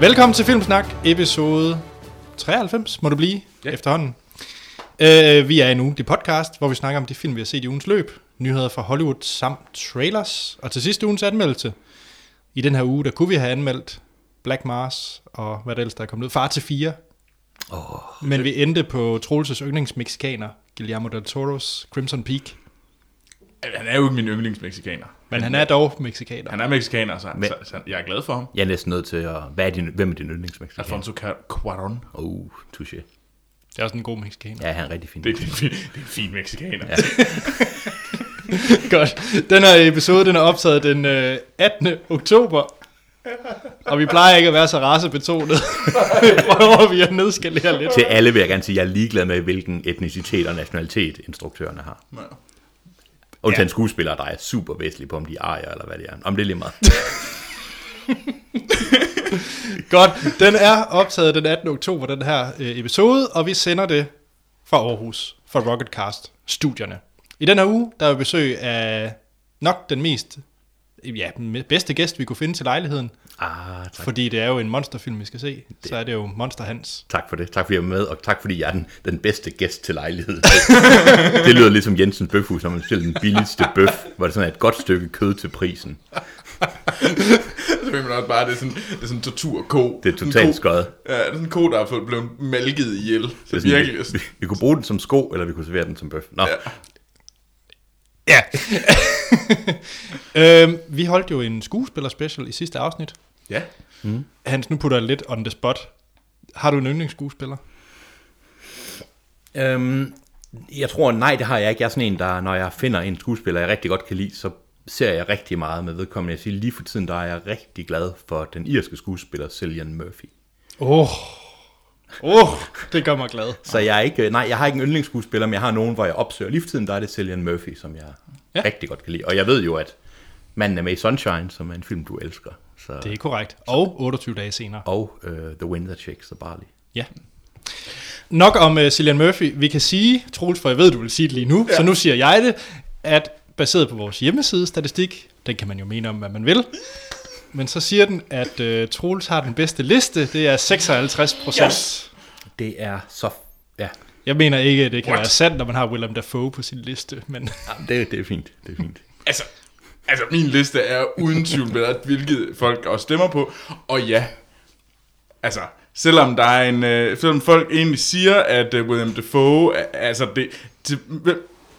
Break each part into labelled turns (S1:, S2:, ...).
S1: Velkommen til Filmsnak, episode 93, må du blive
S2: Ja.
S1: ja. efterhånden. Øh, vi er i en ugentlig podcast, hvor vi snakker om de film, vi har set i ugens løb, nyheder fra Hollywood samt trailers, og til sidste ugens anmeldelse. I den her uge, der kunne vi have anmeldt Black Mars og hvad der ellers der er kommet ud. Far til 4. Oh, Men vi endte på Troelses yndlingsmexikaner, Guillermo del Toro's Crimson Peak.
S2: Han er jo ikke min yndlingsmexikaner.
S1: Men han er dog mexikaner.
S2: Han er mexikaner, så,
S3: Men-
S2: så, så jeg er glad for ham.
S3: Jeg er næsten nødt til at... Hvad er din, hvem er din yndlingsmexikan?
S2: Alfonso Cuar- Cuarón.
S3: Oh, touché.
S1: Det er også en god mexikaner.
S3: Ja, han er rigtig fin.
S2: Det, er- det, er en fin, det er en fin mexikaner. Ja.
S3: Ja.
S1: Godt. Den her episode, den er optaget den øh, 18. oktober. Og vi plejer ikke at være så racebetonet. Prøver vi at nedskalere lidt.
S3: Til alle vil jeg gerne sige, at jeg er ligeglad med, hvilken etnicitet og nationalitet instruktørerne har. Undtagen ja. skuespillere, der er super væsentlige på, om de er arier eller hvad det er. Om det er lige meget.
S1: Godt. Den er optaget den 18. oktober, den her øh, episode, og vi sender det fra Aarhus, fra Rocketcast-studierne. I den her uge, der er vi besøg af nok den mest, øh, ja, den bedste gæst, vi kunne finde til lejligheden.
S3: Ah, tak.
S1: Fordi det er jo en monsterfilm, vi skal se. Så er det jo Monster Hans.
S3: tak for det. Tak fordi jeg var med, og tak fordi jeg er den, den bedste gæst til lejligheden. det lyder lidt som Jensens Bøfhus, når man stiller den billigste bøf, hvor det sådan er et godt stykke kød til prisen.
S2: Så ved man også bare, det er sådan, det er sådan en torturko.
S3: Det er totalt skøjet.
S2: Ja, det er sådan en ko, der er fået- blevet malket ihjel.
S3: Det
S2: Så
S3: er sådan,
S2: virkelig.
S3: vi, vi, vi, kunne bruge den som sko, eller vi kunne servere den som bøf. Nå, ja.
S1: Ja. øhm, vi holdt jo en skuespiller special i sidste afsnit.
S2: Ja.
S1: Hans, nu putter jeg lidt on the spot. Har du en yndlingsskuespiller?
S3: Øhm, jeg tror, nej, det har jeg ikke. Jeg er sådan en, der, når jeg finder en skuespiller, jeg rigtig godt kan lide, så ser jeg rigtig meget med vedkommende. Jeg siger, lige for tiden, der er jeg rigtig glad for den irske skuespiller, Cillian Murphy.
S1: Åh, oh. oh, det gør mig glad.
S3: Så jeg er ikke, nej, jeg har ikke en yndlingsskuespiller, men jeg har nogen, hvor jeg opsøger. Lige for tiden, der er det Cillian Murphy, som jeg
S1: Ja.
S3: ja. rigtig godt kan lide. Og jeg ved jo, at manden er med i Sunshine, som er en film, du elsker. Så,
S1: Det er korrekt. Og 28 dage senere.
S3: Og uh, The Wind That Shakes the Barley.
S1: Ja. Nok om uh, Cillian Murphy. Vi kan sige, Troels, for jeg ved, du vil sige det lige nu, ja. så nu siger jeg det, at baseret på vores hjemmeside statistik, den kan man jo mene om, hvad man vil, men så siger den, at uh, Troels har den bedste liste, det er 56 procent. Yes.
S3: Det er så... Ja,
S1: Jeg mener ikke, at det kan What?
S2: What?
S1: være sandt, når man har Willem Dafoe på sin liste, men
S3: Jamen, det, det er fint. Det er fint.
S2: Altså, altså, min liste er uden tvivl bedre, hvilket folk også stemmer på. Og ja, altså, selvom der er en, øh, selvom folk egentlig siger, at øh, William Defoe, øh, altså det, til, me-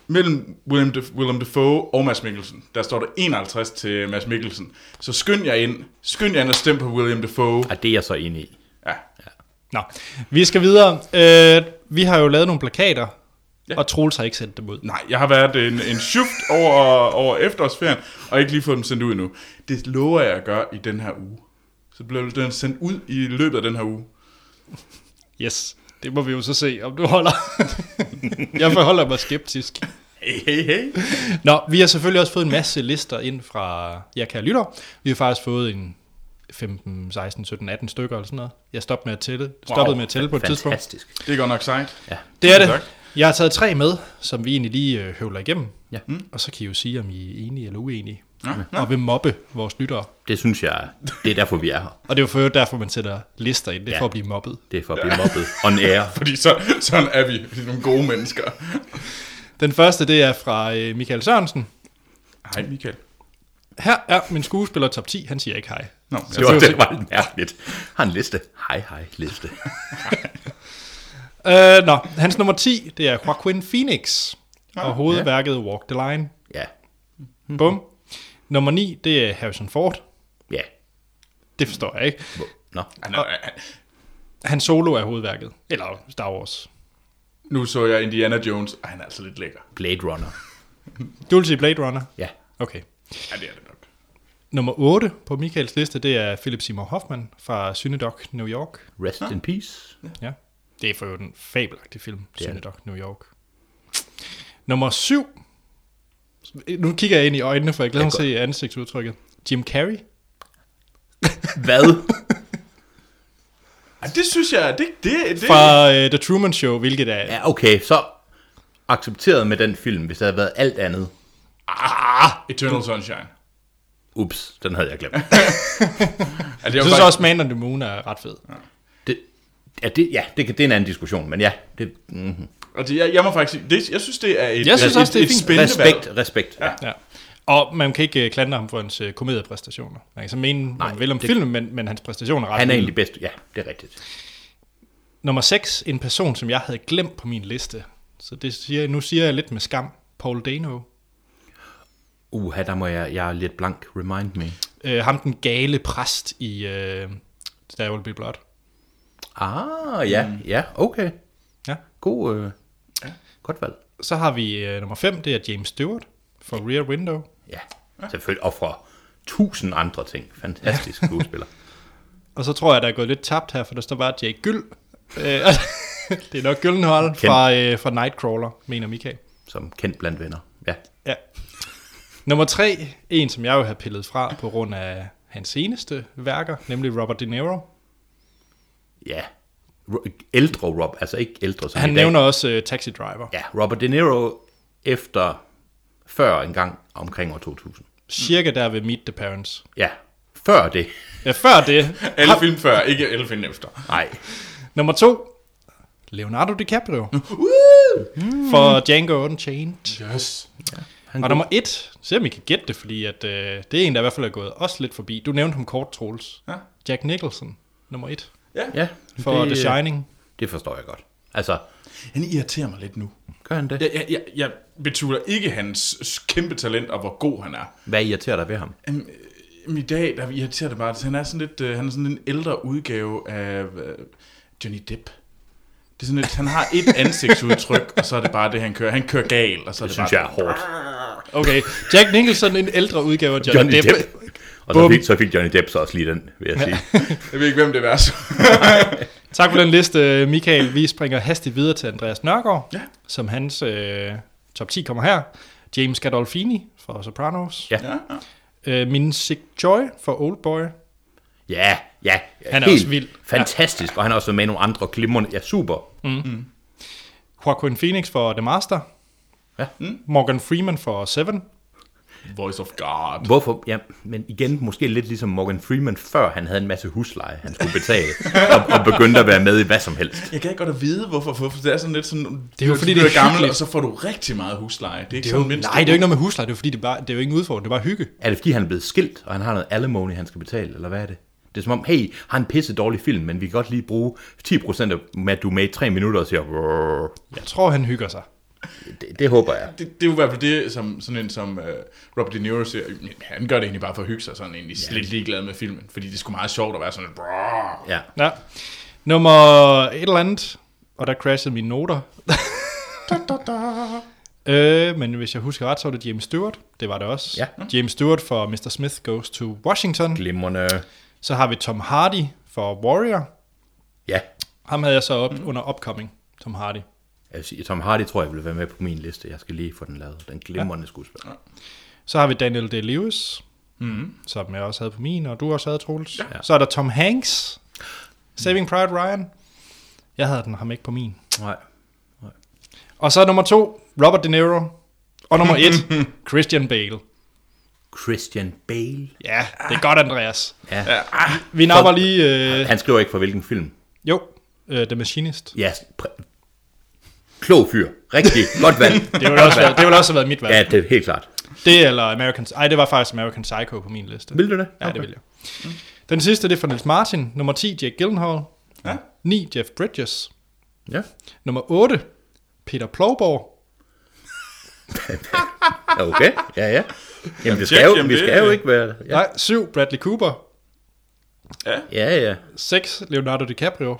S2: mellem William, Def, William Defoe og Mads Mikkelsen, der står der 51 til Mads Mikkelsen. Så skynd jer ind, skynd jer ind og stem på William Defoe.
S3: Og det er jeg så enig i.
S2: Ja,
S1: nå. Vi skal videre. Øh, vi har jo lavet nogle plakater, ja.
S2: Ja.
S1: og Troels har ikke sendt dem ud.
S2: nej, jeg har været en, en shift over, over efterårsferien, og ikke lige fået dem sendt ud endnu. Det lover jeg at gøre i den her uge. Så bliver den sendt ud i løbet af den her uge.
S1: Yes, det må vi jo så se, om du holder. jeg forholder mig skeptisk.
S2: Hey, hey, hey.
S1: Nå, vi har selvfølgelig også fået en masse lister ind fra jer kære lytter. Vi har faktisk fået en 15, 16, 17, 18 stykker eller sådan noget. Jeg stoppede med at tælle, stoppede med at tælle på et tidspunkt.
S3: Fantastisk.
S2: Det er godt nok sejt.
S1: Det er det.
S2: Tak.
S1: Jeg har taget tre med, som vi egentlig lige øh, høvler igennem.
S3: Ja.
S1: Mm. Og så kan I jo sige, om I er enige eller uenige.
S2: Nå, nå.
S1: Og vil mobbe vores lyttere.
S3: Det synes jeg, det er derfor, vi er her.
S1: Og det er jo for øvrigt derfor, man sætter lister ind. Det er ja.
S3: Ja.
S1: for at blive mobbet.
S3: Det er for at blive mobbet on air.
S2: Fordi så, sådan er vi. Vi er nogle gode mennesker.
S1: Den første, det er fra øh, Michael Sørensen.
S2: Hej Michael.
S1: Her er min skuespiller top 10. Han siger ikke hej.
S2: Nå,
S3: Altså, Det var, det var lidt mærkeligt. Har en liste. Hej, hej, liste.
S1: Øh, nå, hans nummer 10, det er Joaquin Phoenix. Og hovedværket Walk the Line.
S2: Mm-hmm.
S3: Ja,
S1: Bum. Nummer 9, det er Harrison Ford.
S3: ja.
S1: Det forstår jeg ikke.
S3: Hvor- Nå,
S2: Han er-
S1: Han solo er hovedværket. Eller Star Wars.
S2: nu så jeg Indiana Jones. Ej, han er altså lidt lækker.
S3: Blade Runner.
S1: Du vil sige Blade Runner?
S3: Ja,
S1: Okay.
S2: Ja, det er det nok.
S1: Nummer 8 på Michaels liste, det er Philip Seymour Hoffman fra Synedoc, New York.
S3: rest in peace.
S1: Ja. Det er for jo en fabelagtig film,
S3: er det.
S1: Synedoc, New York. Nummer 7. Nu kigger jeg ind i øjnene, for jeg glæder mig til at se ansigtsudtrykket. Jim Carrey.
S3: Hvad?
S2: Ej, det synes jeg, det, det, det
S1: Fra uh, The Truman Show, hvilket er... Ja.
S3: Ja, okay, så accepteret med den film, hvis det havde været alt andet.
S2: Ah, Eternal Sunshine.
S3: Ups, den havde jeg glemt.
S2: Altså,
S1: Jeg
S2: jeg,
S1: synes
S2: var,
S1: også, Man on the Moon er ret fed.
S3: Det, ja, det, ja det, kan- det er en anden diskussion, men ja, det, mm,
S2: altså, jeg, jeg må faktisk sige, det, jeg synes, det er et,
S1: Jeg synes
S2: et,
S1: også, det er
S2: et
S1: fint.
S2: spændende valg.
S3: respekt, respekt. Ja.
S1: Ja. Og man kan ikke øh, klandre ham for hans øh, komediepræstationer. Man kan så mene, Nej, man vil om det... filmen, men, men hans præstationer er ret
S3: Han er
S1: vilde.
S3: egentlig bedst, ja, det er rigtigt.
S1: Nummer 6, en person, som jeg havde glemt på min liste. Så det siger, nu siger jeg lidt med skam. Paul Dano.
S3: Uha, der må jeg, jeg er lidt blank, remind me.
S1: Øh, ham den gale præst i øh, Der Will Be Blood.
S3: Ah, ja, mm. ja, okay.
S1: Ja.
S3: God, øh, godt valg.
S1: Så har vi øh, nummer 5, det er James Stewart for Rear Window.
S3: Ja, selvfølgelig. Og fra tusind andre ting. Fantastisk skuespiller.
S1: Og så tror jeg, der er gået lidt tabt her, for der står bare Jake Gyld. Øh, det er nok Gyllenhold fra, øh, fra Nightcrawler, mener Michael.
S3: som kendt blandt venner. Ja.
S1: Ja. Nummer 3, en som jeg jo har pillet fra på grund af hans seneste værker, nemlig Robert De Niro.
S3: Ja. Ro- Ældre Rob, altså ikke ældre som
S1: Han
S3: i dag.
S1: nævner også øh, Taxi Driver.
S3: Ja, Robert De Niro efter før en gang omkring år 2000.
S1: Cirka der ved Meet the Parents.
S3: Ja, før det.
S1: Ja, før det.
S2: Alle film før, ikke alle film efter.
S3: Nej.
S1: Nummer 2, Leonardo DiCaprio for Django Unchained.
S2: Yes.
S1: Og nummer 1, se om I kan gætte det, fordi at, øh, det er en, der i hvert fald er gået os lidt forbi. Du nævnte ham kort, Troels.
S2: Ja.
S1: Jack Nicholson, nummer 1
S3: Ja,
S1: for The
S3: øh,
S1: Shining.
S3: Det forstår jeg godt. Altså,
S2: Han irriterer mig lidt nu.
S3: gør han det?
S2: Jeg, jeg, jeg, jeg betvivler ikke hans s- kæmpe talent og hvor god han er.
S3: Hvad irriterer dig ved ham?
S2: Jamen, øh, jamen, I dag, der irriterer det bare, at han er sådan lidt, øh, han er sådan en ældre udgave af øh, Johnny Depp. Det er sådan lidt, han har et ansigtsudtryk, og så er det bare det, han kører. Han kører gal, og så er det,
S3: Det synes
S2: bare
S3: jeg er hårdt.
S1: Okay, Jack Nicholson, en ældre udgave af Johnny,
S3: Johnny
S1: Depp.
S3: Depp. Og så
S1: Bum.
S3: fik, så fik Johnny Depp så også lige den, vil jeg sige.
S2: Jeg ved ikke, hvem det er, så.
S1: Tak for den liste, øh, Michael. Vi springer hastigt videre til Andreas Nørgaard,
S2: Ja.
S1: som hans øh, top 10 kommer her. James Gandolfini for Sopranos.
S3: Ja.
S2: Ja, ja.
S1: Øh, Min Sig Joy for Oldboy.
S3: Ja, ja.
S1: Han er også vild.
S3: Fantastisk, og han har også været med i nogle andre glimrende. Ja, super.
S1: Joaquin Phoenix for The Master.
S3: Ja.
S1: Morgan Freeman for Seven.
S2: Voice of God.
S3: Hvorfor? Ja, men igen, måske lidt ligesom Morgan Freeman, før han havde en masse husleje, han skulle betale, og, og begyndte at være med i hvad som helst.
S2: Jeg kan ikke godt at vide, hvorfor, hvorfor det er sådan lidt sådan... Det
S1: er jo fordi, det er
S2: gammel,
S1: hyggeligt.
S2: og så får du rigtig meget husleje. Det er ikke
S1: Det er jo,
S2: sådan mindst.
S1: nej, det er jo ikke noget med husleje, det er jo fordi, det er, bare, det er jo ikke en udfordring, det er bare hygge.
S3: Er det fordi, han er blevet skilt, og han har noget alimony, han skal betale, eller hvad er det? Det er som om, hey, har en pisse dårlig film, men vi kan godt lige bruge 10% af, med, at du er med i 3 minutter og siger, "Brrr."
S1: Jeg tror, han hygger sig.
S3: det, det håber jeg.
S2: Det, det er jo i hvert fald det, som sådan en som uh, Robert De Niro siger, "Jamen, han gør det egentlig bare for at hygge sig, sådan egentlig ja. lidt ligeglad med filmen, fordi det skulle meget sjovt at være sådan, brrr.
S3: Ja.
S1: Ja. Nummer et eller andet, og der crashede mine noter. øh, men hvis jeg husker ret, så var det James Stewart. Det var det også.
S3: Ja.
S1: James Stewart for Mr. Smith Goes to Washington.
S3: Glimrende.
S1: Så har vi Tom Hardy for Warrior.
S3: Ja.
S1: Ham havde jeg så op mm. under Upcoming, Tom Hardy.
S3: Jeg vil sige, Tom Hardy tror jeg vil være med på min liste. Jeg skal lige få den lavet. Den glimrende skuespiller.
S1: Så har vi Daniel Day-Lewis, mm. som jeg også havde på min, og du også havde, Troels.
S2: Ja.
S1: Så er der Tom Hanks, Saving Private Ryan. Jeg havde den ham ikke på min.
S3: Nej.
S1: Og så nummer to, Robert De Niro. Og nummer et, Christian Bale.
S3: Christian Bale.
S1: Ja, det er godt, Andreas.
S3: Ja.
S1: Vi napper lige... Øh,
S3: Han skriver ikke for hvilken film.
S1: jo, øh, The Machinist.
S3: Ja, pr- klog fyr. Rigtig godt valg.
S1: Det ville også, være, det ville også have været mit valg.
S3: ja, det er helt klart.
S1: Det eller American... Ej, det var faktisk American Psycho på min liste.
S3: Vil du det?
S1: Ja, det vil jeg. Den sidste, det er fra Niels Martin. Nummer 10, Jack Gyllenhaal.
S2: Ja.
S1: 9, Jeff Bridges.
S3: Ja.
S1: Nummer 8, Peter Plowborg.
S3: Okay, ja, ja. Jamen, det
S2: tjek,
S3: skal jo,
S2: jamen,
S3: vi
S2: det-
S3: skal jo ikke være...
S1: Ja.
S3: Ja,
S1: Nej, 7, Bradley Cooper.
S3: ja. ja.
S1: 6, Leonardo DiCaprio.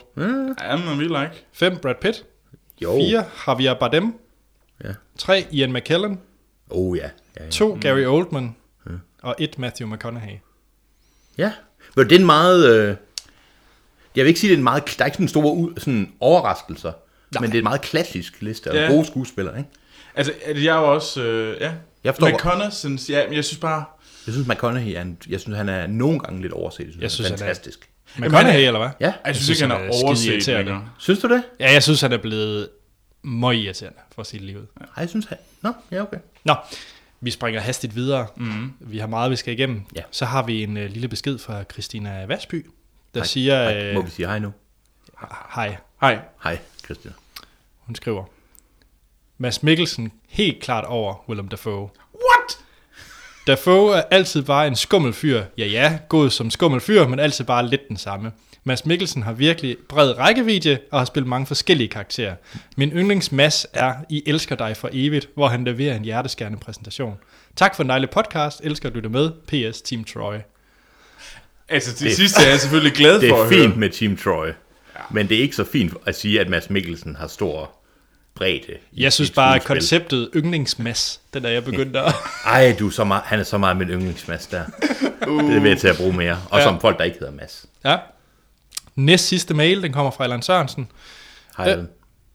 S2: Ja, men vi like.
S1: 5, Brad Pitt.
S3: Jo.
S1: 4, Javier Bardem.
S3: Oh. Ja.
S1: 3, Ian McKellen.
S3: Oh, ja. Ja, ja.
S1: 2, Gary Oldman. Og 1, Matthew McConaughey.
S3: ja. Men det er en meget... Øh... Jeg vil ikke sige, det er en meget... Der er ikke sådan store ud, sådan overraskelser. Nej. Men det er en meget klassisk liste af
S2: Ja.
S3: gode skuespillere, ikke?
S2: Altså, at jeg er jo også, øh, ja.
S3: Jeg forstår-
S2: McConaughey, ja, men jeg synes bare,
S3: Jeg synes, McConaughey, er en, jeg synes, han er nogle gange lidt overset. Jeg synes,
S1: Jeg synes,
S3: han
S1: han
S3: er
S1: er-
S3: fantastisk.
S1: McConaughey, eller hvad?
S3: Ja.
S2: jeg, jeg synes, ikke, han er overset
S1: skideirriterende.
S2: længere.
S3: Synes du det?
S1: Ja, jeg synes, han er blevet møg irriterende for sit liv.
S3: Nej, jeg synes han... Nå, ja, okay.
S1: Nå, Vi springer hastigt videre. Mm. Vi har meget, vi skal igennem.
S3: Mhm. Ja.
S1: Så har vi en øh, lille besked fra Christina Vasby, der
S3: Hej.
S1: siger...
S3: Hej. Må
S1: Øh,
S3: vi sige hej nu?
S1: hej.
S2: Hej.
S3: Hej, Christian.
S1: Hun skriver... Mads Mikkelsen helt klart over Willem Dafoe.
S2: What?
S1: Dafoe er altid bare en skummel fyr. Ja ja, god som skummel fyr, men altid bare lidt den samme. Mads Mikkelsen har virkelig bred rækkevidde og har spillet mange forskellige karakterer. Min yndlings Mads er I elsker dig for evigt, hvor han leverer en hjerteskærende præsentation. Tak for en dejlig podcast. Elsker at lytte med. PS Team Troy.
S2: Altså, det,
S3: Det-
S2: det sidste er jeg selvfølgelig glad
S3: Det
S2: for
S3: er
S2: at
S3: fint
S2: høre.
S3: med Team Troy, men det er ikke så fint at sige, at Mads Mikkelsen har stor bredde. i
S1: Jeg synes
S3: sit
S1: bare, at
S3: skuespil.
S1: konceptet yndlings Mads, den er jeg begyndt at...
S3: Ej, du er så meget, han er så meget min yndlingsmas der. Uh. Det er ved til at bruge mere.
S1: Ja.
S3: Og ja. som folk, der ikke hedder Mads.
S1: Ja. Næst sidste mail, den kommer fra Allan Sørensen.
S3: Hej, Allan.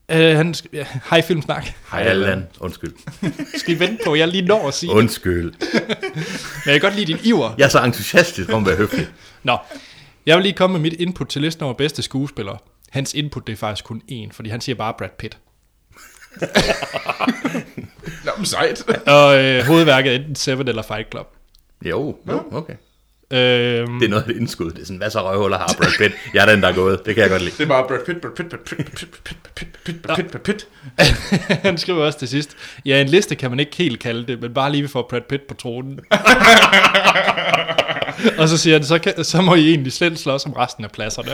S1: Øh, han... sk- ja, Hej Filmsnak.
S3: Hej, Allan. Undskyld.
S1: Skal I vente på, jeg lige når at sige det?
S3: Undskyld.
S1: Men jeg kan godt lide din iver.
S3: Jeg er så entusiastisk om at være høflig.
S1: Nå, jeg vil lige komme med mit input til listen over bedste skuespillere. Hans input, det er faktisk kun én, fordi han siger bare Brad Pitt.
S2: Nå, men sejt.
S1: Og øh, hovedværket er enten Seven eller Fight Club.
S3: Jo, jo, okay.
S1: Øh,
S3: Det er noget af det indskud. Det er sådan, hvad så røvhuller har Brad Pitt? Jeg er den, der er gået. Det kan jeg godt lide.
S2: Det er bare Brad Pitt, Brad Pitt, Brad Pitt, Brad Pitt, Brad Pitt, Brad Pitt, Brad Pitt, Brad Pitt.
S1: han skriver også til sidst, ja, en liste kan man ikke helt kalde det, men bare lige vi får Brad Pitt på tronen. og så siger han, så, kan, så må I egentlig slet slås om resten af pladserne.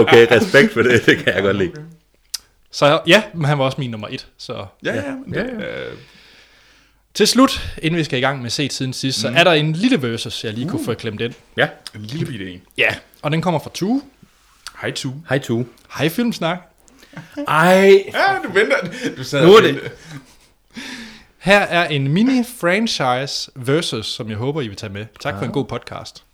S3: Okay, respekt for det. Det kan jeg godt lide.
S1: Så ja, men han var også min nummer et, så
S2: Ja, ja. men
S3: Ja,
S2: det- øh,
S1: Til slut, inden vi skal i gang med set siden sidst, så er der en lille versus, jeg lige kunne få klemt ind.
S3: Ja.
S2: En lille bitte en.
S1: Ja, og den kommer fra Tue.
S2: Hej, Tue.
S3: Hej, Tue.
S1: Hej Filmsnak.
S3: Ej.
S2: Ja, du venter. Du sad
S3: Nu
S2: og
S3: er det-
S2: ventede.
S1: Her er en mini-franchise versus, som jeg håber, I vil tage med. Tak for en god podcast.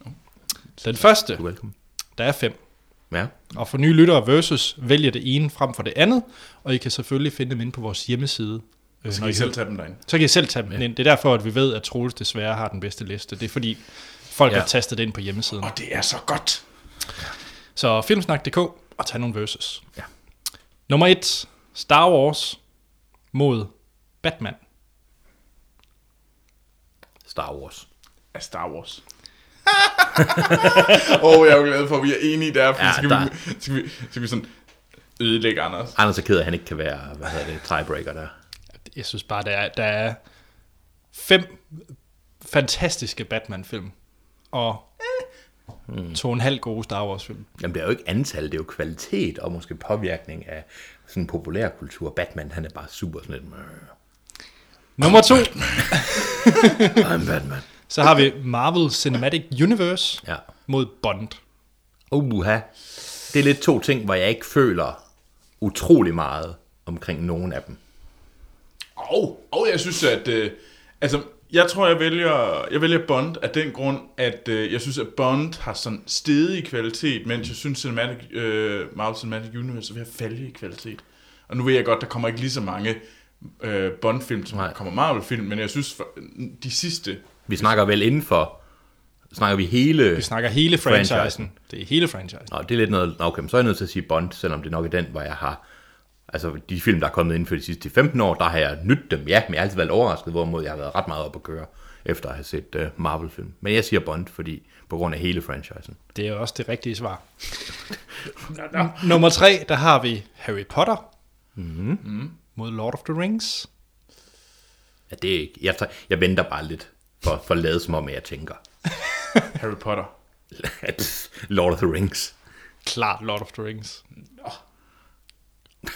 S1: Den første,
S3: Du er velkommen.
S1: der er fem.
S3: Ja.
S1: Og for nye lyttere versus, vælger det ene frem for det andet, og I kan selvfølgelig finde dem inde på vores hjemmeside. øh,
S2: Skal
S1: når
S2: I selv
S1: hører-
S2: tage dem derinde?
S1: så kan I selv tage dem ind. Det er derfor, at vi ved, at Troels desværre har den bedste liste. Det er fordi, folk
S3: Ja.
S1: har tastet det ind på hjemmesiden.
S2: Og det er så godt.
S1: Så filmsnak.dk og tag nogle versus.
S3: Ja.
S1: Nummer 1. Star Wars mod Batman.
S3: Star Wars.
S2: Af Star Wars. Åh, oh, jeg er jo glad for, at vi er enige der, for ja,
S3: Ja,
S2: skal,
S3: der-
S2: Vi, skal, vi, skal vi sådan ødelægge Anders.
S3: Anders er ked af, at han ikke kan være, hvad hedder det, tiebreaker der.
S1: Jeg synes bare, der er, der er fem fantastiske Batman-film. Og
S3: Hmm.
S1: to og en halv gode Star Wars-film.
S3: Jamen, det er jo ikke antal, det er jo kvalitet og måske påvirkning af sådan populærkultur. Batman, han er bare super sådan lidt... "Mrr,
S1: Nummer 2.
S3: I'm Batman.
S1: Så har vi Marvel Cinematic Universe
S3: Ja.
S1: mod Bond.
S3: Uha. Det er lidt to ting, hvor jeg ikke føler utrolig meget omkring nogen af dem.
S2: Og, og jeg synes, at... Øh, altså, jeg tror, jeg vælger, jeg vælger Bond af den grund, at øh, jeg synes, at Bond har sådan steget i kvalitet, mens jeg synes, Cinematic, øh, Marvel Cinematic Universe er ved at falde i kvalitet. Og nu ved jeg godt, der kommer ikke lige så mange øh, Bond-film, som
S3: Nej.
S2: der kommer Marvel-film, men jeg synes, for, de sidste...
S3: Vi snakker vel indenfor... Snakker vi hele...
S1: Vi snakker hele
S3: Franchisen.
S1: franchisen. Det er hele franchisen.
S3: Nå, det er lidt noget... Nå, okay, men så er jeg nødt til at sige Bond, selvom det nok er den, hvor jeg har... Altså, de film, der er kommet inden for de sidste 15 år, der har jeg nydt dem, ja, men jeg har altid været overrasket, hvorimod jeg har været ret meget op at køre, efter at have set uh, Marvel-film. Men jeg siger Bond, fordi på grund af hele franchisen.
S1: Det er også det rigtige svar. Nummer 3, der har vi Harry Potter mm-hmm. mod Lord of the Rings.
S3: Ja, det er ikke... Jeg, tager, jeg venter bare lidt for, for at lade som om, at jeg tænker.
S2: Harry Potter.
S3: Lord of the Rings.
S1: Klart Lord of the Rings.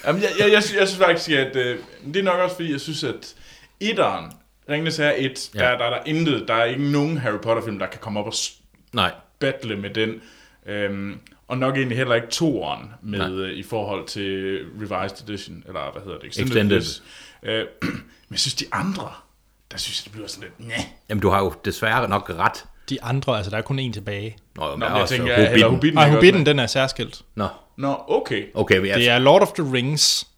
S2: Jamen, jeg, jeg, jeg, sy- jeg synes faktisk, at øh, det er nok også, fordi jeg synes, at etteren, Ringnes Herre 1, ja.
S3: Ja.
S2: der, der, der er intet, der er ikke nogen Harry Potter-film, der kan komme op og s-
S3: Nej,
S2: battle med den. Øhm, og nok egentlig heller ikke toeren med øh, i forhold til Revised Edition, eller hvad hedder det?
S3: Extended.
S2: Edition. Øh, men jeg synes, de andre, der synes jeg, det bliver sådan lidt, næh.
S3: Jamen, du har jo desværre nok ret.
S1: De andre, altså der er kun en tilbage.
S3: Nå, jo, men
S2: Nå,
S3: der
S2: men
S3: er
S2: jeg
S3: også
S2: tænker, Hobbiten. eller Hobbiten.
S1: Nej,
S2: ikke
S1: Hobbiten,
S2: også?
S1: den er særskilt.
S3: Nå,
S2: Nå, okay.
S3: okay, men jeg,
S1: Det er Lord of the Rings.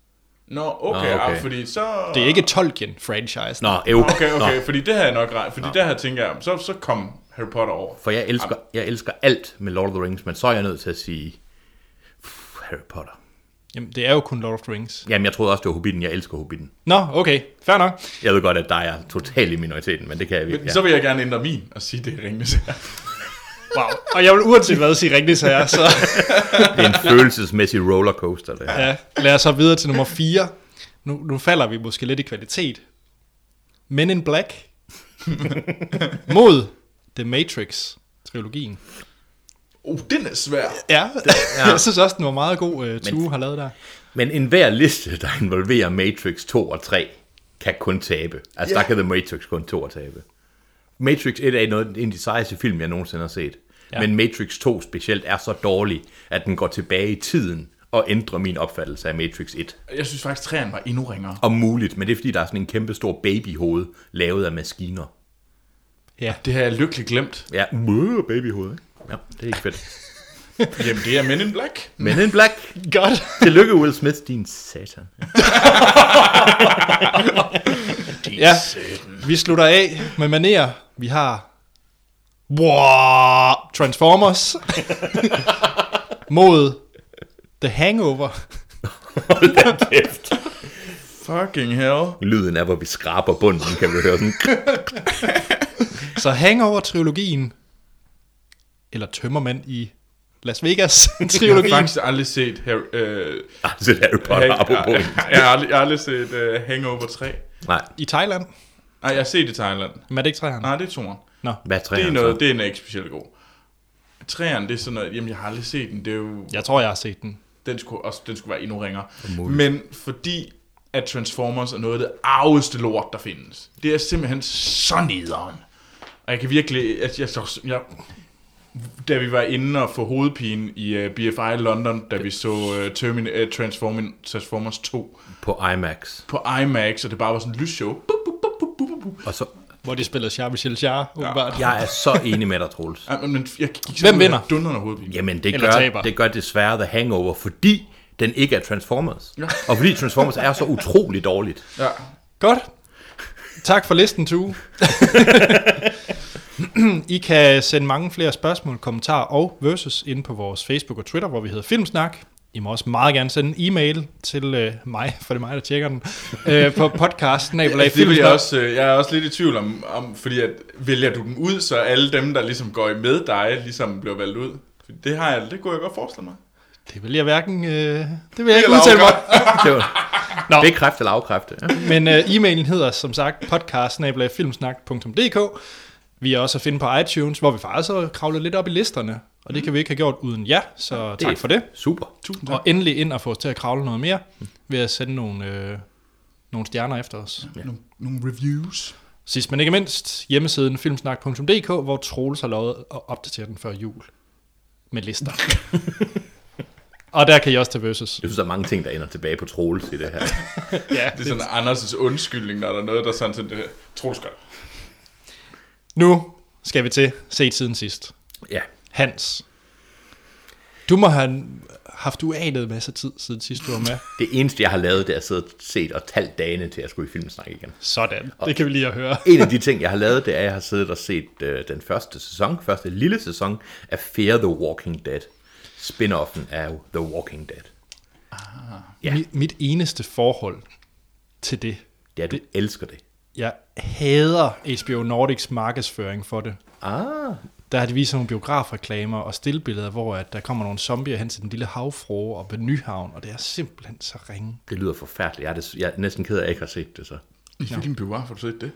S2: Nå, okay,
S3: Nå,
S2: Nå, okay.
S3: okay.
S2: Ah, fordi så...
S1: Det er ikke Tolkien-franchise.
S3: Nå, ev.
S2: Okay, okay,
S3: Nå,
S2: fordi det har jeg nok ret, fordi der her tænker jeg, så, så kom Harry Potter over.
S3: for jeg elsker, jeg elsker alt med Lord of the Rings, men så er jeg nødt til at sige pff, Harry Potter.
S1: Jamen, det er jo kun Lord of the Rings.
S3: Jamen, jeg troede også, det var Hobbiten. Jeg elsker Hobbiten.
S1: Nå, okay, fair nok.
S3: Jeg ved godt, at der er totalt i minoriteten, men det kan jeg
S2: Men
S3: virkelig.
S2: ja.
S3: Ja.
S2: så vil jeg gerne ændre min og sige, det er Ringnes Herre.
S1: Wow. Og jeg vil uanset hvad sige rigtigt her, så
S3: Det er en følelsesmæssig rollercoaster, det her.
S1: ja. lad os så videre til nummer 4. Nu, nu falder vi måske lidt i kvalitet. Men in Black mod The Matrix-trilogien.
S2: Oh, den er svær.
S1: Ja, ja, jeg synes også, den var meget god, uh, Tue har lavet der.
S3: Men enhver liste, der involverer Matrix 2 og 3, kan kun tabe. Altså,
S2: Ja.
S3: yeah. der kan The Matrix kun 2 og tabe. Matrix 1 er noget, en af de sejeste film, jeg nogensinde har set.
S1: Ja.
S3: Ja. Men Matrix 2 specielt er så dårlig, at den går tilbage i tiden og ændrer min opfattelse af Matrix 1.
S2: Jeg synes faktisk, træerne var endnu ringere.
S3: Om muligt, men det er fordi, der er sådan en kæmpe stor babyhoved, lavet af maskiner.
S1: Ja.
S2: Det har jeg lykkeligt glemt.
S3: Ja, møh, babyhoved, ikke? Ja, det er ikke fedt.
S2: Jamen, det er Men in Black.
S3: Men en black.
S1: Godt.
S3: Tillykke, Will Smith, din satan.
S1: Ja, vi slutter af med manerer. Vi har wow, Transformers mod The Hangover.
S3: Hold da kæft.
S2: Fucking hell.
S3: Lyden er, hvor vi skraber bunden, kan vi høre den.
S1: Så Hangover-trilogien, eller Tømmermænd i Las
S2: Jeg har
S1: Vegas-trilogien.
S2: faktisk aldrig set Harry, øh,
S3: Altså, Harry Potter
S2: Hang-
S3: har på
S2: jeg, jeg, har aldrig, jeg har aldrig set uh, Hangover 3.
S3: Nej,
S1: I Thailand.
S2: Nej, jeg har set det i Thailand.
S1: Men er det ikke træerne?
S2: Nej, det er toren.
S1: Nå.
S3: hvad træer
S2: Det er,
S3: han
S2: noget,
S3: noget,
S2: det er ikke specielt god. Træeren, det er sådan noget, jamen jeg har aldrig set den, det er jo,
S1: Jeg tror, jeg har set den.
S2: den skulle, også, den skulle være endnu ringere.
S3: Muligt.
S2: Men fordi at Transformers er noget af det arveste lort, der findes. Det er simpelthen så nederen. Og jeg kan virkelig, at jeg, jeg, jeg, da vi var inde og få hovedpine i uh, BFI London, da vi så uh, Termin, uh, Transformin, Transformers 2
S3: På IMAX.
S2: på IMAX, og det bare var sådan en lysshow. Bup, bup, bup, bup, bup, bup.
S3: Og så,
S1: Hvor de spiller Charles Michel Char, åbenbart.
S3: jeg er så enig med dig, Troels.
S2: Ej, men jeg gik
S1: Hvem vinder?
S2: Dunderne hovedpine.
S3: Jamen, det
S1: Eller
S3: gør,
S1: taber.
S3: det gør desværre The Hangover, fordi den ikke er Transformers. Og fordi Transformers er så utrolig dårligt.
S2: Ja.
S1: Godt. Tak for listen, Tue. I kan sende mange flere spørgsmål, kommentarer og versus ind på vores Facebook og Twitter, hvor vi hedder Filmsnak. I må også meget gerne sende en e-mail til øh, mig, for det er mig, der tjekker den, øh, på podcasten.
S2: Altså, det vil jeg, også, øh, jeg er også lidt i tvivl om, om, fordi at vælger du dem ud, så alle dem, der ligesom går i med dig, ligesom bliver valgt ud. Fordi Det har jeg, det kunne jeg godt forestille mig.
S1: Det vil jeg hverken... Øh, det vil jeg ikke
S2: Eller
S1: udtale mig. om.
S3: Det var
S1: Nå.
S3: bekræft eller afkræfte. Ja.
S1: Men øh, e-mailen hedder som sagt podcast-filmsnak.dk Vi er også at finde på iTunes, hvor vi faktisk har kravlet lidt op i listerne. Og det kan vi ikke have gjort uden jer, så tak for det.
S3: Super.
S2: Tusind
S1: Og endelig ind og få os til at kravle noget mere ved at sende nogle, øh, nogle stjerner efter os.
S2: Ja. Nogle, nogle reviews.
S1: Sidst men ikke mindst, hjemmesiden filmsnak.dk, hvor Troels har lovet at opdatere den før jul med lister. og der kan I også tage versus.
S3: Jeg synes, der er mange ting, der ender tilbage på Troels i det her.
S1: Ja,
S2: Det er sådan Anders' undskyldning, når der er noget, der er sådan sådan, øh, det tror skal.
S1: Nu skal vi til set siden sidst.
S3: Ja.
S1: Hans, du må have haft uanet masse tid siden sidst du var med.
S3: Det eneste, jeg har lavet, det er at sidde og set og talt dagene til, at jeg skulle i filmsnak igen.
S1: Sådan, det kan vi lige at høre.
S3: En af de ting, jeg har lavet, det er, at jeg har siddet og set øh, den første sæson, første lille sæson af Fear the Walking Dead. Spin-offen af The Walking Dead. Ja.
S1: Mi- mit eneste forhold til det,
S3: Ja, du det... elsker det.
S1: jeg hader HBO Nordics markedsføring for det.
S3: Ah,
S1: Der har de vist sådan nogle biografreklamer og stillbilleder, hvor at der kommer nogle zombier hen til den lille havfrue og ved Nyhavn, og det er simpelthen så ringe.
S3: det lyder forfærdeligt. Jeg er, des... jeg er næsten ked af, at jeg ikke har set det så.
S2: I hvilken biograf har du set det?
S1: Jeg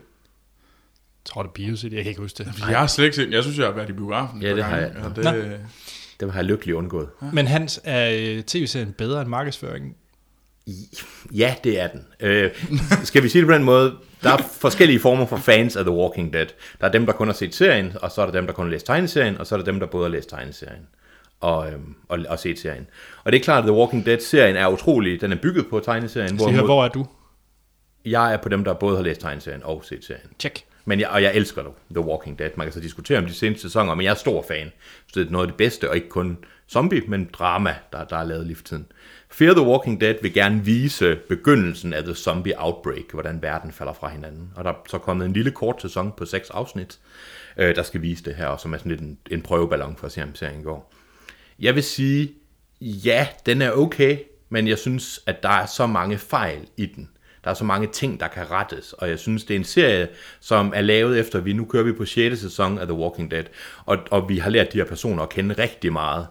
S1: tror, det er Biocity, jeg kan ikke huske det.
S2: Jeg har slet ikke set den. Jeg synes, jeg har været i biografen.
S3: Ja,
S2: et par
S3: det har
S2: gange,
S3: jeg.
S2: og Det,
S3: Det har jeg lykkeligt undgået.
S1: Men Hans, er øh, tv-serien bedre end markedsføringen?
S3: Ja, det er den. Øh, skal vi sige det på den måde? Der er forskellige former for fans af The Walking Dead. Der er dem, der kun har set serien, og så er der dem, der kun har læst tegneserien, og så er der dem, der både har læst tegneserien og, øhm, og, og set serien. Og det er klart, at The Walking Dead-serien er utrolig. Den er bygget på tegneserien,
S1: Lige her,
S3: hvor
S1: hvor er du?
S3: jeg er på dem, der både har læst tegneserien og set serien.
S1: Tjek.
S3: Men jeg, og jeg elsker dog The Walking Dead. Man kan så diskutere om de seneste sæsoner, men jeg er stor fan. Så det er noget af det bedste, og ikke kun zombie, men drama, der, der er lavet lige for tiden. Fear the Walking Dead vil gerne vise begyndelsen af The Zombie Outbreak, hvordan verden falder fra hinanden. Og der er så kommet en lille kort sæson på seks afsnit, øh, der skal vise det her, og som er sådan lidt en, en prøveballon for at se, om serien går. Jeg vil sige, ja, den er okay. Men jeg synes, at der er så mange fejl i den. Der er så mange ting, der kan rettes, og jeg synes, det er en serie, som er lavet efter, vi nu kører vi på 6. sæson af The Walking Dead, og, og vi har lært de her personer at kende rigtig meget.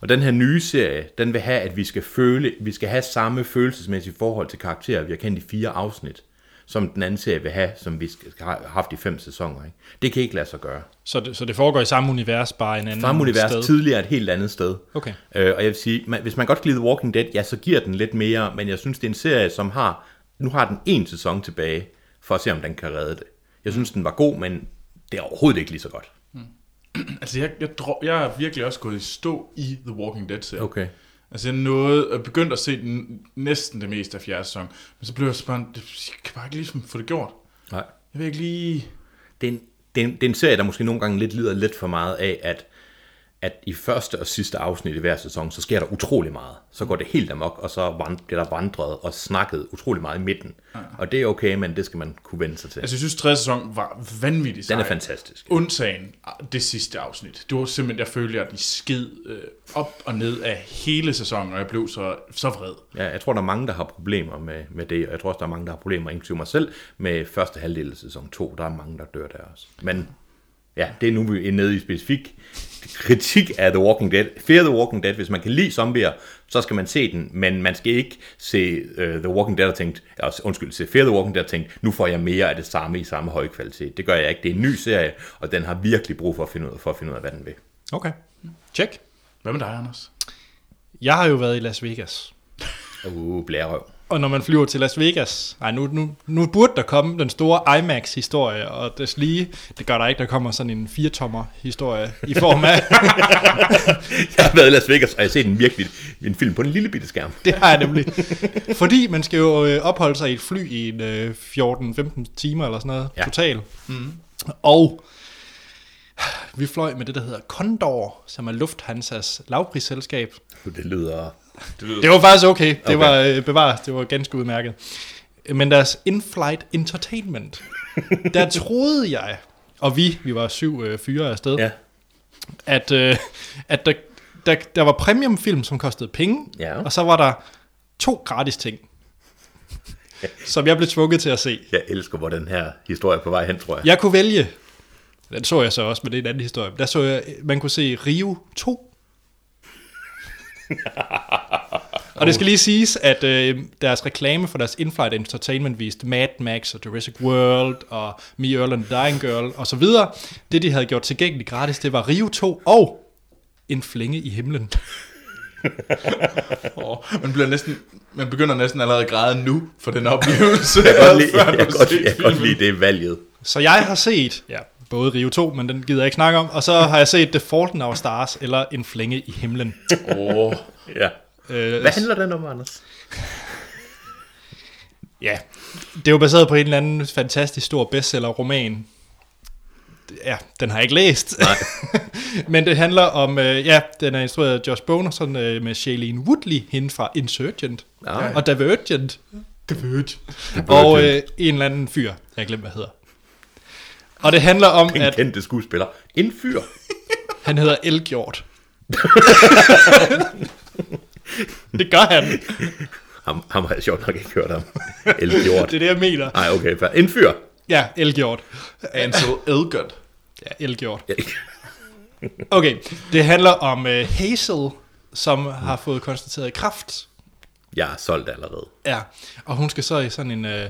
S3: Og den her nye serie, den vil have, at vi skal føle, vi skal have samme følelsesmæssige forhold til karakterer, vi har kendt i fire afsnit, som den anden serie vil have, som vi skal- har haft i fem sæsoner. Ikke? Det kan ikke lade sig gøre.
S1: Så det, så det foregår i samme univers, bare en anden
S3: Samme univers
S1: Mm, sted.
S3: tidligere et helt andet sted.
S1: Okay.
S3: Øh, og jeg vil sige, man, hvis man godt kan lide The Walking Dead, ja, så giver den lidt mere, men jeg synes, det er en serie, som har, nu har den en sæson tilbage, for at se, om den kan redde det. Jeg synes, den var god, men det er overhovedet ikke lige så godt.
S2: Altså, jeg, jeg, drog, jeg er virkelig også gået i stå i The Walking Dead-serien.
S3: Okay.
S2: Altså, jeg nåede, og begyndte at se den, næsten det meste af fjerde sæson. Men så blev jeg så bare, det- jeg kan bare ikke ligesom få det gjort.
S3: Nej.
S2: Jeg vil ikke lige...
S3: Det er, en, det, er en, det er en serie, der måske nogle gange lidt lider lidt for meget af, at, at i første og sidste afsnit i hver sæson, så sker der utrolig meget. Så går det helt amok, og så vand, bliver der vandret og snakket utrolig meget i midten.
S1: Ah.
S3: Og det er okay, men det skal man kunne vende sig til.
S2: Altså, jeg synes, tredje sæson var vanvittig sej.
S3: Den er fantastisk.
S2: Undtagen det sidste afsnit. Det var simpelthen, jeg følte, at de sked øh, op og ned af hele sæsonen, og jeg blev så, så vred.
S3: Ja, jeg tror, der er mange, der har problemer med, med det, og jeg tror også, der er mange, der har problemer, inklusive mig selv, med første halvdel af sæson 2. Der er mange, der dør der også. Men ja, det er nu, vi er nede i specifik kritik af The Walking Dead. Fear The Walking Dead, hvis man kan lide zombier, så skal man se den, men man skal ikke se uh, The Walking Dead og tænke, altså, undskyld, se Fear The Walking Dead og tænke, nu får jeg mere af det samme i samme høje kvalitet. Det gør jeg ikke. Det er en ny serie, og den har virkelig brug for at finde ud, for at finde ud af, hvad den vil.
S1: Okay, tjek.
S2: Hvad med dig, Anders?
S1: Jeg har jo været i Las Vegas.
S3: Uh, blærerøv.
S1: Og når man flyver til Las Vegas, nej, nu, nu, nu burde der komme den store IMAX-historie og deslige. Det gør der ikke, der kommer sådan en 4-tommer-historie i form af,
S3: Jeg har været i Las Vegas, og jeg har set en virkelig en film på en lille bitte skærm.
S1: det har jeg nemlig. Fordi man skal jo øh, opholde sig i et fly i en øh, 14-15 timer eller sådan noget,
S3: Ja.
S1: ja. total. Mm. Og vi fløj med det, der hedder Condor, som er Lufthansas lavprisselskab.
S3: Det lyder...
S1: Det var faktisk okay. Det
S3: Okay.
S1: okay. var øh, bevares. Det var ganske udmærket. Men deres in-flight entertainment, der troede jeg, og vi, vi var syv øh, fyre afsted, ja.
S3: Ja.
S1: at, øh, at der, der, der var premiumfilm, som kostede penge,
S3: Ja.
S1: og så var der to gratis ting, som jeg blev tvunget til at se.
S3: Jeg elsker, hvor den her historie er på vej hen, tror jeg.
S1: Jeg kunne vælge, den så jeg så også, men det er en anden historie, der så jeg, man kunne se Rio 2. og det skal lige siges, at øh, deres reklame for deres Inflight Entertainment viste Mad Max og Jurassic World og Me, Earl and the Dying Girl og så videre. Det, de havde gjort tilgængeligt gratis, det var Rio 2 og En flænge i himlen.
S2: Oh, man, bliver næsten, man begynder næsten allerede at græde nu for den oplevelse.
S3: Jeg kan godt lide,
S2: før
S3: jeg
S2: du
S3: kan
S2: har
S3: godt,
S2: set
S3: jeg kan godt
S2: filmen.
S3: lide det valget.
S1: Så jeg har set, ja, både Rio 2, men den gider jeg ikke snakke om, og så har jeg set The Fault in Our Stars eller En flænge i himlen.
S2: Åh,
S3: Ja.
S1: Øh,
S3: Hvad handler den om, Anders?
S1: Ja, det er jo baseret på en eller anden fantastisk stor bestseller-roman. Ja, den har jeg ikke læst. Nej. Men det handler om, øh, ja, den er instrueret af Josh Bonerson øh, med Shailene Woodley, hende fra Insurgent
S3: Ah.
S1: og Divergent.
S2: det
S1: Og øh, en eller anden fyr, jeg glemmer, hvad hedder. Og det handler om,
S3: En
S1: at
S3: kendte skuespiller. En fyr.
S1: han hedder Elgjort. det gør han.
S3: Ham, ham har jeg sjovt nok ikke hørt om. Elgjort.
S1: Det er det, jeg mener.
S3: Nej, okay. fair. En fyr.
S1: Ja, Elgjort.
S2: Ansel Elgort.
S1: Ja, Elgjort.
S3: Ja.
S1: Okay, det handler om øh, Hazel, som har fået konstateret kræft.
S3: Jeg er solgt allerede.
S1: Ja, og hun skal så i sådan en øh,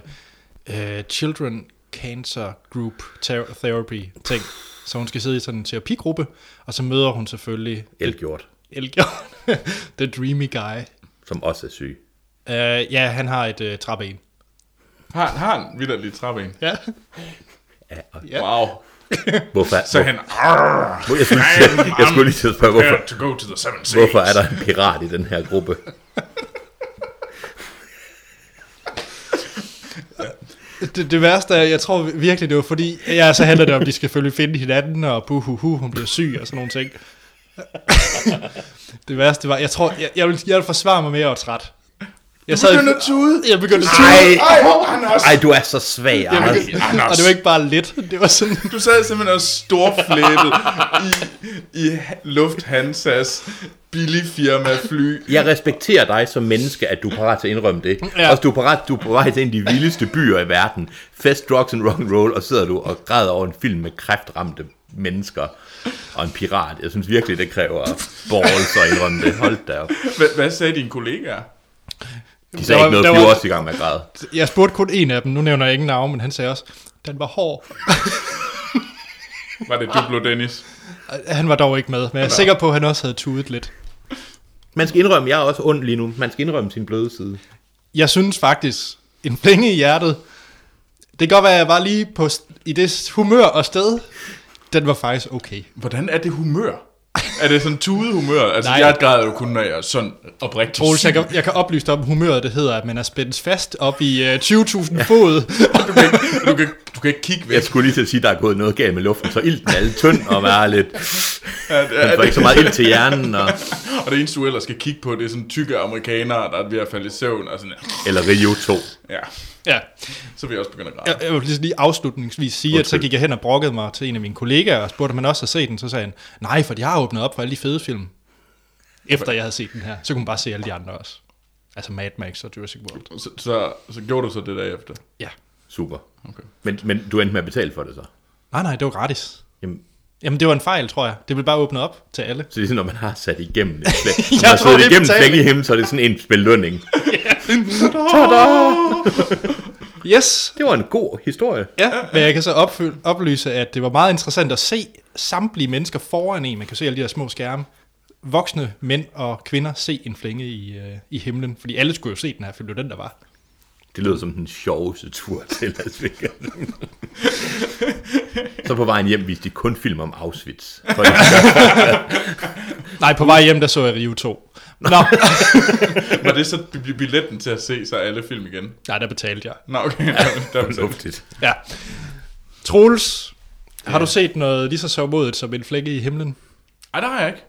S1: øh, Children Cancer Group ter- Therapy ting. Så hun skal sidde i sådan en terapigruppe, og så møder hun selvfølgelig
S3: Elgjort,
S1: Elgjørn, the dreamy guy.
S3: som også er syg.
S1: Uh, ja, han har et øh, træben.
S2: Har, har han vildt lige trappe en?
S1: Ja.
S3: Ja, og
S1: Ja.
S2: Wow.
S3: hvorfor,
S2: Så han, arrr,
S3: hvor, jeg, skulle,
S2: I'm-
S3: jeg, jeg skulle lige til at spørge, hvorfor,
S2: to go to the seven seas.
S3: hvorfor er der en pirat i den her gruppe?
S1: Det, det værste er, jeg tror virkelig, det var fordi, ja, så handler det om, at de skal selvfølgelig finde hinanden, og buhuhu, hun bliver syg og sådan nogle ting. det værste var, jeg tror, jeg, jeg, vil, jeg vil forsvare mig mere og træt. Jeg sad,
S2: begynder at
S1: tude. Jeg begyndte at tude.
S3: Ej,
S2: Ej, oh, Anders.
S3: ej, du er så svag, Anders.
S2: Anders.
S1: Og det var ikke bare lidt, det var sådan,
S2: Du sad simpelthen og storflæbet i, i Lufthansas billig firma fly.
S3: Jeg respekterer dig som menneske, at du er parat til at indrømme det.
S1: Ja.
S3: Ja. Også du er parat, du er på vej til en af de vildeste byer i verden. Fest, drugs and rock and roll, og sidder du og græder over en film med kræftramte mennesker og en pirat. Jeg synes virkelig, det kræver balls at indrømme det. Hold da op.
S2: Hvad, hvad sagde dine kollegaer?
S3: De sagde
S1: Der var-
S3: ikke noget,
S1: der
S3: for de var
S1: var-
S3: også i gang med at græde.
S1: Jeg spurgte kun en af dem, nu nævner jeg ingen navn, men han sagde også, den var hård.
S2: Var det Duplo Dennis?
S1: Han var dog ikke med, men jeg er sikker på, at han også havde tudet lidt.
S3: Man skal indrømme, jeg er også ond lige nu. Man skal indrømme sin bløde side.
S1: Jeg synes faktisk, en penge i hjertet, det kan godt være, at jeg var lige på, st- i det humør og sted, den var faktisk okay.
S2: Hvordan er det humør? Er det sådan tude humør? Altså,
S1: Nej.
S2: Nej. jeg græder jo kun, når jeg er sådan oprigtig
S1: Troels,
S2: syg.
S1: jeg kan, jeg kan oplyse dig om humøret, det hedder, at man er spændt fast op i øh, 20.000 fod.
S2: Du kan, ikke- du, kan, du kan ikke kigge væk.
S3: Jeg skulle lige til at sige, at der er gået noget galt med luften, så ilten er lidt tynd og være lidt...
S2: Ja, det,
S3: Man
S2: er,
S3: får ikke så
S2: det,
S3: meget ild til hjernen, og,
S2: og det eneste, du ellers skal kigge på, det er sådan tykke amerikanere, der er ved at falde i søvn og sådan
S3: eller Rio 2.
S2: Ja,
S1: Ja,
S2: så vil jeg også begynde at græde.
S1: jeg, jeg vil lige- lige afslutningsvis sige, at så
S3: Undskyld.
S1: gik jeg hen og brokkede mig til en af mine kollegaer og spurgte, om han også havde set den. Så sagde han, nej, for de har åbnet op for alle de fede film. Efter jeg havde set den her, så kunne man bare se alle de andre også. Altså Mad Max og Jurassic World.
S2: Så, så, så gjorde du så det der efter.
S1: Ja.
S3: Super.
S2: Okay.
S3: Men, men du endte med at betale for det så?
S1: Nej, nej, det var gratis.
S3: Jamen,
S1: Jamen, det var en fejl, tror jeg. Det blev bare åbnet op til alle.
S3: Så det er sådan, når man har sat igennem en flæk.
S1: Jeg
S3: Når man har
S1: tror, det
S3: siddet
S1: er
S3: igennem
S1: betaling.
S3: flæk i himlen, så er det sådan en belønning.
S1: Yes!
S3: Det var en god historie.
S1: Ja, men jeg kan så opfyld, oplyse, at det var meget interessant at se samtlige mennesker foran en. Man kan se alle de der små skærme. Voksne mænd og kvinder se en flænge i, øh, i himlen. Fordi alle skulle jo se den her film, det var den, der var.
S3: Det lød som den sjoveste tur til Las Vegas. så på vejen hjem viste de kun film om Auschwitz. For
S1: Nej, på vej hjem, der så jeg Rio 2. Nå,
S2: Var det så bi- billetten til at se så alle film igen?
S1: nej, der betalte jeg.
S2: Nå, okay. Ja, der
S3: det
S2: er
S3: var fornuftigt.
S1: Ja. Troels, har du set noget lige så sørmodigt som en flække i himlen?
S2: Ej, der har jeg ikke.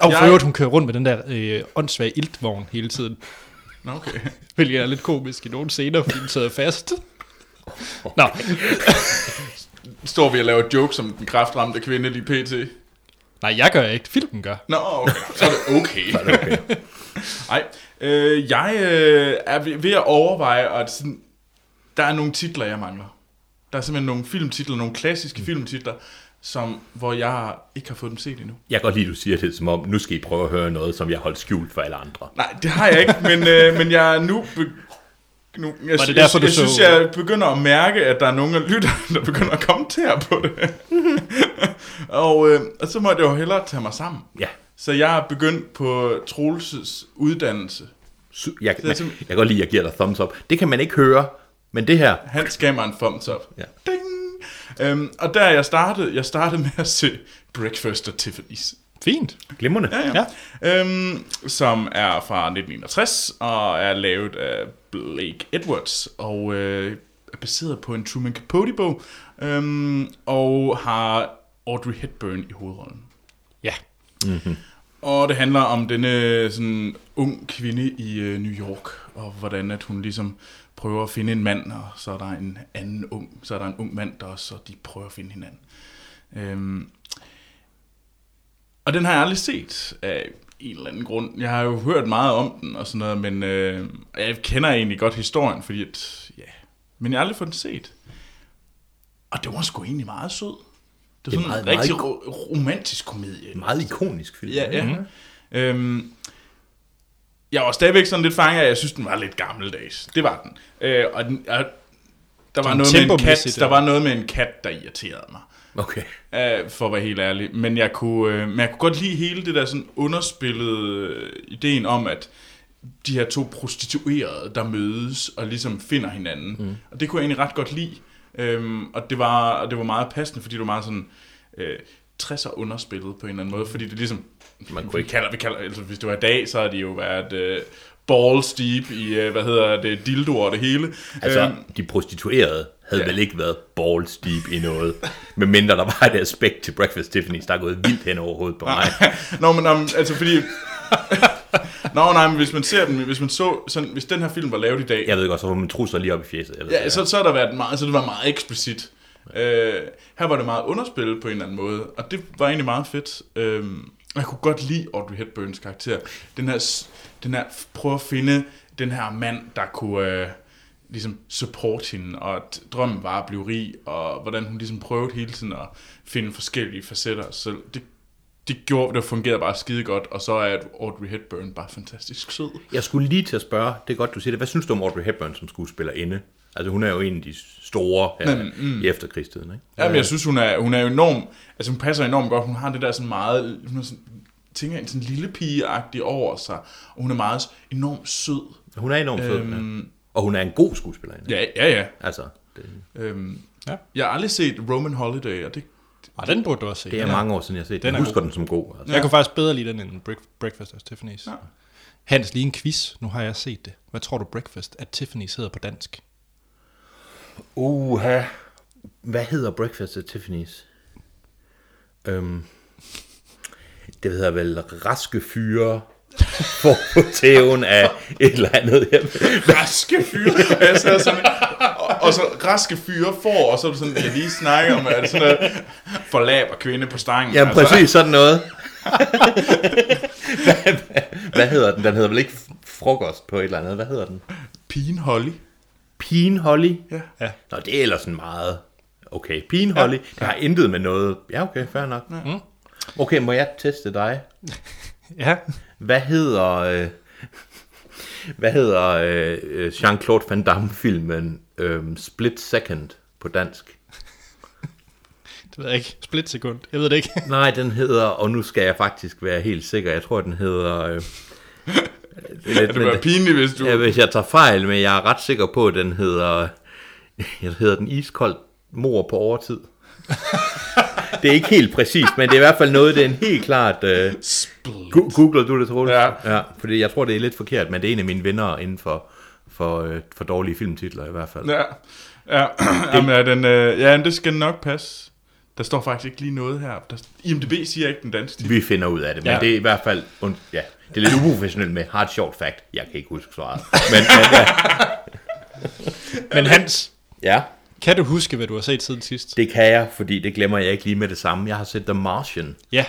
S1: Og for
S2: Jeg-
S1: øvrigt, hun kører rundt med den der øh, åndssvage iltvogn hele tiden.
S2: Nå, okay.
S1: Hvilket er lidt komisk i nogle scener, fordi den sidder fast. Nå,
S2: Står vi og laver jokes om den kraftramte kvinde lige pt.
S1: nej, jeg gør ikke. Filmen gør.
S2: Nå, okay. Så er det okay.
S3: Så er det okay.
S2: Nej, øh, jeg øh, er ved- ved at overveje, at sådan, der er nogle titler, jeg mangler. Der er simpelthen nogle filmtitler, nogle
S3: Mm.
S2: klassiske filmtitler, som, hvor jeg ikke har fået dem set endnu.
S3: Jeg kan godt lide, at du siger det som om, nu skal I prøve at høre noget, som jeg har holdt skjult for alle andre.
S2: Nej, det har jeg ikke, men, øh, men jeg er nu... Be- nu jeg,
S1: Var det
S2: jeg,
S1: derfor,
S2: jeg,
S1: du
S2: jeg synes,
S1: så-
S2: jeg begynder at mærke, at der er nogen af lytterne, der begynder at kommentere på det. og, øh, og så må jeg jo hellere tage mig sammen.
S3: Ja,
S2: Så jeg er begyndt på Troelses uddannelse.
S3: Su- jeg,
S2: er
S3: man,
S2: simpelthen-
S3: jeg kan godt lide, at jeg giver dig thumbs up. Det kan man ikke høre, men det her,
S2: Han gav mig en thumbs up.
S3: Ja.
S2: Ding! Øhm, og der jeg startede, jeg startede med at se Breakfast at Tiffany's.
S1: Fint.
S3: glimrende.
S2: Ja, ja. Øhm, som er fra 1961 og er lavet af Blake Edwards og øh, er baseret på en Truman Capote-bog øhm, og har Audrey Hepburn i hovedrollen.
S1: Ja.
S2: Og det handler om denne sådan, ung kvinde i øh, New York, og hvordan at hun ligesom prøver at finde en mand, og så er der en anden ung, så er der en ung mand der også, og de prøver at finde hinanden. Øhm. Og den har jeg aldrig set af en eller anden grund. Jeg har jo hørt meget om den og sådan noget, men øh, jeg kender egentlig godt historien, fordi at, ja, men jeg har aldrig fået den set. Og det var sgu egentlig meget sød. Det var
S3: Det er
S2: sådan en
S3: meget,
S2: rigtig
S3: meget
S2: ro- romantisk komedie.
S3: En meget ikonisk film.
S2: Ja, ja. Mm-hmm. Øhm, jeg var stadigvæk sådan lidt fanget af, at jeg synes, den var lidt gammeldags. Det var den. Øh, og den, og der var,
S1: Sådan
S2: noget med en kat,
S1: tempomæssigt,
S2: der
S1: eller?
S2: var noget med en kat, der irriterede mig.
S3: Okay.
S2: Uh, for at være helt ærlig. Men jeg kunne, øh, men jeg kunne godt lide hele det der sådan underspillede øh, ideen om, at de her to prostituerede, der mødes og ligesom finder hinanden. Mm. Og det kunne jeg egentlig ret godt lide. Øhm, og, det var, og det var meget passende, fordi det var meget sådan øh, 60'er underspillet på en eller anden måde. Fordi det ligesom,
S3: Man kunne
S2: vi
S3: ikke-
S2: kalder, vi kalder, altså hvis det var i dag, så havde de jo været øh, balls deep i, øh, hvad hedder det, dildoer og det hele.
S3: Altså,
S2: Øhm,
S3: de prostituerede havde
S2: ja.
S3: ja. vel ikke været balls deep i noget, medmindre der var et aspekt til Breakfast Tiffany's, der er gået vildt hen over hovedet på mig.
S2: Nå, men om, altså fordi... Nå, nej, men hvis man ser den, hvis man så, sådan, hvis den her film var lavet i dag, ja,
S3: Jeg ved godt, så får man trusser lige op i fjeset. Jeg ved
S2: ja,
S3: det,
S2: så, så har der været meget, så det var meget eksplicit. Øh, her var det meget underspillet på en eller anden måde, og det var egentlig meget fedt. Øh, Og jeg kunne godt lide Audrey Hepburns karakter. Den her, s- den her prøve at finde den her mand, der kunne øh, ligesom support hende, og at drømmen var at blive rig, og hvordan hun ligesom prøvede hele tiden at finde forskellige facetter af sig selv. Det, det gjorde, det fungerede bare skide godt, og så er Audrey Hepburn bare fantastisk sød.
S3: Jeg skulle lige til at spørge, det er godt, du siger det. Hvad synes du om Audrey Hepburn som skuespillerinde? Altså, hun er jo en af de store her
S2: Men,
S3: mm. i efterkrigstiden, ikke?
S2: Ja, men jeg synes, hun er, hun er enorm, altså hun passer enormt godt. Hun har det der sådan meget, hun er sådan, tænker en sådan lille pige over sig, og hun er meget s- enormt sød.
S3: Hun er enormt sød, øhm... ja. Og hun er en god skuespillerinde.
S2: Ja, ja, ja.
S3: Altså, det,
S2: Øhm,
S1: Ja.
S2: ja. Jeg har aldrig set Roman Holiday, og det,
S1: Og den burde du også se.
S3: det er ja. mange år siden, jeg har set den.
S1: Den
S3: Jeg
S1: er
S3: husker den som god. Altså.
S1: Jeg kunne faktisk bedre lide den end Break- Breakfast at Tiffany's.
S2: Ja.
S1: Hans, lige en quiz. Nu har jeg set det. Hvad tror du Breakfast at Tiffany's hedder på dansk?
S3: Uha. Hvad hedder Breakfast at Tiffany's? Øhm, det hedder vel raske fyre for på tæven af et eller andet. Jeg ved-
S2: raske fyre. Og jeg sad sådan, og, og så raske fyre får, og så er det sådan, jeg lige snakker om, at sådan noget, for lab og kvinde på stangen. Altså,
S3: Jamen præcis sådan noget. hvad, hvad, hvad hedder den? Den hedder vel ikke frokost på et eller andet. Hvad hedder den?
S2: Pigen Holly.
S3: Peen Holly?
S2: Ja.
S1: Ja.
S3: Nå, det er ellers sådan meget... Okay, Peen Holly, ja. det har intet med noget... Ja, okay, fair nok. Ja. Okay, må jeg teste dig?
S1: Ja.
S3: Hvad hedder... Øh, hvad hedder øh, øh, Jean-Claude Van Damme-filmen øh, Split Second på dansk?
S1: Det ved jeg ikke. Split sekund. Jeg ved det ikke.
S3: Nej, den hedder... Og nu skal jeg faktisk være helt sikker. Jeg tror, den hedder... Øh, det er lidt,
S2: Ja, det var pinligt, hvis du...
S3: Ja, hvis jeg tager fejl, men jeg er ret sikker på, at den hedder... Jeg hedder den iskold mor på overtid. det er ikke helt præcist, men det er i hvert fald noget, det er en helt klart... Øh,
S2: Split.
S3: gu- googler du det, Troels?
S2: Ja.
S3: ja. Fordi jeg tror, det er lidt forkert, men det er en af mine venner inden for, for, øh, for dårlige filmtitler i hvert fald.
S2: Ja, ja. Jamen, ja, den, øh, ja, men det skal nok passe. Der står faktisk ikke lige noget her. Der, IMDB siger ikke den danske titel.
S3: Vi finder ud af det, men
S1: Ja.
S3: ja. det er i hvert fald... Und, ja, det er lidt uprofessionelt med hard short fact. Jeg kan ikke huske svaret. Men, men ja.
S1: Men Hans,
S3: ja,
S1: kan du huske, hvad du har set siden sidst?
S3: det kan jeg, fordi det glemmer jeg ikke lige med det samme. Jeg har set The Martian.
S1: Ja.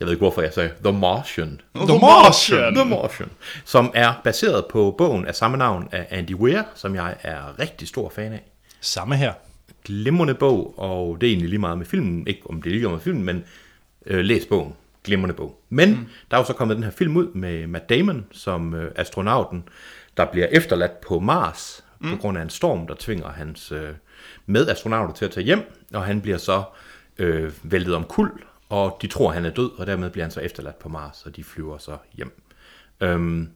S3: Jeg ved ikke, hvorfor jeg sagde The Martian.
S1: The Martian.
S3: The Martian. Som er baseret på bogen af samme navn af Andy Weir, som jeg er rigtig stor fan af.
S1: Samme her.
S3: Glimrende bog, og det er egentlig lige meget med filmen. Ikke om det er lige med filmen, men øh, læs bogen. Glimrende bog. Men mm. der er jo så kommet den her film ud med Matt Damon som øh, astronauten, der bliver efterladt på Mars mm. på grund af en storm, der tvinger hans øh, medastronauter til at tage hjem, og han bliver så øh, væltet om kul, og de tror, han er død, og dermed bliver han så efterladt på Mars, og de flyver så hjem. Øhm,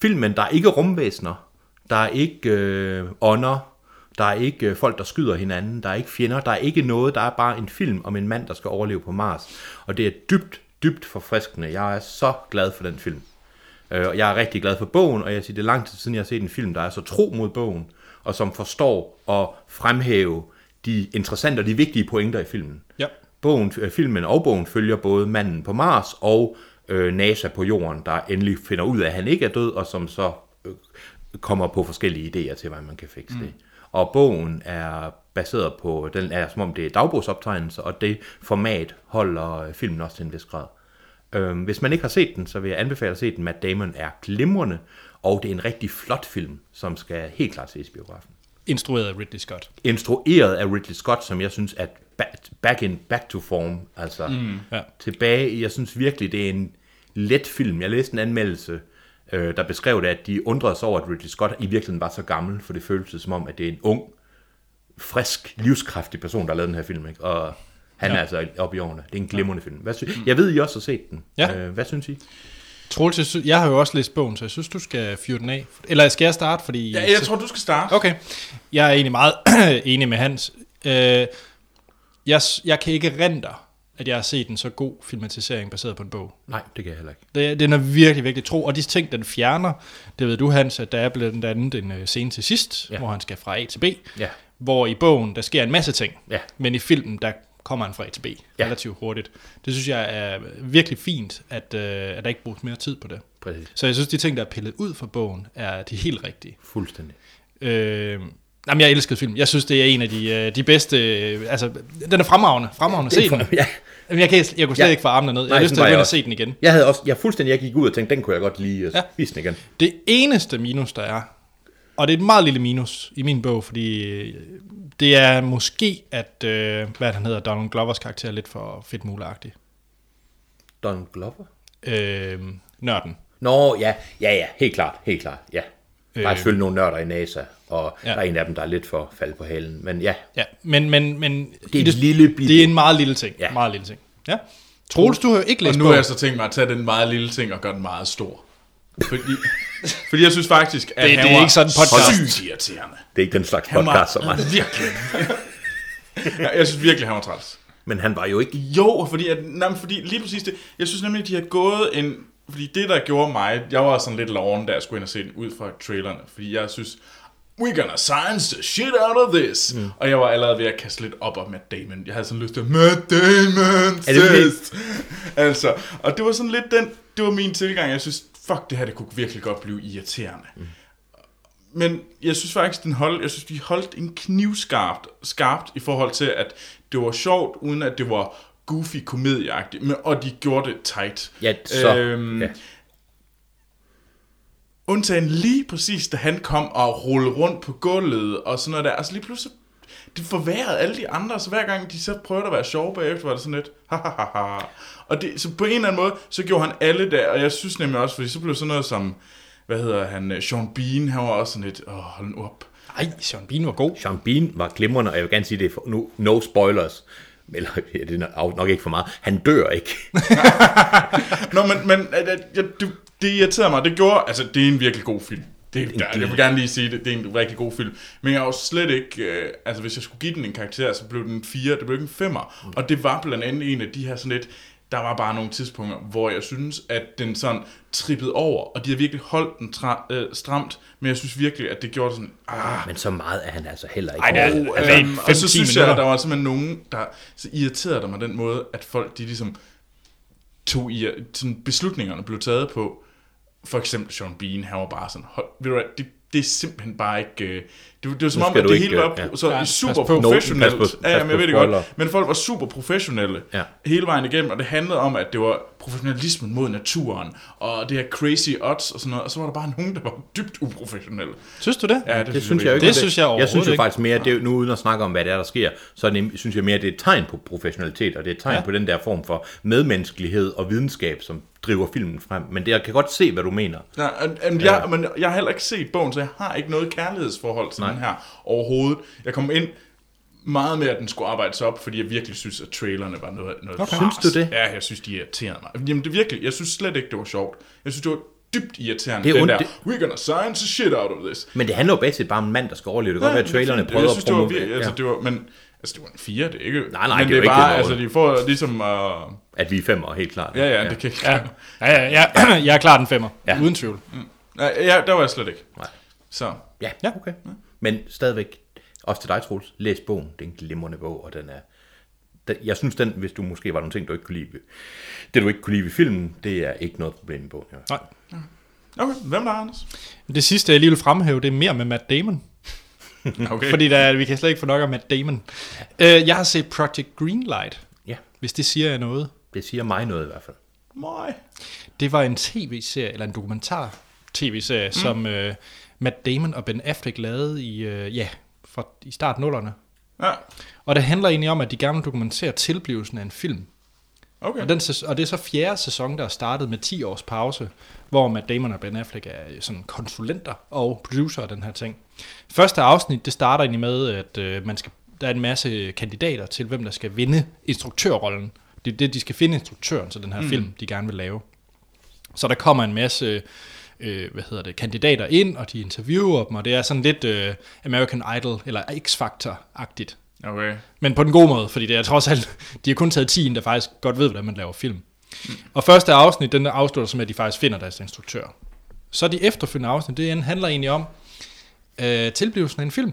S3: filmen, der er ikke rumvæsener, der er ikke øh, ånder, der er ikke øh, folk, der skyder hinanden, der er ikke fjender, der er ikke noget, der er bare en film om en mand, der skal overleve på Mars. Og det er dybt, dybt forfriskende. Jeg er så glad for den film. Øh, og jeg er rigtig glad for bogen, og jeg siger, det er lang tid siden, jeg har set en film, der er så tro mod bogen, og som forstår at fremhæve de interessante og de vigtige pointer i filmen.
S1: Ja.
S3: Bogen, øh, filmen og bogen følger både manden på Mars og øh, NASA på jorden, der endelig finder ud af, at han ikke er død, og som så øh, kommer på forskellige idéer til, hvordan man kan fikse mm. det. Og bogen er baseret på, den er som om det er dagbogsoptegnelser, og det format holder øh, filmen også til en vis grad. Øhm, hvis man ikke har set den, så vil jeg anbefale at se den. Matt Damon er glimrende, og det er en rigtig flot film, som skal helt klart ses i biografen
S1: Instrueret af Ridley Scott.
S3: instrueret af Ridley Scott, som jeg synes er ba- back in back to form, altså mm,
S1: ja.
S3: tilbage. i- Jeg synes virkelig det er en let film. Jeg læste en anmeldelse, øh, der beskrev det, at de undrede sig over, at Ridley Scott i virkeligheden var så gammel, for det føltes som om, at det er en ung, frisk, livskraftig person, der har lavet den her film, ikke? og han ja. er altså oppe i årene. Det er en glimrende film. Hvad sy- jeg ved, I også har set den.
S1: Ja.
S3: Øh, hvad synes I?
S1: Troels, jeg sy- jeg har jo også læst bogen, så jeg synes, du skal fyre den af. Eller skal jeg starte? Fordi
S2: Ja, jeg tror, du skal starte.
S1: Okay. Jeg er egentlig meget enig med Hans. Øh, jeg, s- jeg kan ikke rente, at jeg har set en så god filmatisering baseret på en bog.
S3: Nej, det kan jeg heller ikke.
S1: Det, den er virkelig, virkelig tro. Og de ting, den fjerner, det ved du, Hans, at der er blandt andet en øh, scene til sidst, ja.
S3: Ja.
S1: hvor han skal fra A til B.
S3: Ja.
S1: Hvor i bogen, der sker en masse ting.
S3: Ja.
S1: Men i filmen, der kommer han fra A til B
S3: Ja.
S1: relativt hurtigt. Det synes jeg er virkelig fint, at, øh, at der ikke bruges mere tid på det.
S3: Præcis.
S1: Så jeg synes, de ting, der er pillet ud fra bogen, er de helt rigtige.
S3: Fuldstændig.
S1: Øh, Jamen, jeg elskede film. Jeg synes, det er en af de, øh, de bedste... øh, Altså, den er fremragende. Fremragende. Se den.
S3: Ja.
S1: Jamen, jeg, kan, jeg kunne slet
S3: Ja.
S1: ikke få armene ned. Jeg
S3: Nej,
S1: har lyst
S3: sådan
S1: til
S3: var
S1: at gå ind
S3: jeg
S1: og
S3: også.
S1: se den igen.
S3: Jeg havde også, jeg fuldstændig, jeg gik ud og tænkte, den kunne jeg godt lide, og
S1: Ja.
S3: ja. vise den igen.
S1: Det eneste minus, der er, og det er et meget lille minus i min bog, fordi øh, det er måske, at, øh, hvad er det, han hedder, Donald Glovers karakter er lidt for fedt muligagtig.
S3: Don Glover?
S1: Øh, nørden.
S3: Nå, ja, ja, ja, helt klart, helt klart, ja. Der er
S1: Øh.
S3: selvfølgelig nogle nørder i NASA, og
S1: Ja.
S3: ja. der er en af dem, der er lidt for faldet på halen, men ja,
S1: Ja, men, men, men
S3: er
S1: i
S3: en lille bitte-
S1: Det er en meget lille ting. Ja.
S3: Ja.
S1: Meget lille ting. Ja. Troels, du har jo ikke
S2: Og
S1: læst
S2: nu
S1: bogen.
S2: har jeg så tænkt mig at tage den meget lille ting og gøre den meget stor. Fordi, fordi jeg synes faktisk, at
S1: Det- det
S2: han
S1: er
S2: var
S1: ikke sådan en podcast.
S2: sygt irriterende.
S3: det er ikke den slags
S2: Han var
S3: podcast som mig.
S2: Virkelig. Ja, jeg synes virkelig, han var træls.
S3: Men han var jo ikke
S2: Jo, fordi, at, nej, men fordi lige præcis det, jeg synes nemlig, at de har gået en... Fordi det, der gjorde mig, jeg var sådan lidt loven, da jeg skulle ind og se den ud fra trailerne, fordi jeg synes, we gonna science the shit out of this. Mm. Og jeg var allerede ved at kaste lidt op om Matt Damon. Jeg havde sådan lyst til, Matt Damon,
S3: Er det fordi-
S2: sidst. altså, og det var sådan lidt den, det var min tilgang. Jeg synes, fuck, det her, det kunne virkelig godt blive irriterende. Mm. Men jeg synes faktisk, den hold, jeg synes, de holdt en knivskarpt skarpt i forhold til, at det var sjovt, uden at det var goofy komedieagtigt, men, og de gjorde det tight.
S3: Ja, så.
S2: Øhm,
S3: ja.
S2: Undtagen lige præcis, da han kom og rullede rundt på gulvet og sådan noget der. Altså lige pludselig, det forværrede alle de andre, så hver gang de så prøvede at være sjove bagefter, var det sådan lidt, ha, ha, ha, ha. Og det, så på en eller anden måde, så gjorde han alle der, og jeg synes nemlig også, fordi så blev sådan noget som, hvad hedder han, øh, Sean Bean, han var også sådan lidt, åh, hold nu op.
S1: Ej, Søren Bean var god.
S3: Sean Bean var glimrende, og jeg vil gerne sige det, er for, nu, no spoilers, eller ja, det er nok- nok ikke for meget, han dør ikke.
S2: Nå, men, øh, men at, at, jeg, det, det irriterede mig. Det gjorde, altså, det er en virkelig god film. Det er, der, jeg vil gerne lige sige det. Det er en rigtig god film. Men jeg var slet ikke... Øh, altså, hvis jeg skulle give den en karakter, så blev den en 4, det blev ikke en 5'er. Og det var blandt andet en af de her sådan lidt... Der var bare nogle tidspunkter, hvor jeg synes, at den sådan trippede over, og de har virkelig holdt den tra- øh, stramt, men jeg synes virkelig, at det gjorde sådan, ah,
S3: Men så meget er han altså heller ikke.
S1: Ej, det er-
S3: Og,
S1: altså,
S2: Altså, øhm, og så
S1: 5-10
S2: synes jeg, at
S1: minutter.
S2: der var simpelthen nogen, der så irriterede der mig den måde, at folk de ligesom tog i, sådan beslutningerne blev taget på. For eksempel Sean Bean, han var bare sådan, hold, ved du hvad, det, det er simpelthen bare ikke... øh, Det, det var som
S3: Nu
S2: om,
S3: skal
S2: at
S3: du
S2: det
S3: ikke,
S2: hele var
S3: øh,
S2: ja. så
S1: Ja,
S2: ja,
S1: pas
S2: super
S1: på.
S2: professionelt.
S3: Nå, pas på-
S2: ja,
S3: pas
S2: jamen, jeg
S3: på
S2: ved det godt.
S3: spoiler.
S2: Men folk var super professionelle
S3: Ja.
S2: hele vejen igennem, og det handlede om, at det var professionalismen mod naturen, og det her crazy odds og sådan noget, og så var der bare nogen, der var dybt uprofessionelle.
S1: Synes du det?
S2: Ja, det,
S3: det synes jeg jo
S2: virkelig.
S3: ikke.
S1: Det synes jeg
S3: Jeg synes
S1: overhovedet
S3: jo
S1: ikke.
S3: faktisk mere, at det, er jo- nu uden at snakke om, hvad det er, der sker, så er det, synes jeg mere, at det er et tegn på professionalitet, og det er et tegn
S1: Ja.
S3: ja. på den der form for medmenneskelighed og videnskab, som driver filmen frem. Men det, jeg kan godt se, hvad du mener.
S2: Nej, men, ja.
S3: Øh.
S2: jeg, men jeg har heller ikke set bogen, så jeg har ikke noget kærlighedsforhold til Nej. den her overhovedet. Jeg kom ind meget med, at den skulle arbejdes op, fordi jeg virkelig synes, at trailerne var noget, noget okay.
S3: Synes du det?
S2: Ja, jeg synes, de irriterede mig. Jamen det er virkelig, jeg synes slet ikke, det var sjovt. Jeg synes, det var dybt irriterende.
S3: Det er
S2: Det er den
S3: ondt,
S2: der,
S3: det-
S2: we're gonna science the shit out of this.
S3: Men det handler jo basalt bare om en mand, der skal overleve. Det kan godt være, at trailerne
S2: Jeg
S3: prøver
S2: synes,
S3: at
S2: det var
S3: promovere,
S2: virkelig,
S3: ja,
S2: altså, det var, men, altså, det var en fire, det er ikke...
S3: Nej,
S2: men
S3: nej, det er jo
S2: det
S3: ikke
S2: er bare,
S3: det,
S2: altså,
S3: Morten.
S2: de får ligesom... Uh, ja,
S3: at vi er femmer, helt klart.
S2: ja, ja, det kan ikke... Ja.
S1: Ja, ja, ja. Jeg er klar den femmer. Ja.
S3: Ja.
S1: Uden tvivl.
S2: Mm. ja, der var jeg slet ikke.
S3: Nej.
S2: Så...
S3: Ja,
S1: Ja.
S3: ja. okay. Men stadigvæk, også til dig, Troels, læs bogen. Det er en glimrende bog, og den er... Den, jeg synes, den, hvis du måske var nogle ting, du ikke kunne lide ved, det du ikke kunne lide ved filmen, det er ikke noget problem med bogen. Ja.
S1: Nej.
S2: Okay, hvem der er, Anders?
S1: Det sidste, jeg lige vil fremhæve, det er mere med Matt Damon.
S3: Mm.
S2: Okay.
S1: Fordi der, vi kan slet ikke få nok af Matt Damon. Øh, jeg har set Project Greenlight,
S3: ja,
S1: hvis det siger jeg noget.
S3: det siger mig noget i hvert fald.
S2: Møj.
S1: Det var en tv-serie, eller en dokumentar tv-serie, mm. som øh, Matt Damon og Ben Affleck lavede i, øh, ja, fra, i start nullerne.
S2: Ja,
S1: Og det handler egentlig om, at de gerne vil dokumentere tilblivelsen af en film.
S2: okay.
S1: Og, den, sæs- og det er så fjerde sæson, der er startet med 10 års pause, hvor Matt Damon og Ben Affleck er øh, sådan konsulenter og producer af den her ting. Første afsnit, det starter egentlig med, at øh, man skal, der er en masse kandidater til, hvem der skal vinde instruktørrollen. Det er det, de skal finde instruktøren til den her mm. film, de gerne vil lave. Så der kommer en masse øh, hvad hedder det, kandidater ind, og de interviewer dem, og det er sådan lidt øh, American Idol eller X-Factor-agtigt.
S2: Okay.
S1: Men på den gode måde, fordi det er trods alt, de har kun taget 10, der faktisk godt ved, hvordan man laver film. Og første afsnit, den afslutter sig med, at de faktisk finder deres instruktør. Så de efterfølgende afsnit, det handler egentlig om øh, tilblivelsen af en film,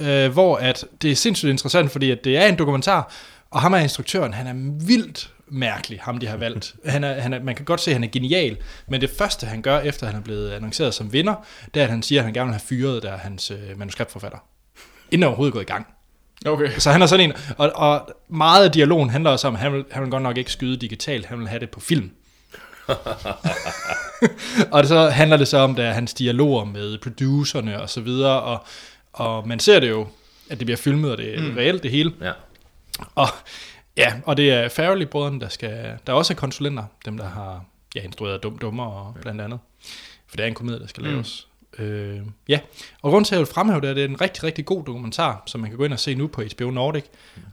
S1: øh, hvor at det er sindssygt interessant, fordi at det er en dokumentar, og ham er instruktøren, han er vildt mærkelig, ham de har valgt. Han er, han er, man kan godt se, at han er genial, men det første, han gør, efter han er blevet annonceret som vinder, det er, at han siger, at han gerne vil have fyret der hans øh, manuskriptforfatter. inden han overhovedet er gået i gang.
S2: Okay.
S1: Så han er sådan en, og, og meget af dialogen handler også om, at han vil, han vil godt nok ikke skyde digitalt, han vil have det på film. og så handler det så om, der hans dialoger med producerne og så videre, og, og man ser det jo, at det bliver filmet, og det er mm. reelt det hele.
S3: Ja.
S1: Og, ja, og det er farrelly brødrene der, skal, der også er konsulenter, dem der har ja, instrueret Dum Dummer og blandt andet. For det er en komedie, der skal mm. laves. Øh, ja, og grund til, at jeg vil fremhæve det, er, at det er en rigtig, rigtig god dokumentar, som man kan gå ind og se nu på HBO Nordic.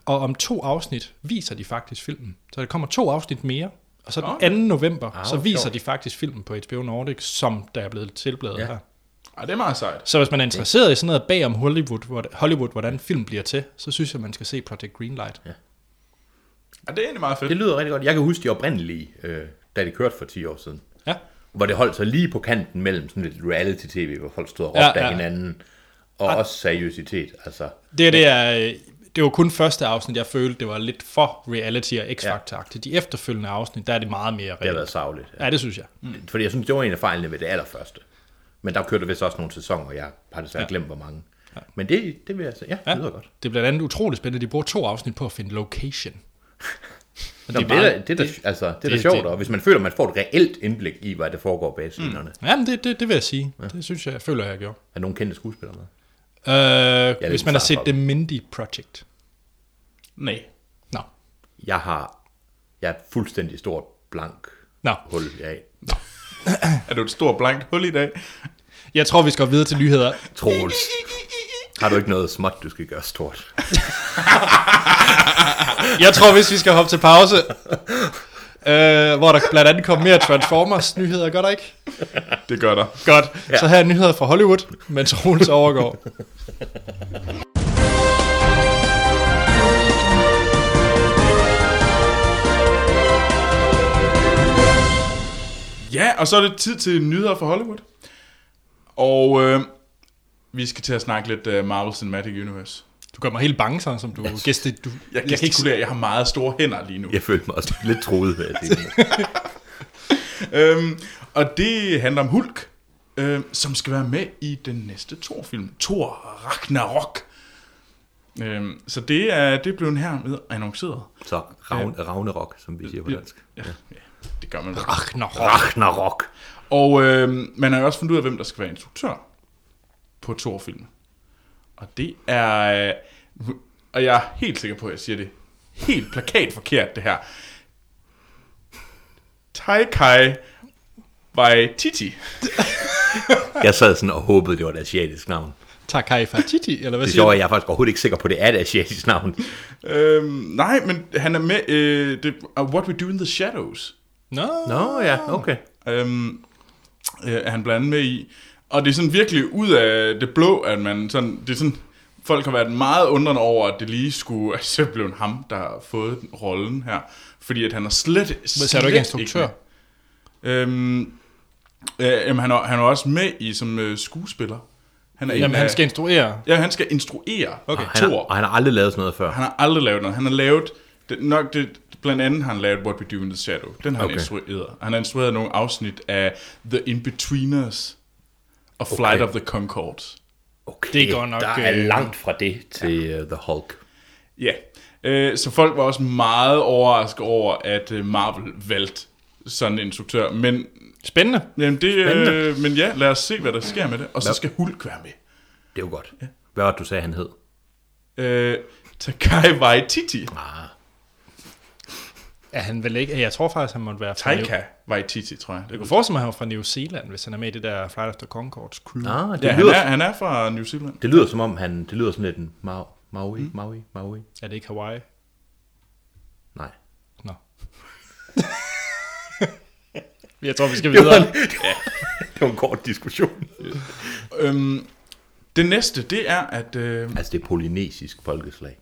S1: Og om to afsnit viser de faktisk filmen. Så der kommer to afsnit mere, og så den 2. november,
S3: Ah,
S1: så
S3: hvor
S1: viser
S3: sjovt.
S1: de faktisk filmen på HBO Nordic, som der er blevet tilbladet
S3: Ja.
S1: her.
S2: Ej, det er meget sejt.
S1: Så hvis man er interesseret i sådan noget bag om Hollywood, hvor- Hollywood, hvordan film bliver til, så synes jeg, man skal se Project Greenlight.
S2: Ej, det er egentlig meget fedt.
S3: Det lyder rigtig godt. Jeg kan huske de oprindelige, øh, da det kørte for 10 år siden.
S1: Ja.
S3: Hvor det holdt sig lige på kanten mellem sådan lidt reality-tv, hvor folk stod og
S1: Ja,
S3: råbte ja,
S1: ja.
S3: af hinanden. Og også seriøsitet, altså.
S1: Det, er det, jeg, det var kun første afsnit, jeg følte, det var lidt for reality og x factor ja. De efterfølgende afsnit, der er det meget mere
S3: Det har været
S1: reelt.
S3: savligt.
S1: Ja, det synes jeg.
S3: Mm. Fordi jeg synes, det var en af fejlene ved det allerførste. Men der kørte der vist også nogle sæsoner, og jeg har desværre ja. glemt, hvor mange. Ja. Men det, det vil jeg sige. Ja, ja, det lyder godt.
S1: Det er blandt andet utroligt spændende, de bruger to afsnit på at finde location.
S3: Nå, det,
S1: er
S3: er
S1: bare-
S3: da- det, det, det, altså, det, det er da
S1: det-
S3: sjovt,
S1: det-
S3: og hvis man føler, man får et reelt indblik i, hvad der foregår bag scenerne. Mm.
S1: Jamen, det, det, det vil jeg sige. Ja. Det synes jeg, jeg føler, jeg gjorde.
S3: Er nogen kendte skuespillere med?
S1: Øh,
S3: lidt
S1: hvis man har set
S3: bizarre,
S1: The Mindy Project.
S2: Nej.
S1: Nå,
S3: Jeg har jeg er et fuldstændig stort blank
S1: nå.
S3: hul, jeg er i.
S2: Er du et stort blankt hul i dag?
S1: Jeg tror, vi skal videre til nyheder.
S3: Troels. Har du ikke noget småt, du skal gøre stort?
S1: Jeg tror, hvis vi skal hoppe til pause, øh, hvor der blandt andet kom mere Transformers-nyheder, gør der ikke?
S2: Det gør der.
S1: Godt. Ja. Så her er nyheder fra Hollywood, mens Troels overgår.
S2: Ja, og så er det tid til nyheder fra Hollywood. Og øh, vi skal til at snakke lidt uh, Marvel Cinematic Universe.
S1: Du gør mig helt bange, sådan som du yes. gæste, du,
S2: Jeg
S1: kan ikke,
S2: gestikulerer, jeg har meget store hænder lige nu.
S3: Jeg følte mig også lidt troet ved det.
S2: Øhm, og det handler om Hulk, øhm, som skal være med i den næste Thor-film. Thor Ragnarok. Øhm, så det er, det blev en her med annonceret.
S3: Så Ravn, Ragnarok, som vi siger på dansk.
S2: Ja, ja, det gør man vel.
S1: Ach, Ah, nå,
S3: Ragnarok.
S2: Og øhm, man har jo også fundet ud af, hvem der skal være instruktør på Thor-filmen. Og det er... øh, Og jeg er helt sikker på, at jeg siger det helt plakat forkert, det her. Taikai Waititi.
S3: Jeg sad sådan og håbede, det var et asiatisk navn.
S1: Takai Fatiti, eller hvad
S3: Det
S1: siger
S3: sjove er,
S1: du?
S3: at jeg er faktisk overhovedet ikke sikker på, at det er et asiatisk navn.
S2: Øhm, nej, men han er med øh, det, uh, What We Do in the Shadows.
S1: Nå, no.
S3: Nå ja, okay.
S2: Øhm, øh, er han blandt andet med i. Og det er sådan virkelig ud af det blå, at man sådan, det er sådan, folk har været meget undrende over, at det lige skulle, altså det blev ham, der har fået den rollen her. Fordi at han er slet, slet
S1: så er du ikke instruktør?
S2: med. øhm, øh, jamen, han, er, han er også med i som øh, skuespiller. Han er en
S1: Jamen,
S2: af-
S1: han skal instruere.
S2: ja, han skal instruere okay.
S3: Og han, har, og han har aldrig lavet sådan noget før.
S2: Han har aldrig lavet noget. Han har lavet, det, nok det, blandt andet har han lavet What We Do in the Shadow. Den har okay.
S3: Okay.
S2: han instrueret. Og Han har instrueret nogle afsnit af The In-Betweeners og Flight
S3: Okay.
S2: of the Concords.
S3: Okay,
S1: Det er godt nok,
S3: der er
S1: øh,
S3: langt fra det til ja. The Hulk.
S2: Ja, øh, så folk var også meget overrasket over, at øh, Marvel valgte sådan en instruktør. Men,
S1: Spændende.
S2: jamen det, øh,
S3: Spændende.
S2: men ja, lad os se, hvad der sker med det. Og så skal Hulk være med.
S3: Det er jo godt. Hvad var det, du sagde, han hed?
S2: Øh, Takai Waititi.
S3: Ah,
S1: Er han vel ikke? Jeg tror faktisk, han måtte være fra... New-
S2: Taika Waititi, tror jeg. Det
S1: Jeg
S2: er
S1: kunne forestille mig, at han var fra New Zealand, hvis han er med i det der Flight After Concords crew.
S3: ah det,
S2: ja,
S3: ja,
S2: han
S3: lyder,
S2: er, han er fra New Zealand.
S3: det lyder som om, han, det lyder sådan lidt en Mau, Maui,
S1: Mm.
S3: Maui, Maui.
S1: Er det ikke Hawaii?
S3: Nej.
S1: Nå. jeg tror, vi skal
S3: Det var,
S1: videre.
S3: en, det var en kort diskussion.
S2: Øhm, det næste, det er, at... Øh,
S3: Altså, det er polynesisk folkeslag.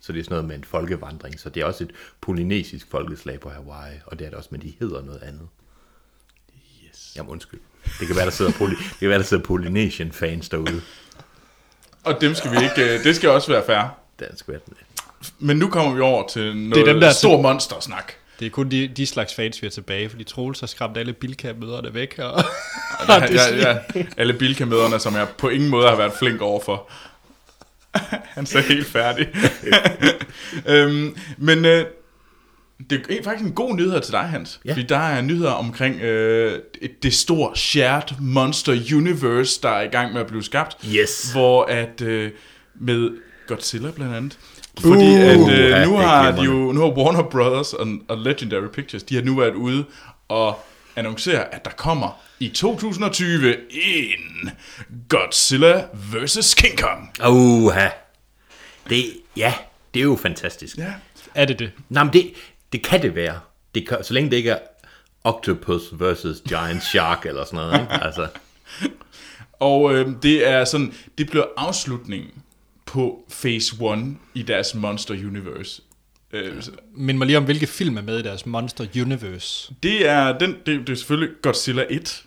S3: Så det er sådan noget med en folkevandring. Så det er også et polynesisk folkeslag på Hawaii. Og det er det også, men de hedder noget andet. Yes. Jamen, undskyld. Det kan være, der sidder, poly- det kan være, der sidder Polynesian fans derude.
S2: og dem skal vi ikke... Øh, det skal også være fair.
S3: Dansk verden.
S2: Men nu kommer vi over til noget det er
S1: dem, der er
S2: stor
S1: til-
S2: monstersnak.
S1: Det er kun de, de slags fans, vi er tilbage, fordi Troels har skræmt alle Bilka-møderne væk. Og...
S2: Ja, ja, ja. Alle bilkamederne, som jeg på ingen måde har været flink overfor. Han så helt færdig. øhm, men øh, det er faktisk en god nyhed til dig, Hans. Ja.
S3: Ja.
S2: Fordi der er nyheder omkring øh, det- det store shared monster universe, der er i gang med at blive skabt.
S3: Yes.
S2: Hvor at øh, med Godzilla blandt andet. Fordi
S1: Uh.
S2: at øh,
S3: Ja,
S2: nu
S3: det er
S2: har de
S3: glimrende.
S2: jo nu har Warner Brothers og, og Legendary Pictures, de har nu været ude og annoncere, at der kommer i 2020 en Godzilla vs. King Kong.
S3: Uha. Det, ja, det er jo fantastisk. Ja.
S2: Ja.
S1: Er det det?
S3: Nå, men det, det kan det være. Det kan, så længe det ikke er Octopus versus Giant Shark eller sådan noget. Ikke? Altså,
S2: Og øh, det er sådan, det bliver afslutningen på Phase 1 i deres Monster Universe. Øh, så
S1: Mind mig lige om, hvilke film er med i deres Monster Universe.
S2: det er den, det, det er selvfølgelig Godzilla 1,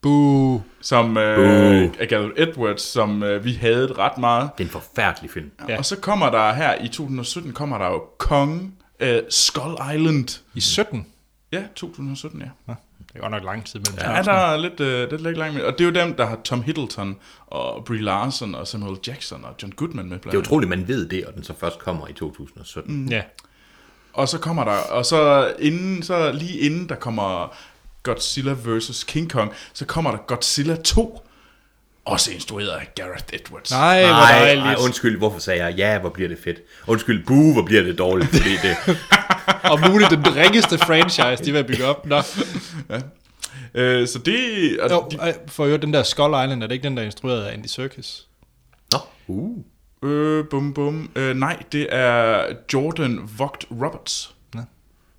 S1: Boo.
S2: som øh, er Gareth Edwards, som øh, vi havde ret meget.
S3: det er en forfærdelig film.
S2: Ja.
S1: Ja.
S2: Og så kommer der her i 2017 kommer der jo Kong øh, Skull Island.
S1: I 17?
S2: Ja, 2017, ja.
S1: Nå, det er godt nok lang tid mellem
S2: Der er der lidt, øh, lidt, lidt langt med. Og det er jo dem, der har Tom Hiddleston og Brie Larson og Samuel Jackson og John Goodman med blandt
S3: Det er
S2: andet.
S3: utroligt, man ved det, og den så først kommer i 2017. Mm.
S1: Ja.
S2: Og så kommer der, og så, inden, så lige inden der kommer Godzilla vs. King Kong, så kommer der Godzilla 2, også instrueret af Gareth Edwards.
S1: Nej, hvor
S3: Nej,
S1: dejligt.
S3: nej, undskyld, hvorfor sagde jeg, ja, hvor bliver det fedt. Undskyld, buh, hvor bliver det dårligt, fordi det,
S1: Og muligt den ringeste franchise, de vil bygge op. Nå.
S2: Øh, så det... Og
S1: Jo,
S2: de,
S1: øh, for jo, den der Skull Island, er det ikke den, der er instrueret af Andy Serkis?
S3: nå, uh,
S2: øh, bum, bum. Øh, nej, det er Jordan Vogt Roberts.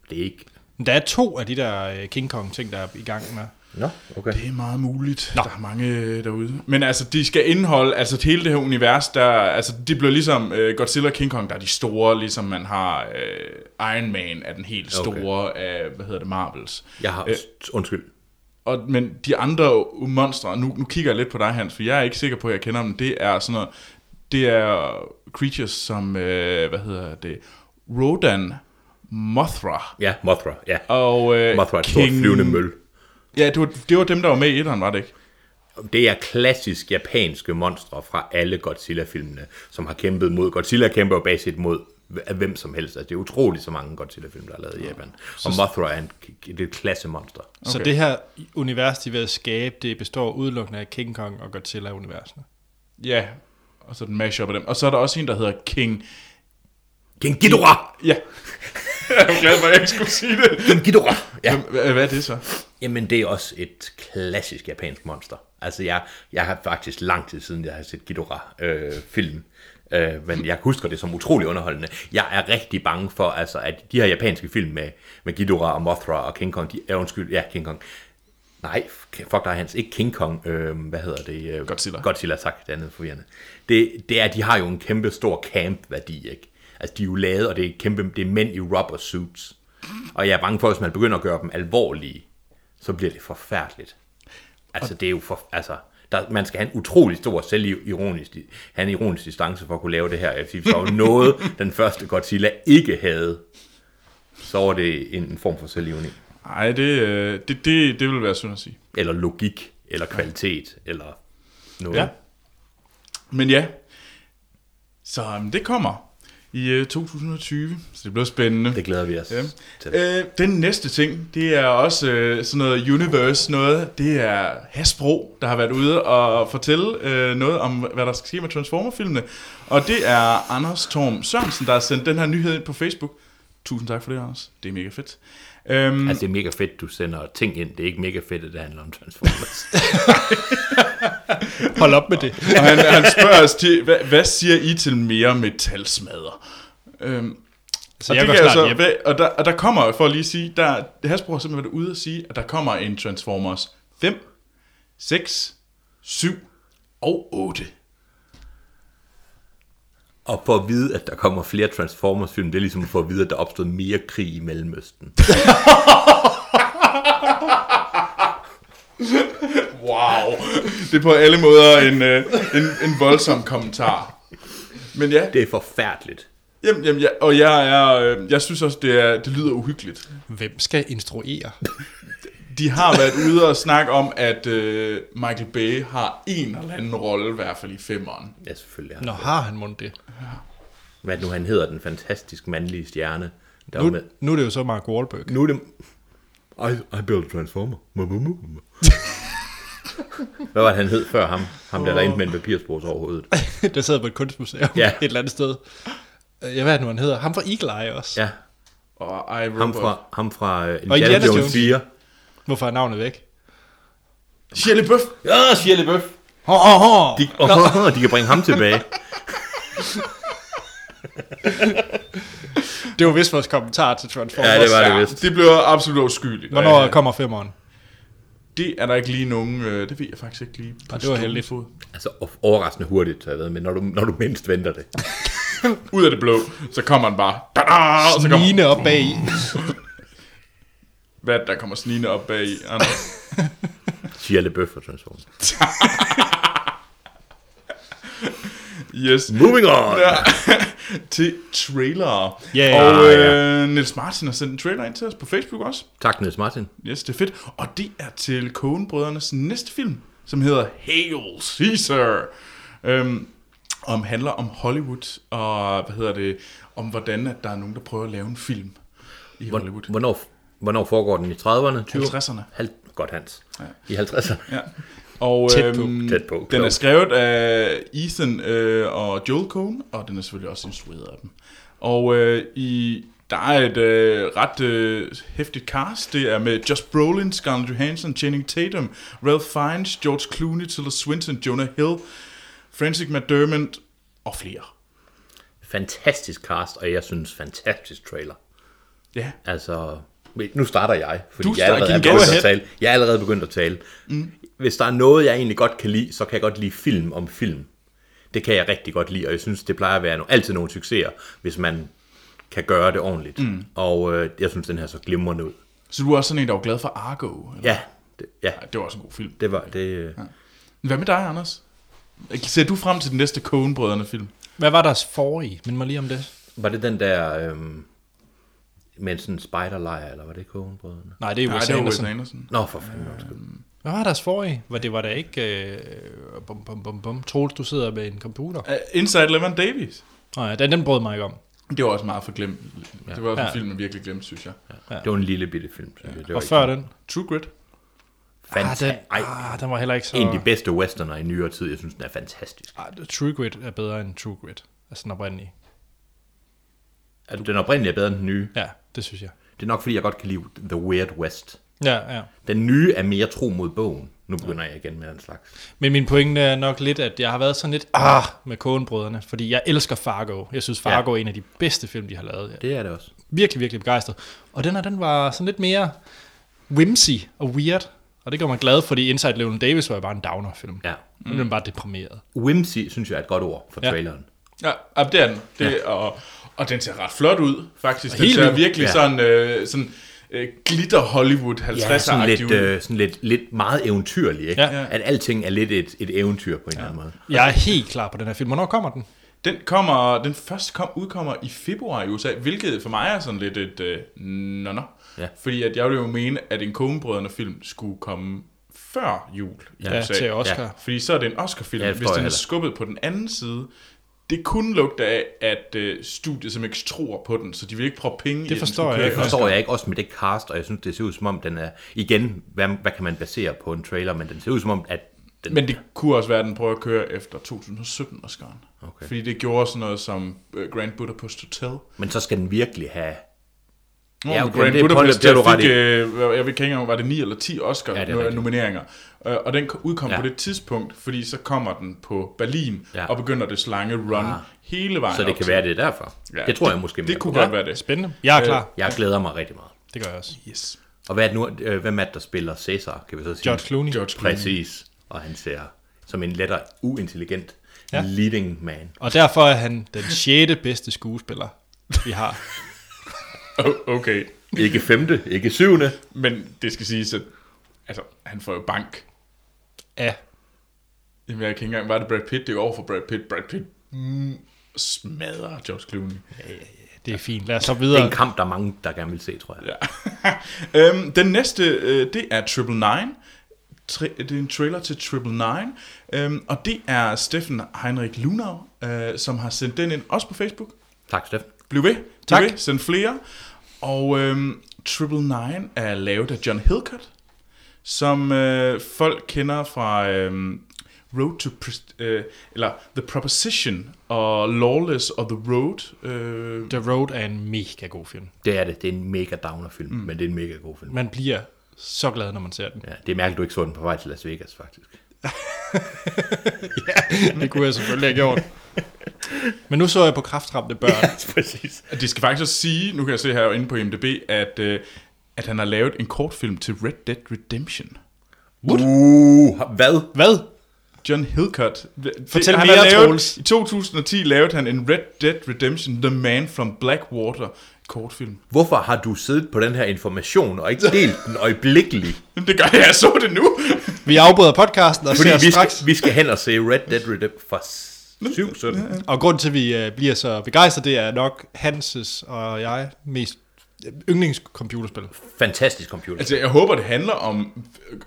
S3: det er ikke,
S1: Men Der er to af de der øh, King Kong-ting, der er i gang med.
S3: nå, okay.
S2: Det er meget muligt. Nå. Der er mange øh, derude. Men altså, de skal indeholde, altså hele det her univers, der, altså det bliver ligesom øh, Godzilla og King Kong, der er de store, ligesom man har øh, Iron Man er den helt
S3: Okay.
S2: store af, hvad hedder det, Marvels.
S3: Jeg har,
S2: Øh,
S3: undskyld,
S2: og, men de andre monstre, nu, nu kigger jeg lidt på dig, Hans, for jeg er ikke sikker på, at jeg kender dem, det er sådan noget, det er creatures som, øh, hvad hedder det, Rodan, Mothra,
S3: ja, Mothra, ja.
S2: og øh,
S3: Mothra er et stort flyvende møl.
S2: Ja, det var, det var dem, der var med i etteren, var det ikke?
S3: Det er klassisk japanske monstre fra alle Godzilla-filmene, som har kæmpet mod. Godzilla kæmper jo basisk mod h- hvem som helst. Altså, det er utroligt så mange Godzilla-film, der er lavet i Japan. Og Mothra er en, det er et klasse monster.
S1: Okay. Så det her univers, de vil skabe, det består udelukkende af King Kong og Godzilla-universene.
S2: Ja, og så den mashup af dem. Og så er der også en, der hedder King...
S3: King Ghidorah!
S2: Ja. jeg er glad for, at jeg ikke skulle sige det.
S3: King Ghidorah! Ja.
S2: Hvad, hvad er det så?
S3: Jamen, det er også et klassisk japansk monster. Altså, jeg, jeg har faktisk lang tid siden, jeg har set Ghidorah-film. Øh, men jeg husker det som utrolig underholdende. Jeg er rigtig bange for, altså, at de her japanske film med, med Ghidorah og Mothra og King Kong, de er undskyld, ja, King Kong. Nej, fuck dig Hans, ikke King Kong, øh, hvad hedder det? Øh,
S2: Godzilla.
S3: Godzilla, tak, det andet forvirrende. Det, det er, de har jo en kæmpe stor camp-værdi, ikke? Altså, de er jo lavet, og det er, kæmpe, det er mænd i rubber suits. Og jeg er bange for, at hvis man begynder at gøre dem alvorlige, så bliver det forfærdeligt. Altså, det er jo for, altså, der, man skal have en utrolig stor selvironisk, have en ironisk distance for at kunne lave det her. Jeg vil sige, hvis der var noget, den første Godzilla ikke havde, så var det en, en form for selvironi.
S2: Nej, det, øh, det, det, det vil være synd at sige.
S3: Eller logik, eller kvalitet, eller noget.
S2: Ja. Men ja, så øhm, det kommer i øh, 2020, så det bliver spændende.
S3: Det glæder vi os
S2: Ja.
S3: til.
S2: Øh, den næste ting, det er også øh, sådan noget universe noget. Det er Hasbro, der har været ude og fortælle øh, noget om, hvad der skal ske med Transformer-filmene. Og det er Anders Torm Sørensen, der har sendt den her nyhed ind på Facebook. Tusind tak for det, Anders. Det er mega fedt. Øhm,
S3: Altså, det er mega fedt, du sender ting ind. Det er ikke mega fedt, at det handler om Transformers.
S1: Hold op med det.
S2: og han, han spørger os til, hvad, hvad siger I til mere metalsmadder? Øhm,
S1: Så
S2: og
S1: jeg
S2: det
S1: går
S2: kan jeg
S1: snart hjem.
S2: så, og, der, og der kommer, for at lige sige, der, Hasbro har simpelthen været ude at sige, at der kommer en Transformers 5, 6, 7 og 8.
S3: og for at vide, at der kommer flere Transformers-film, det er ligesom for at vide, at der er opstået mere krig i Mellemøsten.
S2: Wow. Det er på alle måder en, øh, en, en voldsom kommentar. Men ja,
S3: Det er forfærdeligt.
S2: jamen, jamen, ja og jeg, er, øh, jeg synes også, det, er, det lyder uhyggeligt.
S1: Hvem skal instruere?
S2: De har været ude og snakke om, at øh, Michael Bay har en eller anden rolle, i hvert fald i femmeren.
S3: Ja, selvfølgelig.
S1: Nå,
S3: Nå.
S1: har han mundt det?
S3: Hvad nu han hedder, den fantastisk mandlige stjerne. Der var
S1: Nu,
S3: med.
S1: nu er det jo så Mark Wahlberg.
S3: nu er det... I, I build a transformer. Mu, mu, mu, mu. Hvad var det, han hed før ham? Ham der, der endte med en papirspors over hovedet.
S1: der sidder på et kunstmuseum
S3: Ja.
S1: ja. et eller andet sted. Øh, Jeg ved ikke, nu han hedder. Ham fra Eagle Eye også. Ja.
S3: Ja,
S2: Og I,
S3: ham
S2: Robot.
S3: fra, ham fra uh, Indiana,
S1: Indiana
S3: Jones,
S1: Jones.
S3: 4.
S1: Hvorfor er navnet væk?
S2: Shelley Bøf.
S3: Ja, Shia LaBeouf.
S1: Ho, ho, ho.
S3: De, oh, de kan bringe ham tilbage.
S1: Det var vist vores kommentar til Transformers.
S3: Ja, det var det
S2: Ja,
S3: vist.
S2: det blev absolut uskyldigt.
S1: Hvornår
S2: Ja.
S1: kommer femmeren?
S2: Det er der ikke lige nogen, øh, det ved jeg faktisk ikke lige. på
S1: Og det var
S2: stående
S1: heldigt.
S2: fod.
S3: Altså of- overraskende hurtigt, så jeg ved, men når du, når du mindst venter det.
S2: Ud af det blå, så kommer han bare. Da-da, og så kommer,
S1: Nine op bag i.
S2: hvad der kommer snigende op bag i.
S3: Shia LaBeouf og Transformers.
S2: Yes.
S3: Moving on!
S2: Ja. til trailer.
S1: Ja.
S2: Og
S3: Ah,
S2: øh, Niels Martin har sendt en trailer ind til os på Facebook også.
S3: Tak, Niels Martin.
S2: Yes, det er fedt. Og det er til Coen-brødrenes næste film, som hedder Hail Caesar. Øhm, om handler om Hollywood, og hvad hedder det, om hvordan at der er nogen, der prøver at lave en film i Hollywood.
S3: Hvornår, hvornår foregår den i 30'erne? 20'erne?
S2: 50'erne.
S3: Hal- Godt, Hans. Ja. I 50'erne.
S2: Ja. Og
S1: Tæt på.
S2: øhm,
S3: Tæt på.
S2: den er
S3: Klog.
S2: skrevet af Ethan øh, og Joel Coen, og den er selvfølgelig også instrueret af dem. Og øh, i der er et øh, ret øh, hæftigt cast. Det er med Josh Brolin, Scarlett Johansson, Channing Tatum, Ralph Fiennes, George Clooney, Tilda Swinton, Jonah Hill, Francis McDermott og flere.
S3: Fantastisk cast, og jeg synes fantastisk trailer.
S2: Ja,
S3: Altså, nu starter jeg, fordi
S2: Du
S3: jeg,
S2: starter-
S3: allerede er
S2: Giv den
S3: begyndt
S2: go
S3: at tale. jeg er allerede begyndt at tale. Mm. Hvis der er noget, jeg egentlig godt kan lide, så kan jeg godt lide film om film. Det kan jeg rigtig godt lide, og jeg synes, det plejer at være no- altid nogle succeser, hvis man kan gøre det ordentligt. Mm. Og øh, jeg synes, den her så glimrende ud.
S2: så du er også sådan en, der var glad for Argo? Eller?
S3: Ja, det, ja,
S2: Ej, Det var også en god film.
S3: det var det. Øh, ja.
S2: Hvad med dig, Anders? Ser du frem til den næste Coen-brødrene-film?
S1: Hvad var deres forrige? Men mig lige om det.
S3: Var det den der øhm, med sådan en spiderlejr, eller var det Kogenbrødrene?
S1: Nej, det er
S2: Nej,
S1: Wes
S2: det var Wes
S1: Anderson.
S2: Anderson.
S3: Nå, for fanden. undskyld.
S1: Hvad var deres forrige? Var det var da ikke... Øh, bum, bum, bum, bum. Troels, du sidder med en computer.
S2: Uh, Inside Llewyn Davis.
S1: Nej, den, den brød mig ikke om.
S2: Det var også meget for glemt. Ja. Det var også en
S1: Ja.
S2: film, man virkelig glemte, synes jeg. Ja.
S3: Det var en lille bitte film. synes jeg. Det var
S1: Og
S3: ikke
S1: før
S3: sådan
S1: den?
S2: True Grit.
S1: Ah, den,
S3: Fantastisk. Ej,
S1: ah, den var heller ikke så...
S3: en af de bedste westerner i nyere tid. Jeg synes, den er fantastisk.
S1: Ah, True Grit er bedre end True Grit. Altså den oprindelige.
S3: Altså, den oprindelige er bedre end den nye.
S1: Ja, det synes jeg.
S3: Det er nok, fordi jeg godt kan lide The Weird West.
S1: Ja, ja.
S3: Den nye er mere tro mod bogen. Nu begynder jeg igen med den slags.
S1: Men min pointe er nok lidt, at jeg har været sådan lidt ah med Coen-brødrene, fordi jeg elsker Fargo. Jeg synes, Fargo ja. er en af de bedste film, de har lavet. Jeg er
S3: Det er det også.
S1: virkelig, virkelig begejstret. Og den her, den var sådan lidt mere whimsy og weird. Og det gør mig glad, fordi Inside Llewyn Davis var jo bare en downer-film.
S3: Ja.
S1: Mm. Den blev bare deprimeret.
S3: Whimsy, synes jeg, er et godt ord for
S1: Ja.
S3: traileren.
S2: Ja, ja, det er den. Det, ja. og, og den ser ret flot ud, faktisk. Den
S1: Helt
S2: ser
S1: vildt.
S2: virkelig
S3: Ja.
S2: ja. sådan, øh, sådan øh, glitter Hollywood 50'er-agtig
S3: Ja, sådan lidt,
S2: ud. Øh,
S3: øh, sådan lidt, lidt meget eventyrlig, ikke?
S1: Ja.
S3: At alting er lidt et, et eventyr på en eller anden måde.
S1: Jeg er helt klar på den her film. Hvornår kommer den?
S2: den, kommer, den første kom, udkommer i februar i USA, hvilket for mig er sådan lidt et øh, nå, nå.
S3: Ja.
S2: Fordi at jeg ville jo mene, at en Coen-brødrene-film skulle komme før jul i
S1: Ja,
S2: USA.
S1: til Oscar.
S3: Ja.
S1: Ja.
S2: Fordi så er det en Oscar-film.
S3: Ja,
S2: Ja,
S3: det forstår
S2: Hvis
S3: jeg
S2: den er
S3: heller.
S2: skubbet på den anden side, det kunne lugte af, at øh, studiet som ikke tror på den, så de vil ikke prøve penge i den,
S1: forstår
S2: så den.
S1: jeg
S2: kunne
S1: ikke.
S3: Det forstår jeg ikke, også med det cast, og jeg synes, det ser ud som om, den er... Igen, hvad, hvad kan man basere på en trailer, men den ser ud som om, at den...
S2: Men det kunne også være, at den prøver at køre efter 2017 Oscaren.
S3: Okay.
S2: Fordi det gjorde sådan noget som øh, Grand Budapest Hotel.
S3: men så skal den virkelig have...
S2: Nå,
S3: Ja,
S2: ja,
S3: okay,
S2: Grand
S3: det er
S2: Budapest
S3: Paul, det har
S2: der
S3: du
S2: fik, øh, jeg ved ikke engang, var det 9 eller 10
S3: Ja, det er rigtigt.
S2: Oscar-nomineringer. Ja, Øh, og den udkom
S3: Ja.
S2: ja. på det tidspunkt, fordi så kommer den på Berlin,
S3: Ja.
S2: ja. og begynder det lange run
S3: Ah.
S2: ah. hele vejen
S3: Så det
S2: op
S3: kan
S2: til-
S3: være, det er derfor. Ja,
S2: Ja,
S3: det tror jeg måske mere
S2: Det kunne
S3: på.
S2: godt være det.
S1: Spændende. Jeg er klar.
S3: Jeg glæder mig rigtig meget.
S1: Det gør jeg også.
S2: Yes.
S3: Og hvad er det nu, øh, hvem er det, der spiller Cæsar, kan vi så sige?
S1: George Clooney.
S2: George Clooney.
S3: Præcis. Og han ser som en lettere uintelligent ja.
S1: Ja.
S3: leading man.
S1: Og derfor er han den sjette bedste skuespiller, vi har.
S2: O- Oh, Okay,
S3: Ikke femte, ikke syvende.
S2: men det skal siges, at altså, han får jo bank.
S1: Ja.
S2: Jamen, jeg kan ikke engang, var det Brad Pitt? Det er jo over for Brad Pitt. Brad Pitt mm, smadrer George Clooney.
S1: Det er fint. Lad os så
S3: Det er
S1: videre.
S3: en kamp, der er mange, der gerne vil se, tror jeg.
S2: Ja. øhm, den næste, øh, det er Triple Nine. Tri- det er en trailer til Triple Nine. Øhm, og det er Steffen Heinrich Lunau, øh, som har sendt den ind, også på Facebook.
S3: Tak, Steffen.
S2: Bliv ved, bliv
S1: Tak.
S2: ved, send flere. Og øhm, Triple Nine er lavet af John Hillcutt, som øh, folk kender fra øhm, Road to Pres- øh, eller The Proposition og Lawless og The Road. Øh,
S1: The Road er en mega god film.
S3: Det er det. Det er en mega downer film, mm. men det er en mega god film.
S1: Man bliver så glad, når man ser den.
S3: Ja, det er mærkeligt, du ikke så den på vej til Las Vegas, faktisk.
S1: Det kunne jeg selvfølgelig have gjort. Men nu så jeg på kraftramte børn.
S3: præcis.
S2: Det skal faktisk også sige, nu kan jeg se her inde på IMDb, at, øh, at han har lavet en kortfilm til Red Dead Redemption.
S3: What? Uh, hvad?
S1: Hvad?
S2: John Hillcutt.
S1: Fortæl
S2: han
S1: mere,
S2: har lavet,
S1: Troels.
S2: I 2010 lavede han en Red Dead Redemption, The Man from Blackwater kortfilm.
S3: Hvorfor har du siddet på den her information og ikke delt den øjeblikkeligt?
S2: Jamen, Det gør jeg, jeg så det nu.
S1: Vi afbryder podcasten og
S3: Fordi
S1: ser
S3: vi
S1: straks.
S3: skal, vi skal hen og se Red Dead Redemption for 7 17.
S1: Og grunden til, at vi øh, bliver så begejstret, det er nok Hanses og jeg mest yndlingscomputerspil.
S3: Fantastisk computer.
S2: altså, jeg håber, det handler om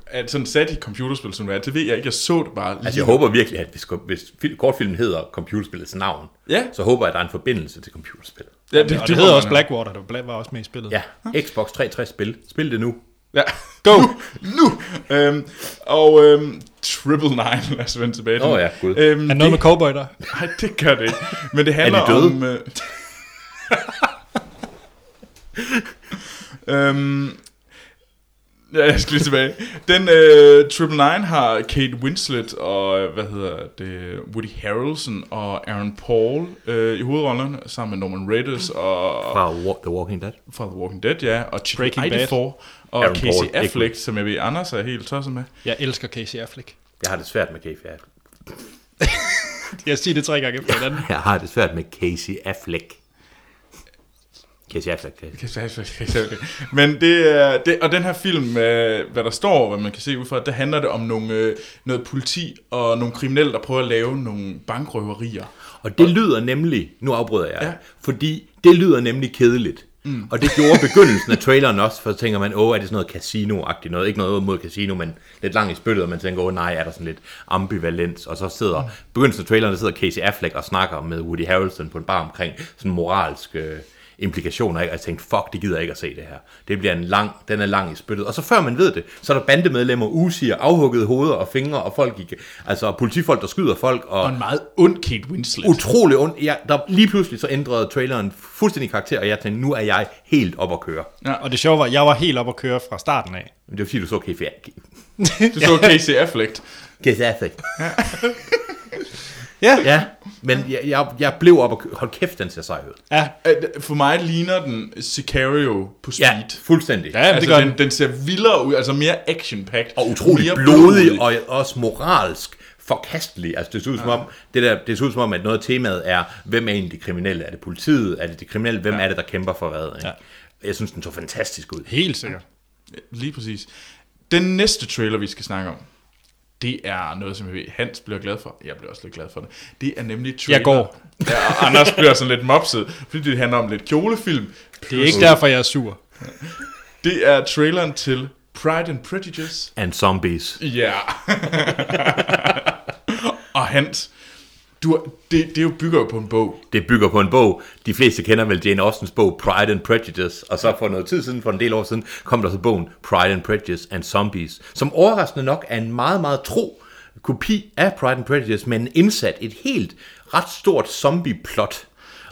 S2: at sådan sat i computerspil, som det er. Det ved jeg ikke. Jeg så det bare lige.
S3: Altså, jeg håber virkelig, at hvis, hvis fil- kortfilmen hedder computerspillets navn,
S2: Ja.
S3: så håber jeg, at der er en forbindelse til computerspillet.
S2: ja,
S1: Det, og det,
S2: håber
S1: hedder også
S2: jeg.
S1: Blackwater, der var- var også med i spillet.
S3: Ja, Xbox 360-spil. Spil det nu.
S2: Ja.
S1: Go!
S2: Nu! Øhm, og øhm, Triple Nine, lad os vende tilbage til
S3: Åh
S2: den.
S3: ja, gud.
S2: Øhm,
S1: Er noget med cowboy der?
S2: Nej, det gør det ikke. Men det handler
S3: Er de døde?
S2: om... Øh... øhm... Ja, jeg skal lige tilbage. Den øh, Triple Nine har Kate Winslet og, øh, hvad hedder det, Woody Harrelson og Aaron Paul øh, i hovedrollerne, sammen med Norman Reedus og
S3: Fra Wa- The Walking Dead.
S2: fra The Walking Dead, ja, og Chico
S1: Breaking Bad.
S2: 84, og
S3: Aaron
S2: Aaron Casey
S3: Paul, ikke
S2: Affleck, som jeg ved, Anders er helt tosset med.
S1: Jeg elsker Casey Affleck.
S3: Jeg har det svært med Casey Affleck.
S1: Jeg siger det tre gange efter hinanden.
S3: Jeg har det svært med Casey Affleck. Casey Affleck. Casey.
S2: Casey Affleck, Casey Affleck. Men det er, det, og den her film, øh, hvad der står, hvad man kan se ud fra, der handler det om nogle, øh, noget politi og nogle kriminelle, der prøver at lave nogle bankrøverier.
S3: Og det lyder nemlig, nu afbryder jeg,
S2: Ja.
S3: ja. fordi det lyder nemlig kedeligt. Mm. Og det gjorde begyndelsen af traileren også, for så tænker man, åh, er det sådan noget casino-agtigt noget? Ikke noget mod casino, men lidt langt i spyttet, og man tænker, åh nej, er der sådan lidt ambivalens? Og så sidder, mm. begyndelsen af traileren, der sidder Casey Affleck og snakker med Woody Harrelson på en bar omkring sådan moralske øh, implikationer, ikke? og jeg tænkte, fuck, det gider jeg ikke at se det her. Det bliver en lang, den er lang i spyttet. Og så før man ved det, så er der bandemedlemmer, usiger, afhuggede hoveder og fingre, og folk gik, altså politifolk, der skyder folk, og,
S2: Og en meget ond Kate Winslet.
S3: utrolig ondt. Ja, der lige pludselig så ændrede traileren fuldstændig karakter, og jeg tænkte, nu er jeg helt op at køre.
S1: Og det sjove var, at jeg var helt op at køre fra starten af.
S3: Men det var fordi, du så KFA.
S2: Du så Casey Affleck.
S3: Kasafik.
S1: Ja, ja.
S3: Ja, men jeg, jeg, jeg blev op at køre. Hold kæft, den ser sej ud.
S1: ja.
S2: Øh, For mig ligner den Sicario på speed.
S3: Ja, fuldstændig.
S1: ja det
S2: altså,
S1: gør
S2: den, den ser vildere ud, altså mere action-packed.
S3: Og utrolig
S2: mere
S3: blodig, og også moralsk forkastelig. Altså, det ser ud som om, det der, det ser ud som om, at noget af temaet er, hvem er egentlig de kriminelle? Er det politiet? Er det de kriminelle? Hvem er det, der kæmper for hvad? Ikke? Jeg synes, den så fantastisk ud.
S1: Helt sikkert.
S2: Lige præcis. Den næste trailer, vi skal snakke om, det er noget, som jeg ved, Hans bliver glad for. Jeg bliver også lidt glad for det. Det er nemlig trailer.
S1: Jeg går.
S2: Ja, og Anders bliver sådan lidt mopset, fordi det handler om lidt kjolefilm.
S1: Det er ikke derfor, jeg er sur.
S2: Det er traileren til Pride and Prejudice.
S3: And zombies.
S2: Ja. Yeah. og Hans, du, har- det, det jo bygger jo på en bog.
S3: Det bygger på en bog. De fleste kender vel Jane Austens bog Pride and Prejudice, og så for noget tid siden, for en del år siden, kom der så bogen Pride and Prejudice and Zombies, som overraskende nok er en meget, meget tro kopi af Pride and Prejudice, men indsat et helt ret stort zombie-plot.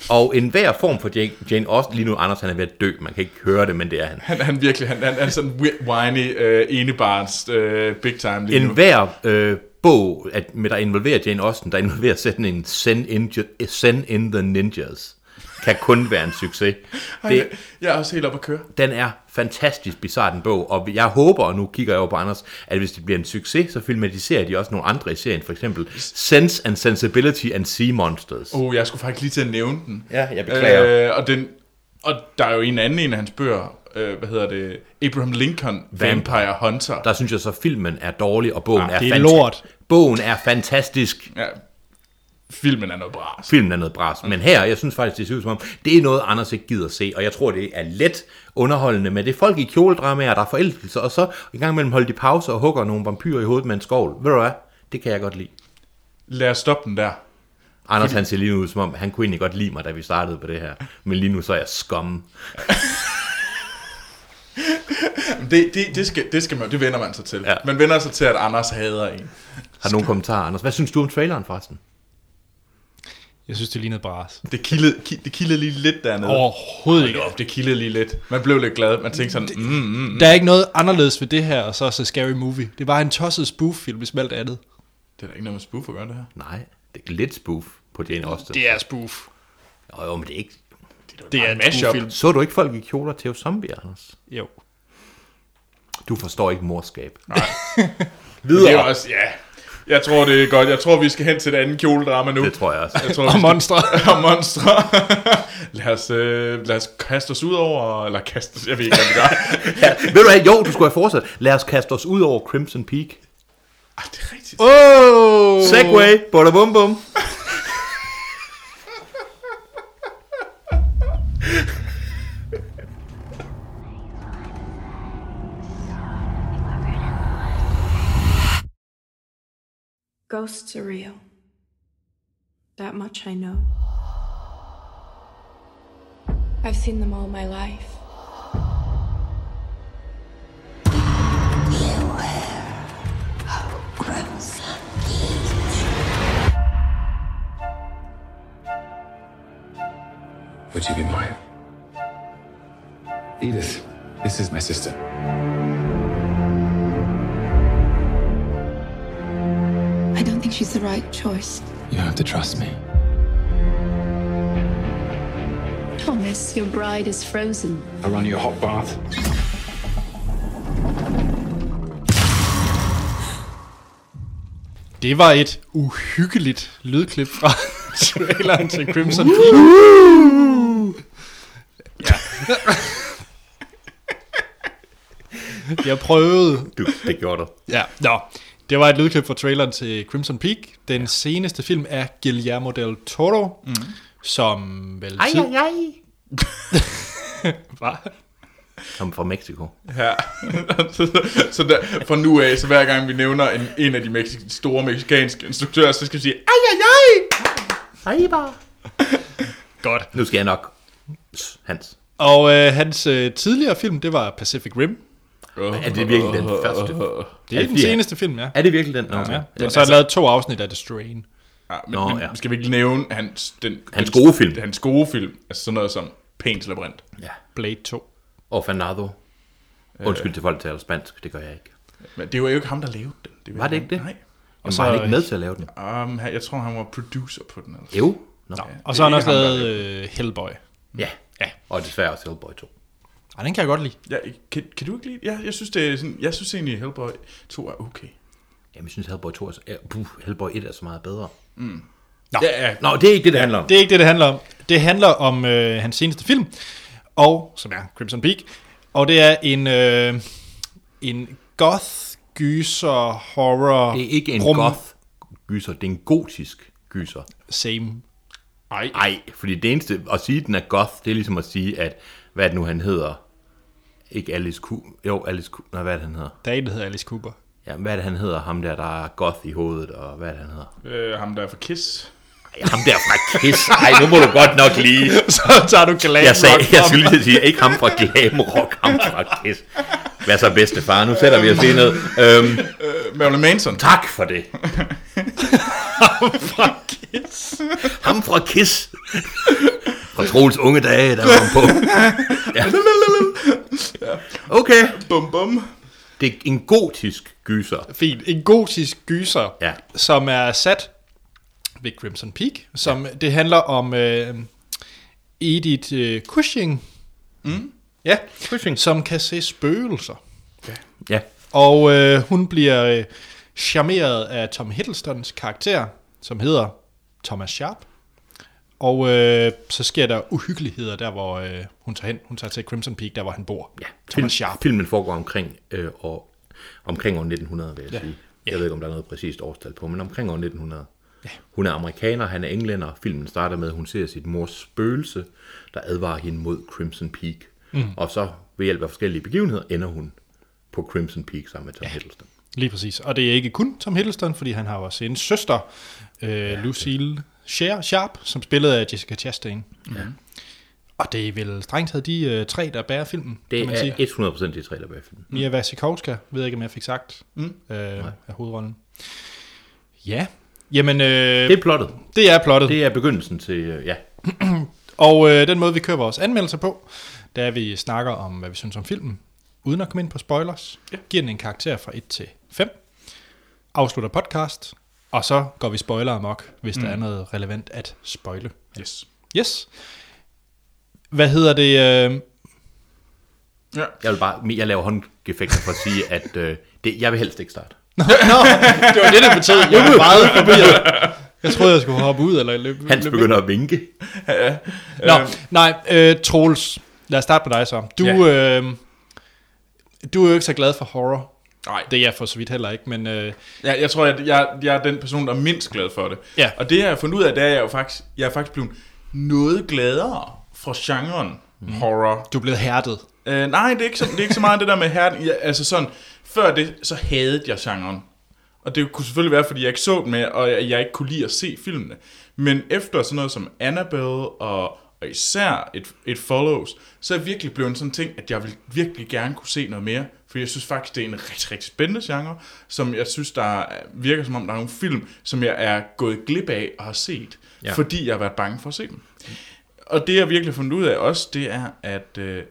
S3: Og enhver form for Jane, Jane Austen, lige nu Anders han er ved at dø, man kan ikke høre det, men det er han.
S2: Han, han virkelig, han, han, han er sådan wi- whiny, øh, enebarns, øh, big time lige nu.
S3: Enhver øh, bog, at, med der involverer Jane Austen, der involverer sætningen send in, ju- send in the ninjas, kan kun være en succes. Det,
S2: Det... Jeg er også helt op at køre.
S3: Den er fantastisk bizarre, den bog, og jeg håber, og nu kigger jeg over på Anders, at hvis det bliver en succes, så filmatiserer de også nogle andre i serien, for eksempel Sense and Sensibility and Sea Monsters.
S2: Oh, jeg skulle faktisk lige til at nævne den.
S3: Ja, jeg beklager.
S2: Øh, og, den, og der er jo en anden en af hans bøger, øh, hvad hedder det, Abraham Lincoln, Vampire Hunter.
S3: Der synes jeg så, at filmen er dårlig, og bogen ah, er
S1: det er
S3: fanta-
S1: lort.
S3: Bogen er fantastisk.
S2: Ja, filmen er noget bras.
S3: Filmen er noget bras. Men her, jeg synes faktisk, det ser ud som om, det er noget, Anders ikke gider se. Og jeg tror, det er let underholdende. Men det er folk i kjoledramaer, der er forelskelser. Og så en gang imellem holder de pause og hugger nogle vampyrer i hovedet med en skovl. Ved du hvad? Det kan jeg godt lide.
S2: Lad os stoppe den der.
S3: Anders han ser lige nu ud som om, han kunne egentlig godt lide mig, da vi startede på det her. Men lige nu så er jeg skum.
S2: Det, det, det, skal, det skal man, det vender man sig til.
S3: Ja.
S2: Ja. Man vender sig til, at Anders hader en.
S3: Har du nogen kommentarer, Anders? Hvad synes du om traileren forresten?
S1: Jeg synes, det lignede bras.
S2: Det kildede, ki- det kildede lige lidt dernede.
S1: Overhovedet
S2: Hold
S1: ikke.
S2: op, det kildede lige lidt. Man blev lidt glad. Man tænkte sådan, mm, mm, mm.
S1: Der er ikke noget anderledes ved det her, og så er så Scary Movie. Det var en tosset spoof-film, hvis med alt andet.
S2: det er da ikke noget med spoof at gøre det her.
S3: Nej, det er lidt spoof på Jane Austen.
S1: Det er spoof.
S3: Åh, jo, men det er ikke...
S1: Det er
S2: bare
S1: en
S2: en mashup.
S1: mashup.
S3: Så du ikke folk i kjoler til zombie, Anders?
S1: Jo.
S3: Du forstår ikke morskab.
S2: Det er jo også, ja. Jeg tror, det er godt. Jeg tror, vi skal hen til et andet kjoledrama nu.
S3: Det tror jeg også.
S2: Jeg tror, vi
S1: Og
S2: skal-
S1: monstre.
S2: og monstre. lad, os, øh, lad os kaste os ud over, eller kaste os, jeg ved ikke, hvad vi gør.
S3: Ja, ved du hvad? Jo, du skulle have fortsat. Lad os kaste os ud over Crimson Peak.
S2: Ej, Ah, det er rigtigt.
S1: Oh!
S3: Segway! Bada bum bum!
S4: Ghosts are real. That much I know. I've seen them all my life.
S5: Would you be mine? Edith, this is my sister.
S6: I don't think she's the right choice.
S5: You have to trust me.
S6: Thomas, your bride is frozen.
S5: I run your hot bath.
S1: Det var et uhyggeligt lydklip fra traileren til Crimson Peak. Ja. Jeg prøvede.
S3: Du, det gjorde du.
S1: Ja, nå. Det var et lydklip fra traileren til Crimson Peak. Den ja. seneste film er Guillermo del Toro, mm. som vel
S3: Ej,
S1: tid
S3: ej, ej!
S1: var.
S3: Kom fra Mexico.
S2: Ja. så der, fra nu af, så hver gang vi nævner en, en af de mexi- store mexikanske instruktører, så skal vi sige, ej, ej, ej!
S3: Ej, bare.
S1: Godt.
S3: Nu skal jeg nok... Pss, Hans.
S1: Og øh, hans øh, tidligere film, det var Pacific Rim.
S3: Er det virkelig den første?
S1: Det er den
S3: fordi-
S1: seneste film, ja.
S3: Er det virkelig den? Nå, okay.
S1: ja. Og så har jeg lavet to afsnit af The Strain.
S2: Ja, men,
S3: Nå,
S2: Nå, men
S3: ja.
S2: ja. skal vi ikke nævne hans, den,
S3: Hans
S2: den,
S3: gode film.
S2: Hans gode film, altså sådan noget som Pæns Labyrinth.
S3: ja.
S1: Blade 2.
S3: Orfanado. Undskyld til folk, der taler spansk. Det gør jeg ikke.
S2: Men det var jo ikke ham, der lavede den. det
S3: Var det ikke det?
S2: Nej.
S3: Og
S1: så-
S3: så var han ikke med til at lave den.
S2: Um, han- jeg tror, han var producer på den. Altså.
S3: Jo. Nå.
S1: Og så har han også
S2: ham, der
S1: lavet øh, Hellboy.
S3: Ja.
S1: Ja.
S3: Og desværre også Hellboy 2.
S1: Ej, den kan jeg godt lide.
S2: Ja, kan, kan du ikke lide? Ja, jeg synes, det er sådan, jeg synes egentlig, at Hellboy 2 er okay.
S3: Jamen, jeg synes Hellboy 2 er... så- ja, Puh, Hellboy 1 er så meget bedre.
S1: Nå,
S2: Ja, ja.
S3: Nå, det er ikke det, det handler om.
S1: Det er ikke det, det handler om. Det handler om øh, hans seneste film, og som er Crimson Peak. Og det er en, øh, en goth, gyser, horror...
S3: Det er ikke en
S1: rum-
S3: goth gyser, det er en gotisk gyser.
S1: Same.
S2: Ej.
S3: Ej, fordi det eneste, at sige, at den er goth, det er ligesom at sige, at, hvad er det nu han hedder? Ikke Alice Q. Jo, Alice Q. Nej, hvad er det, han hedder?
S1: Der er en, der hedder Alice Cooper.
S3: Ja, hvad er det, han hedder? Ham der, der er goth i hovedet, og hvad er det, han hedder?
S2: Øh, ham der er for Kiss.
S3: Ej, ham der fra Kiss. Ej, nu må du godt nok lige...
S1: så tager du glam
S3: Jeg, sagde,
S1: rock
S3: jeg
S1: op.
S3: skulle lige sige, ikke ham fra Glam Rock, ham fra Kiss. Hvad så, bedste far? Nu sætter vi os lige ned. Øhm,
S2: Øh, Marilyn Manson.
S3: tak for det.
S1: fra Kiss.
S3: Ham fra Kiss. fra Troels unge dage, der var han på. Ja. Okay.
S2: Bum bum.
S3: Det er en gotisk gyser.
S1: Fint. En gotisk gyser,
S3: Ja.
S1: som er sat ved Crimson Peak, som det handler om øh, Edith øh, Cushing, mm. ja,
S3: Cushing.
S1: som kan se spøgelser.
S3: Ja.
S1: Og øh, hun bliver øh, charmeret af Tom Hiddlestons karakter, som hedder Thomas Sharp. Og øh, så sker der uhyggeligheder der, hvor øh, hun tager hen. Hun tager til Crimson Peak, der hvor han bor.
S3: ja.
S1: Thomas Sharp.
S3: Filmen foregår omkring, øh, år, omkring år 1900, vil jeg
S1: Ja.
S3: ja. sige. Jeg ved ikke, om der er noget præcist årstal på, men omkring år 1900. Hun er amerikaner, han er englænder. Filmen starter med, at hun ser sit mors spøgelse, der advarer hende mod Crimson Peak. Mm. Og så ved hjælp af forskellige begivenheder ender hun på Crimson Peak sammen med Tom ja. Hiddleston.
S1: Lige præcis. Og det er ikke kun Tom Hiddleston, fordi han har jo også en søster, øh, ja, Lucille Cher, Sharp, som spillede af Jessica Chastain.
S3: Ja.
S1: Og det er vel strengt taget de øh, tre, der bærer filmen, kan man
S3: Det
S1: sige.
S3: er 100% de tre, der er bag filmen.
S1: Mia Wasikowska, ved jeg ikke, om jeg fik sagt, mm. øh, er hovedrollen. Ja, jamen, øh,
S3: Det
S1: det,
S3: er plottet.
S1: det er plottet.
S3: Det er begyndelsen til, øh, ja,
S1: Og øh, den måde, vi kører vores anmeldelser på, der er, vi snakker om, hvad vi synes om filmen, uden at komme ind på spoilers, ja. giver den en karakter fra 1 til 5, afslutter podcast, og så går vi spoiler amok, hvis mm. der er noget relevant at spoile.
S2: Yes.
S1: Yes. Hvad hedder det? Øh,
S2: Ja.
S3: Jeg, vil bare, jeg laver håndgefekter for at sige, at øh, det, jeg vil helst ikke starte.
S1: det var det, der betød, jeg var meget forvirret. Jeg troede, jeg skulle hoppe ud eller løbe.
S3: Hans
S1: løbe.
S3: begynder at vinke.
S1: Nå, nej, øh, Troels, lad os starte med dig så. Du, ja. øh, du er jo ikke så glad for horror.
S2: Nej.
S1: Det er jeg for så vidt heller ikke, men øh,
S2: Ja, jeg tror, jeg, jeg, jeg er den person, der er mindst glad for det.
S1: Ja.
S2: Og det, jeg har fundet ud af, det er, at jeg, jo faktisk, jeg er faktisk blevet noget gladere for genren
S1: Mhm.
S2: mm. horror.
S1: du er blevet hærdet.
S2: Øh, nej, det er, ikke så, det er ikke så meget det der med herren. Ja, altså sådan, før det, så hadede jeg genren. Og det kunne selvfølgelig være, fordi jeg ikke så den med, og jeg, jeg ikke kunne lide at se filmene. Men efter sådan noget som Annabelle og, og især et, et Follows, så er jeg virkelig blevet sådan en ting, at jeg vil virkelig gerne kunne se noget mere. For jeg synes faktisk, det er en rigtig, rigtig spændende genre, som jeg synes, der virker som om, der er nogle film, som jeg er gået glip af og har set,
S3: Ja.
S2: ja. fordi jeg har været bange for at se dem. Og det, jeg virkelig har fundet ud af også, det er, at, øh,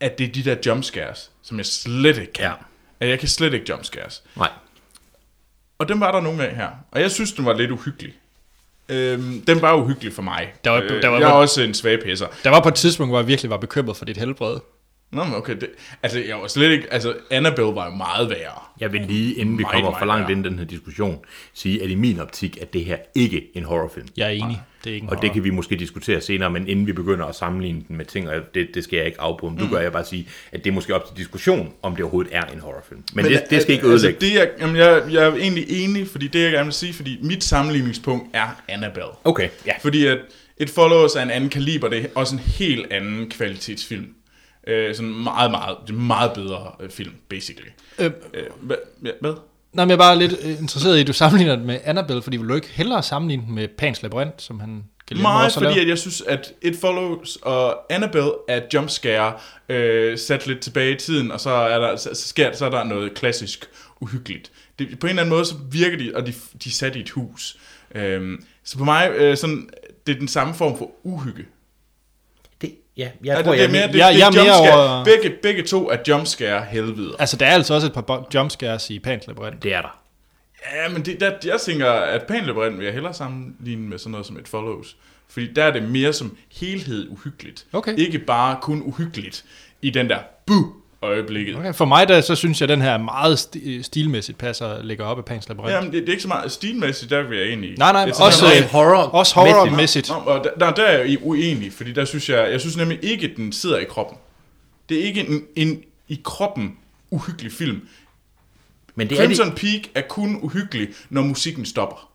S2: at det er de der jumpscares, som jeg slet ikke kan.
S3: Ja.
S2: At jeg kan slet ikke jumpscares.
S3: Nej.
S2: Og dem var der nogle af her. Og jeg synes, den var lidt uhyggelig. Øhm, den var uhyggelig for mig.
S1: Der var-
S2: øh,
S1: der var-
S2: jeg er også en svag pisser.
S1: Der var på et tidspunkt, hvor jeg virkelig var bekymret for dit helbred.
S2: Nå, men okay. Det, altså, jeg var slet ikke... Altså, Annabelle var jo meget værre.
S3: Jeg vil lige, inden vi
S2: Meget,
S3: kommer
S2: meget
S3: for langt
S2: værre.
S3: ind i den her diskussion, sige, at i min optik er det her ikke en horrorfilm.
S1: Jeg er enig. Det er ikke en
S3: Og det kan vi måske diskutere senere, men inden vi begynder at sammenligne den med ting, og det, det skal jeg ikke afbryde,
S2: Mm.
S3: men du gør jeg bare sige, at det er måske op til diskussion, om det overhovedet er en horrorfilm. Men, men det, det skal ikke
S2: Altså,
S3: ødelægge.
S2: det er, jamen, jeg, jeg er egentlig enig, fordi det, jeg gerne vil sige, fordi mit sammenligningspunkt er Annabelle.
S3: Okay, ja.
S2: Fordi at et Follows er en anden kaliber, det er også en helt anden kvalitetsfilm. Øh, sådan meget, meget, det er en meget bedre øh, film, basically.
S1: Øh,
S2: Øh, hvad? Ja, hvad?
S1: nej, men jeg er bare lidt øh, interesseret i, at du sammenligner den med Annabelle, fordi vil du ikke hellere sammenligne den med Pans Labyrinth, som han Guillermo
S2: Meget,
S1: også har
S2: fordi
S1: lavet?
S2: at jeg synes, at It Follows og Annabelle er jumpscare øh, sat lidt tilbage i tiden, og så er der, så, så sker, så er der noget klassisk uhyggeligt. Det, på en eller anden måde, så virker de, og de, de er sat i et hus. Øhm, så på mig, øh, sådan, det er den samme form for uhygge.
S3: det, ja, jeg
S2: Altså,
S3: tror,
S2: det er
S3: jeg,
S2: mere, det,
S1: jeg-
S2: det
S1: jeg er
S2: er
S1: mere
S2: jumpscare.
S1: over-
S2: Begge, begge to er jumpscare helvede.
S1: Altså, der er altså også et par bo- jumpscares i Pans Labyrinth.
S3: det er der.
S2: Ja, men det, der, jeg tænker, at panløberen vil jeg hellere sammenligne med sådan noget som et follows. Fordi der er det mere som helhed uhyggeligt.
S1: Okay.
S2: Ikke bare kun uhyggeligt i den der bu øjeblikket. Okay.
S1: Okay, for mig, der, så synes jeg, at den her meget sti- stilmæssigt passer ligger op af Pans Labyrinth.
S2: Jamen, det, det, er ikke så meget stilmæssigt, der vil jeg egentlig...
S1: nej, nej,
S2: det er sådan
S1: også, øh,
S2: noget-
S3: meget horror-
S1: også horrormæssigt.
S2: Nå, og der, der, der er jeg uenig, fordi der synes jeg, jeg synes nemlig ikke, at den sidder i kroppen. Det er ikke en, en i kroppen uhyggelig film.
S3: Men det er
S2: Crimson
S3: det,
S2: det... Peak er kun uhyggelig, når musikken stopper.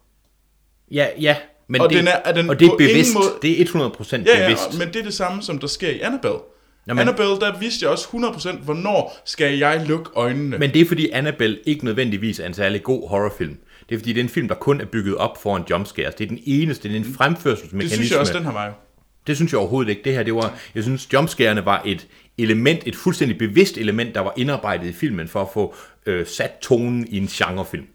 S3: ja, ja, men
S2: Og
S3: det,
S2: den er- er den
S3: og det er
S2: på ingen
S3: bevidst.
S2: måde-
S3: Det er 100%
S2: Ja, ja,
S3: bevidst.
S2: og- men det er det samme, som der sker i Annabelle.
S3: Nå,
S2: Nå,
S3: men-
S2: men... Annabelle, der vidste jeg også 100%, hvornår skal jeg lukke øjnene.
S3: Men det er fordi Annabelle ikke nødvendigvis er en særlig god horrorfilm. Det er fordi, det er en film, der kun er bygget op for en jumpscares. Det er den eneste, det er en fremførselsmekanisme.
S2: det synes jeg også, den her var jo.
S3: Det synes jeg overhovedet ikke. Det her, det var, jeg synes, jumpscarerne var et element, et fuldstændig bevidst element, der var indarbejdet i filmen for at få øh, sat tonen i en genrefilm.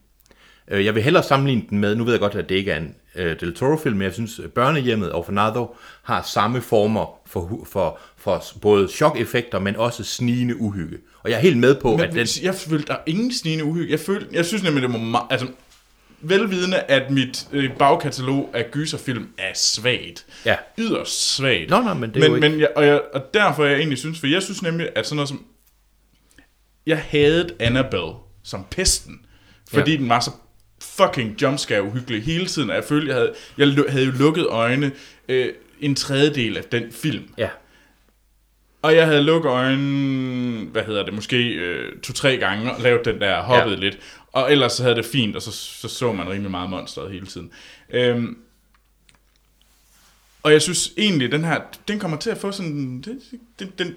S3: Øh, jeg vil hellere sammenligne den med, nu ved jeg godt, at det ikke er en øh, Del Toro-film, men jeg synes, øh, Børnehjemmet og Fanado har samme former for, hu- for, for både chok-effekter, men også snigende uhygge. Og jeg er helt med på, at
S2: Men
S3: den...
S2: jeg følte der er ingen snigende uhygge. Jeg, følte, jeg synes nemlig, det var meget... Altså, velvidende, at mit øh, bagkatalog af gyserfilm er svagt.
S3: Ja.
S2: Yderst svagt.
S3: Nå, nå, men det er
S2: men,
S3: jo ikke-
S2: Men jeg, og, jeg, og derfor jeg egentlig synes, for jeg synes nemlig, at sådan noget som... Jeg havde Annabelle som pesten, fordi
S3: Ja.
S2: ja. den var så fucking jumpscare uhyggelig hele tiden, og jeg følte, jeg havde, jeg lu- havde jo lukket øjnene øh, en tredjedel af den film.
S3: Ja.
S2: Og jeg havde lukket øjnene, hvad hedder det, måske øh, to-tre gange, og lavet den der, hoppet ja.
S3: Ja.
S2: lidt. Og ellers så havde det fint, og så så, så man rimelig meget monsteret hele tiden. Øhm, og jeg synes egentlig, den her, den kommer til at få sådan, den, den, den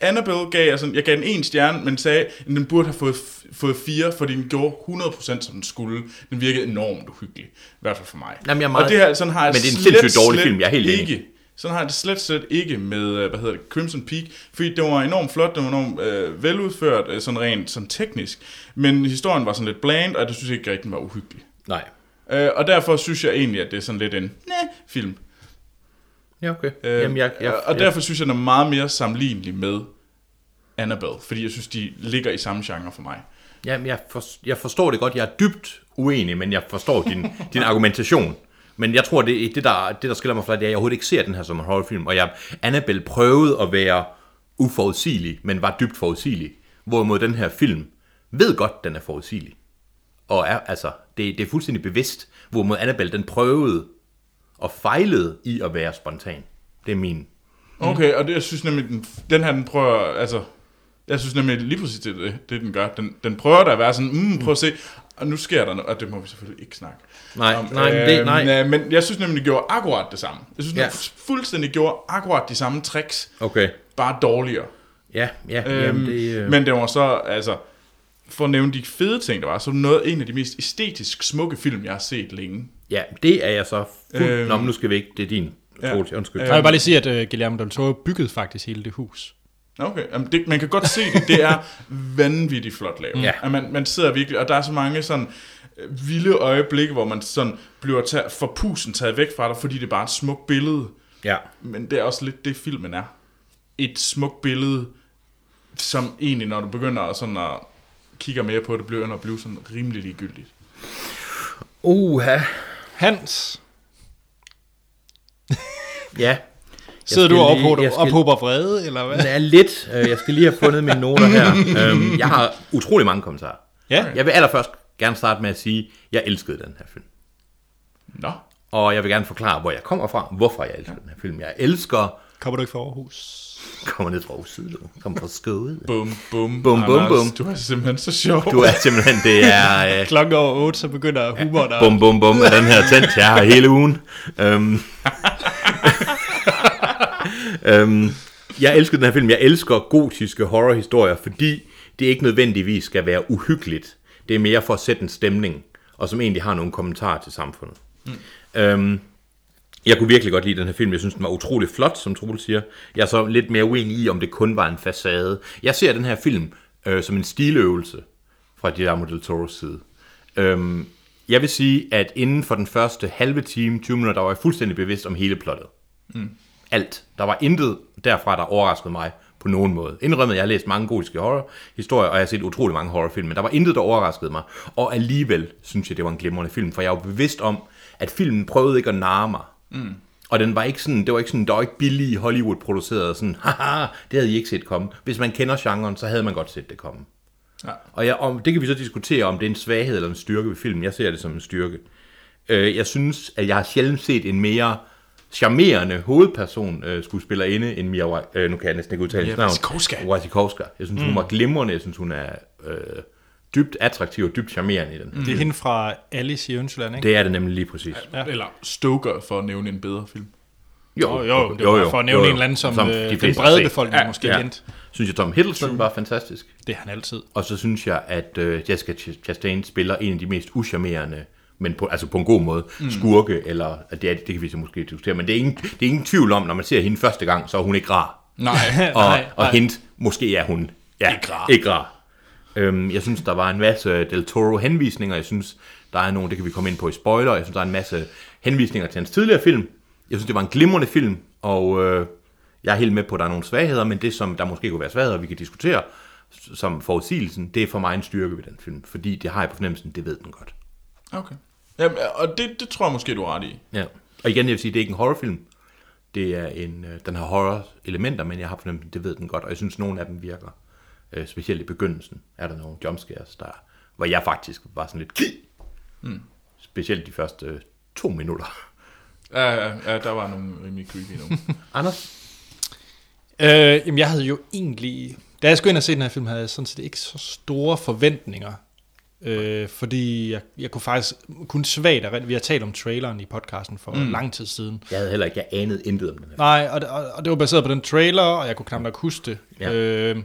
S2: Annabelle gav jeg sådan, jeg gav den en stjerne, men sagde, at den burde have fået, fået fire, fordi den gjorde 100% som den skulle. Den virkede enormt uhyggelig, i hvert fald for mig.
S3: Jamen, jeg er meget-
S2: og det her, sådan har jeg
S3: Men det er en
S2: slet,
S3: sindssygt dårlig
S2: slet
S3: film, jeg er helt enig.
S2: ikke, Sådan har jeg det slet, slet ikke med, øh, hvad hedder det, Crimson Peak, fordi det var enormt flot, det var enormt øh, veludført, øh, sådan rent sådan teknisk, men historien var sådan lidt bland, og det synes jeg ikke rigtig den var uhyggelig.
S3: Nej.
S2: Øh, og derfor synes jeg egentlig, at det er sådan lidt en næh, film.
S3: Ja, okay.
S2: Øh,
S3: Jamen, jeg, jeg,
S2: og derfor synes jeg, den er meget mere sammenlignelig med Annabelle, fordi jeg synes, de ligger i samme genre for mig.
S3: Jamen, jeg, for, jeg forstår det godt. Jeg er dybt uenig, men jeg forstår din, din argumentation. Men jeg tror, det, det, der, det der skiller mig fra, det er, at jeg overhovedet ikke ser den her som en horrorfilm. Og jeg, Annabelle prøvede at være uforudsigelig, men var dybt forudsigelig. Hvorimod den her film ved godt, den er forudsigelig. Og er, altså, det, det er fuldstændig bevidst. Hvorimod Annabelle, den prøvede og fejlede i at være spontan. Det er min. Mm.
S2: Okay, og det, jeg synes nemlig, den, den her, den prøver, altså, jeg synes nemlig lige præcis, det, er det, det den gør. Den, den prøver da at være sådan, mm, prøv at se, og nu sker der noget, og det må vi selvfølgelig ikke snakke.
S3: Nej, nej, men det- nej.
S2: øh, Men jeg synes nemlig, det gjorde akkurat det samme. Jeg synes, ja.
S3: Ja.
S2: den fuldstændig gjorde akkurat de samme tricks,
S3: Okay.
S2: bare dårligere.
S3: Ja, ja.
S2: Øhm,
S3: jamen, det, øh...
S2: Men det var så, altså, for at nævne de fede ting, der var, så er det noget, en af de mest æstetisk smukke film, jeg har set længe.
S3: Ja, det er jeg så fuldt...
S2: Øhm.
S3: Øhm, Nå, men nu skal vi ikke. Det er din.
S2: Ja.
S3: Ja. Undskyld.
S1: Jeg vil bare lige sige, at øh, Guillermo del Toro byggede faktisk hele det hus.
S2: Okay, Jamen, det, man kan godt se det, det er vanvittigt flot lavet.
S3: Ja.
S2: At man, man sidder virkelig, og der er så mange sådan øh, vilde øjeblikke, hvor man sådan bliver ta- for pusen taget væk fra dig, fordi det er bare et smukt billede.
S3: Ja.
S2: Men det er også lidt det, filmen er. Et smukt billede, som egentlig, når du begynder at, sådan at kigge mere på det, begynder at blive sådan rimelig ligegyldigt.
S3: Uha.
S1: Hans,
S3: Ja.
S1: sidder
S3: skal
S1: du og
S3: lige-
S1: ophober,
S3: jeg
S1: skal...
S3: skal-
S1: ophober vrede, eller hvad?
S3: Det er lidt. Øh, jeg skal lige have fundet mine noter her. øhm, jeg har utrolig mange kommentarer.
S1: Ja,
S3: Jeg vil allerførst gerne starte med at sige, at jeg elskede den her film.
S2: Nå,
S3: Og jeg vil gerne forklare, hvor jeg kommer fra, hvorfor jeg elsker den her film. Jeg elsker...
S1: kommer du ikke fra Aarhus?
S3: Kommer ned fra Oslo. Kommer fra Skåde.
S2: bum, bum,
S3: Bum, bum,
S2: Anders,
S3: bum.
S2: Du er simpelthen så sjov.
S3: Du er simpelthen... Det er... Øh,
S1: Klokken over 8, så begynder humoren at...
S3: bum, bum, bum, af den her tændt, jeg har hele ugen. Øhm. øhm. Jeg elsker den her film. Jeg elsker gotiske horrorhistorier, fordi det ikke nødvendigvis skal være uhyggeligt. Det er mere for at sætte en stemning, og som egentlig har nogle kommentarer til samfundet. Mm. Øhm. Jeg kunne virkelig godt lide den her film. Jeg synes, den var utrolig flot, som Troel siger. Jeg er så lidt mere uenig i, om det kun var en facade. Jeg ser den her film øh, som en stiløvelse fra Guillermo del Toro's side. Øhm, jeg vil sige, at inden for den første halve time, 20 minutter, der var jeg fuldstændig bevidst om hele plottet. Alt. Der var intet derfra, der overraskede mig på nogen måde. Indrømmet, jeg har læst mange gotiske horrorhistorier, og jeg har set utrolig mange horrorfilm, men der var intet, der overraskede mig. Og alligevel synes jeg, det var en glimrende film, for jeg var bevidst om, at filmen prøvede ikke at narre mig. Mm. Og den var ikke sådan, det var ikke sådan, der var ikke billige Hollywood-producerede sådan, haha, det havde I ikke set komme. Hvis man kender genren, så havde man godt set det komme. Og jeg, om, det kan vi så diskutere, om det er en svaghed eller en styrke ved filmen. Jeg ser det som en styrke. Øh, jeg synes, at jeg har sjældent set en mere charmerende hovedperson øh, skuespillerinde end Mia... Wa- Øh, nu kan jeg næsten ikke udtale hendes navn.
S2: Wasikowska.
S3: Wasikowska. Jeg synes,
S1: Mm.
S3: hun var glimrende. Jeg synes, hun er øh, dybt attraktiv og dybt charmerende i den.
S1: Det er hende fra Alice i Ønskeland, ikke?
S3: Det er det nemlig lige præcis.
S2: Ja. Eller Stoker, for at nævne en bedre film.
S1: Jo, jo, det var for at nævne en eller anden, som, som
S3: de
S1: øh, den
S3: fleste har
S1: brede
S3: set.
S1: befolkning ja, måske ja.
S3: Ja.
S1: kendte.
S3: Synes jeg, Tom Hiddleston var fantastisk.
S1: Det er han altid.
S3: Og så synes jeg, at øh, Jessica Ch- Chastain spiller en af de mest uschammerende, men på, altså på en god måde, mm. skurke, eller at det, er, det kan vi så måske diskutere, men det er, ingen, det er ingen tvivl om, når man ser hende første gang, så er hun ikke rar.
S2: Nej,
S3: Og,
S1: Nej,
S3: og
S1: nej.
S3: hende, måske er hun ja,
S2: Ikke rar.
S3: Ikke rar. Øhm, jeg synes, der var en masse Del Toro-henvisninger. Jeg synes, der er nogle, det kan vi komme ind på i spoiler. Jeg synes, der er en masse henvisninger til hans tidligere film. Jeg synes, det var en glimrende film, og øh, jeg er helt med på, at der er nogle svagheder, men det, som der måske kunne være svagheder, vi kan diskutere, s- som forudsigelsen, det er for mig en styrke ved den film, fordi det har jeg på fornemmelsen, det ved den godt.
S2: okay. Jamen, og det, det tror jeg måske, du er ret i.
S3: Ja. Og igen, jeg vil sige, det er ikke en horrorfilm. Det er en, øh, den har horror-elementer, men jeg har fornemmelsen, det ved den godt. Og jeg synes, nogle af dem virker. Øh, specielt i begyndelsen er der nogle jumpscares, der, hvor jeg faktisk var sådan lidt... Mm. Specielt de første øh, to minutter.
S2: Ja, ja, ja, der var nogle rimelig creepy nogle.
S3: Anders?
S1: Øh, jamen, jeg havde jo egentlig... Da jeg skulle ind og se den her film, havde jeg sådan set ikke så store forventninger. Øh, fordi jeg, jeg kunne faktisk kun svagt... erindre- Vi har talt om traileren i podcasten for mm. lang tid siden.
S3: Jeg havde heller ikke, jeg anede intet om den her.
S1: Nej, og det, og, og det var baseret på den trailer, og jeg kunne knap nok huske det.
S3: Ja.
S1: Ja. Øh,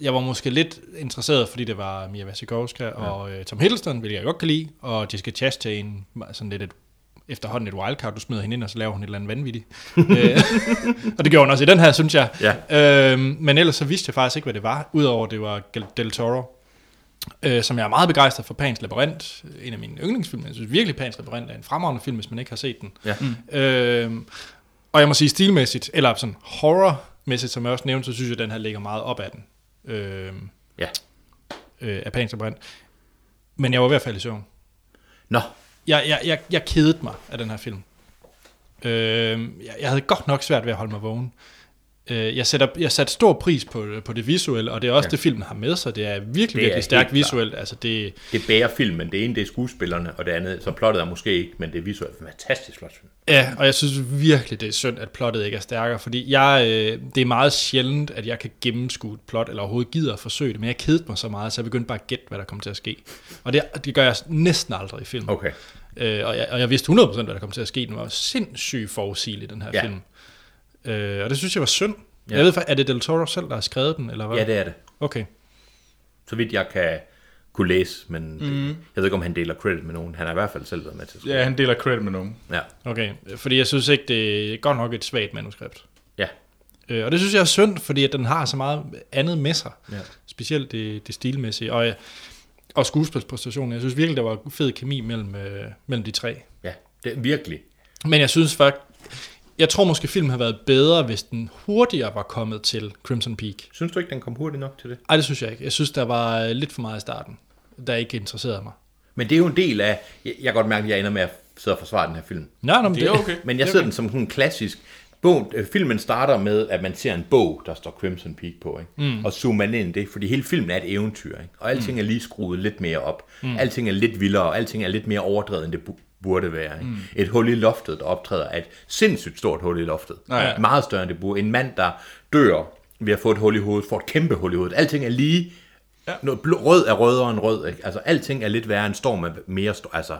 S1: jeg var måske lidt interesseret, fordi det var Mia Wasikowska og øh, Tom Hiddleston, hvilket jeg godt kan lide, og Jessica Chastain, sådan lidt et, efterhånden et wildcard. Du smider hende ind, og så laver hun et eller andet vanvittigt. øh, og det gjorde hun også i den her, synes jeg. Ja. Øh, men ellers så vidste jeg faktisk ikke, hvad det var, udover det var Gal- Del Toro. Øh, som jeg er meget begejstret for Pans Labyrinth, en af mine yndlingsfilm. Jeg synes virkelig, Pans Labyrinth er en fremragende film, hvis man ikke har set den.
S3: Ja.
S1: Øh, og jeg må sige stilmæssigt, eller sådan horrormæssigt, som jeg også nævnte, så synes jeg, at den her ligger meget op ad den. Øh,
S3: Ja.
S1: øh, af Pans Labyrinth. Men jeg var i hvert fald i søvn.
S3: Nå,
S1: Jeg, jeg, jeg, jeg kedede mig af den her film. Øh, jeg, jeg havde godt nok svært ved at holde mig vågen. Øh, jeg sætter jeg satte stor pris på, på det visuelle, og det er også ja. det, filmen har med sig. Det er virkelig,
S3: er
S1: det virkelig
S3: helt
S1: stærkt
S3: klart.
S1: visuelt. Altså, det,
S3: det bærer filmen. Det ene, det er skuespillerne, og det andet, så plottet er måske ikke, men det er visuelt fantastisk flot film.
S1: Ja, og jeg synes virkelig, det er synd, at plottet ikke er stærkere, fordi jeg, øh, det er meget sjældent, at jeg kan gennemskue et plot, eller overhovedet gider at forsøge det, men jeg kedede mig så meget, så jeg begyndte bare at gætte, hvad der kom til at ske. Og det, det gør jeg næsten aldrig i film.
S3: Okay.
S1: Øh, og, jeg, og jeg vidste 100% hvad der kom til at ske. Den var jo sindssygt forudsigelig, den her
S3: Ja.
S1: ja. film. Øh, og det synes jeg var synd. Ja. Jeg ved faktisk, er det Del Toro selv, der har skrevet den, eller hvad?
S3: Ja, det er det.
S1: Okay.
S3: Så vidt jeg kan kunne læse, men mm. jeg ved ikke, om han deler credit med nogen. Han har i hvert fald selv været med til at skrive.
S2: Ja, han deler credit med nogen.
S3: Ja.
S1: okay. Fordi jeg synes ikke, det er godt nok et svagt manuskript.
S3: ja.
S1: Øh, og det synes jeg er synd, fordi at den har så meget andet med sig.
S3: Ja.
S1: Ja. Specielt det, det stilmæssige. Og, øh, og skuespilspræstationen. Jeg synes virkelig, der var fed kemi mellem, øh, mellem de tre.
S3: Ja, det er virkelig.
S1: Men jeg synes faktisk... Jeg tror måske, filmen har været bedre, hvis den hurtigere var kommet til Crimson Peak.
S3: Synes du ikke, den kom hurtigt nok til det?
S1: Nej, det synes jeg ikke. Jeg synes, der var øh, lidt for meget i starten, der ikke interesserede mig.
S3: Men det er jo en del af... Jeg, jeg kan godt mærke, at jeg ender med at sidde og forsvare den her film.
S1: Nej, nej, men
S2: Det er okay.
S3: Men jeg ser den som sådan en klassisk bog. øh, Filmen starter med, at man ser en bog, der står Crimson Peak på, ikke? Mm. og zoomer man ind i det, fordi hele filmen er et eventyr, ikke? og alting er lige skruet lidt mere op. Mm. Alting er lidt vildere, og alting er lidt mere overdrevet, end det bu- burde være. Ikke? Mm. Et hul i loftet, der optræder, er et sindssygt stort hul i loftet.
S2: ja.
S3: Meget større, end det burde. En mand, der dør ved at få et hul i hovedet, får et kæmpe hul i hovedet. Alting er lige... Ja. Noget blå, rød er rødere end rød. Ikke? Altså, alting er lidt værre end storm er mere storm. Altså,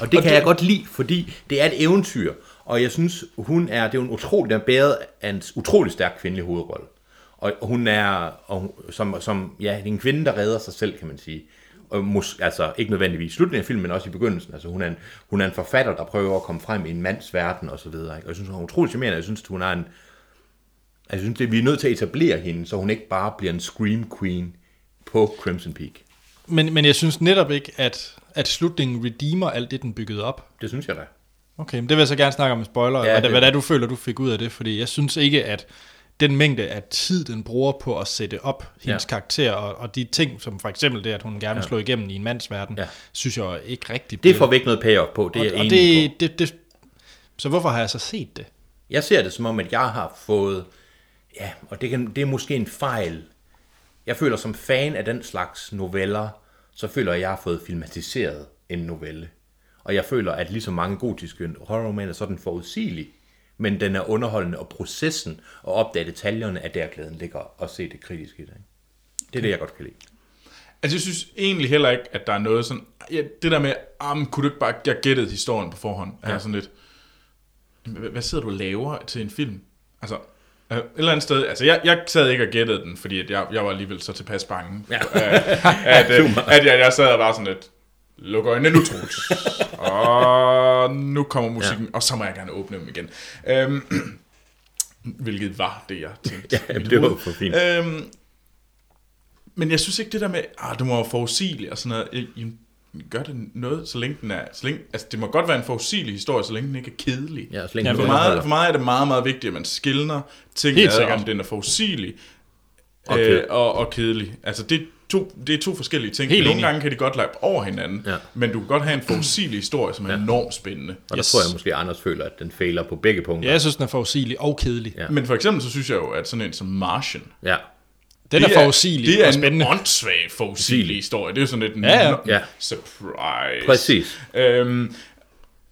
S3: og det kan jeg godt lide, fordi det er et eventyr, og jeg synes, hun er, det er jo en utrolig, den er bæret af en utrolig stærk kvindelig hovedrolle. Og og hun er, og hun, som, som, ja, det er en kvinde, der redder sig selv, kan man sige. Og mus, altså ikke nødvendigvis i slutningen af filmen, men også i begyndelsen. Altså hun er en, hun er en forfatter, der prøver at komme frem i en mands verden og så videre. Ikke? Og jeg synes, hun er utrolig charmerende. Jeg synes, hun er en, Altså, jeg synes, det, vi er nødt til at etablere hende, så hun ikke bare bliver en scream queen på Crimson Peak.
S1: Men, men jeg synes netop ikke, at, at slutningen redeemer alt det, den byggede op.
S3: Det synes jeg da.
S1: Okay, men det vil jeg så gerne snakke om i spoiler,
S3: Ja,
S1: ja, hvad,
S3: det-
S1: det. hvad det er, du føler, du fik ud af det, fordi jeg synes ikke, at den mængde af tid, den bruger på at sætte op hendes
S3: Ja.
S1: ja. karakter, og, og de ting, som for eksempel det, at hun gerne vil slå igennem i en mands verden,
S3: Ja.
S1: ja. synes jeg ikke rigtigt.
S3: Det
S1: bliver-
S3: får vi ikke noget payoff på, det er jeg
S1: og, og
S3: enig på.
S1: det, det, det, Så hvorfor har jeg så set det?
S3: Jeg ser det som om, at jeg har fået... Ja, og det, kan, det er måske en fejl. Jeg føler som fan af den slags noveller, så føler jeg, at jeg har fået filmatiseret en novelle. Og jeg føler, at ligesom mange gotiske horrorromaner, så er den forudsigelig. Men den er underholdende, og processen og opdage detaljerne er der glæden ligger og se det kritiske i det. Ikke? Det er det, jeg godt kan lide.
S2: Altså, jeg synes egentlig heller ikke, at der er noget sådan... Ja, det der med, ah, men kunne du ikke bare... Jeg gættede historien på forhånd. Ja. Er sådan lidt... "Hva- Hvad sidder du og laver til en film? Altså, øh, et eller andet sted... Altså, jeg, jeg sad ikke og gættede den, fordi at jeg, jeg var alligevel så tilpas bange. Ja. at, øh, at jeg, jeg sad og var sådan lidt... Luk øjnene nu, Troels. og nu kommer musikken, ja. og så må jeg gerne åbne dem igen. Øhm, hvilket var det, jeg tænkte. i
S3: Ja,
S2: mit
S3: det var
S2: hoved.
S3: for fint.
S2: Øhm, men jeg synes ikke det der med, ah, det må være forudsigelig og sådan noget. Jeg, jamen, gør det noget, så længe den er... Så længe, altså, det må godt være en forudsigelig historie, så længe den ikke er kedelig.
S3: Ja, så længe den
S2: for,
S3: underholder.
S2: meget, for mig er det meget, meget vigtigt, at man skildrer ting,
S1: Helt
S2: ad,
S1: sikkert.
S2: om den er forudsigelig
S3: Og
S2: og,
S3: kedelig.
S2: øh, og, og kedelig. Altså, det er to, det er to forskellige ting.
S1: Helt
S2: Nogle
S1: enig.
S2: gange kan de godt lappe over hinanden,
S3: Ja.
S2: men du kan godt have en forudsigelig historie, som er enormt spændende.
S3: Og yes.
S1: Yes.
S3: der tror jeg måske, at Anders føler, at den fejler på begge punkter.
S1: Ja, jeg synes, den er forudsigelig og kedelig.
S3: Ja.
S1: Ja.
S2: Men for eksempel, så synes jeg jo, at sådan en som Martian,
S3: Ja.
S1: Den er forudsigelig
S2: det er
S1: og spændende.
S2: en åndssvag forudsigelig historie. Det er jo sådan lidt en
S1: Ja, ja.
S2: no-
S3: Ja.
S2: surprise.
S3: Præcis.
S2: Øhm,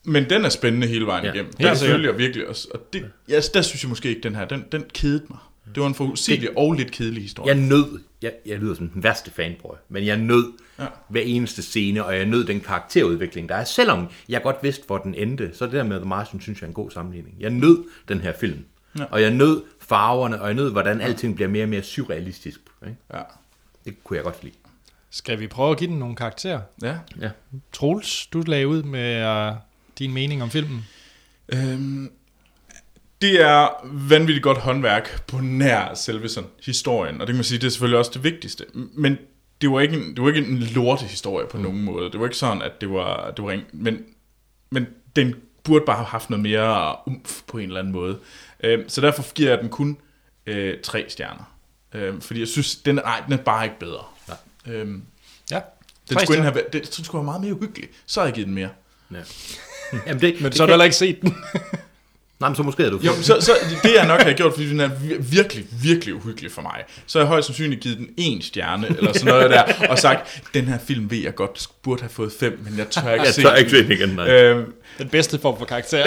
S2: men den er spændende hele vejen
S3: Ja,
S2: igennem.
S3: helt
S2: Der
S1: sikkert.
S2: følger jeg virkelig også. Og det, ja, der synes jeg måske ikke, den her, den, den kedede mig. Det var en forudsigelig og lidt kedelig historie.
S3: Jeg nød, jeg, jeg lyder som den værste fanboy, men jeg nød ja. hver eneste scene, og jeg nød den karakterudvikling, der er. Selvom jeg godt vidste, hvor den endte, så det der med The Martian, synes jeg er en god sammenligning. Jeg nød den her film, ja. og jeg nød farverne, og jeg nød, hvordan alting bliver mere og mere surrealistisk. Ikke?
S2: Ja.
S3: Det kunne jeg godt lide.
S1: Skal vi prøve at give den nogle karakterer?
S2: ja.
S3: Ja.
S1: Troels, du lagde ud med uh, din mening om filmen.
S2: Øhm, det er vanvittigt godt håndværk på nær selve sådan, historien, og det kan man sige, det er selvfølgelig også det vigtigste. Men det var ikke en, det var ikke en lorte historie på mm. nogen måde. Det var ikke sådan, at det var, det var en, men, men den burde bare have haft noget mere umf på en eller anden måde. Øhm, så derfor giver jeg den kun øh, tre stjerner. Øhm, fordi jeg synes, den, nej, den er bare ikke bedre. Øhm,
S1: Ja.
S2: den, skulle have, været- den, den skulle have været meget mere hyggelig. Så har jeg givet den mere.
S3: Ja. Jamen det,
S1: Men så
S3: det
S1: har
S3: kan-
S1: du heller ikke set den.
S3: Nej, men så måske er du...
S2: Jo, så, så det jeg nok har gjort, fordi den er vir- virkelig, virkelig uhyggelig for mig, så har jeg højst sandsynligt givet den en stjerne, eller sådan noget der, og sagt, den her film ved jeg godt, burde have fået fem, men jeg tør ikke
S3: jeg
S2: se
S3: tør ikke se
S2: den.
S3: den igen, nej.
S2: Øhm,
S1: Den bedste form for karakter.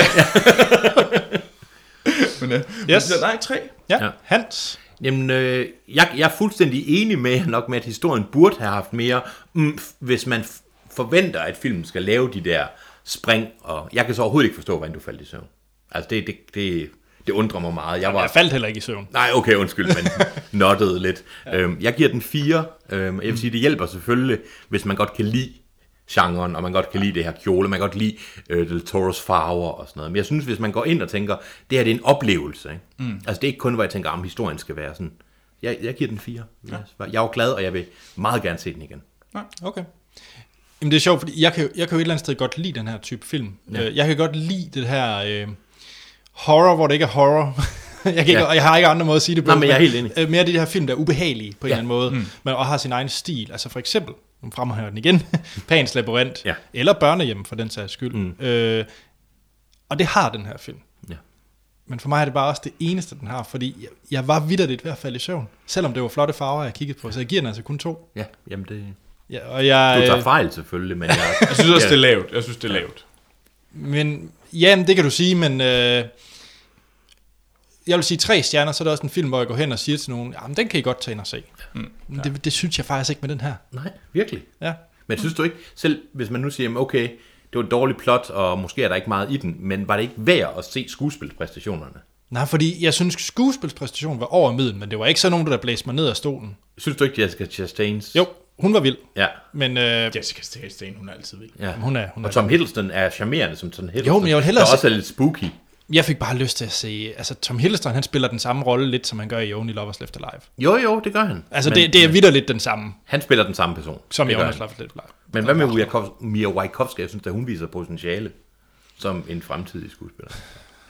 S2: men, øh,
S1: Yes.
S2: yes. men, nej, tre.
S1: ja.
S3: Ja.
S1: Hans.
S3: Jamen, øh, jeg, jeg er fuldstændig enig med jer nok med, at historien burde have haft mere, mm, f- hvis man f- forventer, at filmen skal lave de der spring, og jeg kan så overhovedet ikke forstå, hvordan du faldt i søvn. Altså, det, det, det, det undrer mig meget. Jeg var,
S1: Jeg faldt heller ikke i søvn.
S3: Nej, okay, undskyld, men nottede lidt. Ja. Øhm, jeg giver den fire. Øhm, jeg vil sige, det hjælper selvfølgelig, hvis man godt kan lide genren, og man godt kan lide det her kjole, man kan godt lide øh, Del Toros farver og sådan noget. Men jeg synes, hvis man går ind og tænker, det her det er en oplevelse. Ikke? Mm. Altså det er ikke kun, hvor jeg tænker, om historien skal være sådan. Jeg, jeg giver den fire. Ja. Jeg er jo glad, og jeg vil meget gerne se den igen.
S1: Okay. Jamen det er sjovt, fordi jeg kan, jo- jeg kan jo et eller andet sted godt lide den her type film. Ja. Jeg kan godt lide det her øh, horror, hvor det ikke er horror. jeg, kan ikke,
S3: Ja.
S1: ja. jeg har ikke andre måder at sige det på.
S3: Nej, men jeg er helt enig.
S1: Øh, mere det her film, der er ubehagelige på en eller
S3: Ja.
S1: anden måde, mm. men og har sin egen stil. Altså for eksempel, nu fremhæver jeg den igen, Pans Labyrinth,
S3: Ja.
S1: eller Børnehjem for den sags skyld. Mm. Øh, og det har den her film.
S3: Ja.
S1: Men for mig er det bare også det eneste, den har, fordi jeg, jeg var vidderligt ved at falde i søvn, selvom det var flotte farver, jeg kiggede på, så jeg giver den altså kun to.
S3: Ja, jamen det...
S1: Ja, og jeg, øh,
S3: Du tager fejl selvfølgelig, men jeg...
S2: Jeg synes også, det er lavt. Jeg synes, det er lavt.
S1: Men, ja, men det kan du sige, men øh, jeg vil sige tre stjerner, så er det også en film, hvor jeg går hen og siger til nogen, jamen den kan I godt tage ind og se. Mm, ja. det, det synes jeg faktisk ikke med den her.
S3: Nej, virkelig.
S1: Ja.
S3: Men synes du ikke, selv hvis man nu siger, jamen, okay, det var et dårligt plot, og måske er der ikke meget i den, men var det ikke værd at se skuespilspræstationerne?
S1: Nej, fordi jeg synes, skuespilspræstationen var over middel, men det var ikke sådan nogen, der blæste mig ned af stolen.
S3: Synes du ikke, Jessica Chastains?
S1: Jo, hun var vild,
S3: Ja.
S1: men øh,
S2: Jessica Chastain, hun er altid vild.
S3: ja.
S1: Jamen, hun er- hun er-
S3: og Tom Hiddleston er charmerende som Tom Hiddleston.
S1: Jo, men jeg vil hellere
S3: Der
S1: se-
S3: også er lidt spooky.
S1: jeg fik bare lyst til at se, altså Tom Hiddleston, han spiller den samme rolle lidt, som han gør i Only Lovers Left Alive.
S3: Jo, jo, det gør han.
S1: Altså
S3: men,
S1: det, det er vidderligt den samme,
S3: Han spiller den samme person.
S1: som i
S3: det gør
S1: Only
S3: han.
S1: Lovers Left Alive.
S3: Men hvad med Wierkov- Mia Wajkowska? Jeg synes, at hun viser potentiale som en fremtidig skuespiller.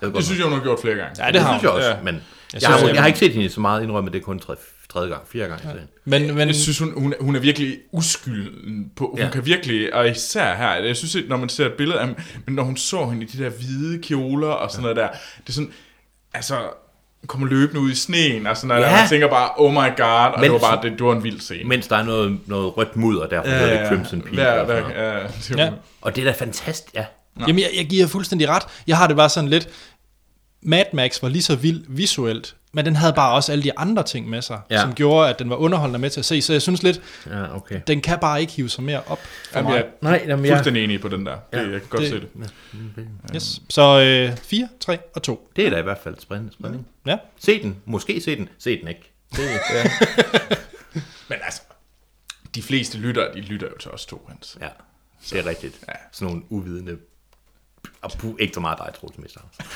S3: Jeg ved godt,
S2: Det synes jeg, hun har gjort flere gange.
S1: Ja, det
S3: det
S1: har
S3: synes jeg
S1: hun.
S3: også,
S2: Ja.
S3: men jeg,
S1: synes,
S3: jeg, har,
S1: jeg-
S3: jeg, har ikke set hende så meget indrømme, det er kun tre, tredje gang, fire gange. Ja.
S1: Men, men,
S2: Jeg synes, hun, hun, er- hun er virkelig uskylden på. Hun
S3: Ja.
S2: ja. kan virkelig, og især her, jeg synes, at når man ser et billede af men når hun så hende i de der hvide kjoler og sådan ja. noget der, det er sådan, altså, kommer løbende ud i sneen og sådan noget ja.
S3: Ja.
S2: der, man tænker bare, oh my god, og
S3: Men-
S2: det var bare, det, det var en vild scene.
S3: Mens der er noget, noget rødt mudder, derfor ja, hedder det Crimson Peak. altså.
S2: Ja,
S3: og, sådan noget.
S2: ja, ja, det var,
S1: Ja.
S2: ja.
S3: og det er da fantastisk, ja.
S1: Jamen, jeg, jeg giver fuldstændig ret. Jeg har det bare sådan lidt... Mad Max var lige så vild visuelt, men den havde bare også alle de andre ting med sig,
S3: Ja.
S1: ja. som gjorde, at den var underholdende med til at se. Så jeg synes lidt,
S3: Ja, okay.
S1: den kan bare ikke hive sig mere op for
S2: Jamen, jeg
S1: mig.
S2: er
S3: Nej, jamen, jeg,
S2: fuldstændig enig på den der. Ja. Det, jeg kan godt
S1: Det-
S2: det, se det.
S1: Yes. Så 4, 3 og 2.
S3: det er da i hvert fald spændende. spændende.
S1: Ja.
S3: Se den, måske se den, se den ikke.
S2: Men altså, de fleste lytter, de lytter jo til os to, Hans.
S3: Ja, det er rigtigt. Ja. Sådan nogle uvidende... Og puh, ikke så meget dig, Troels Mester.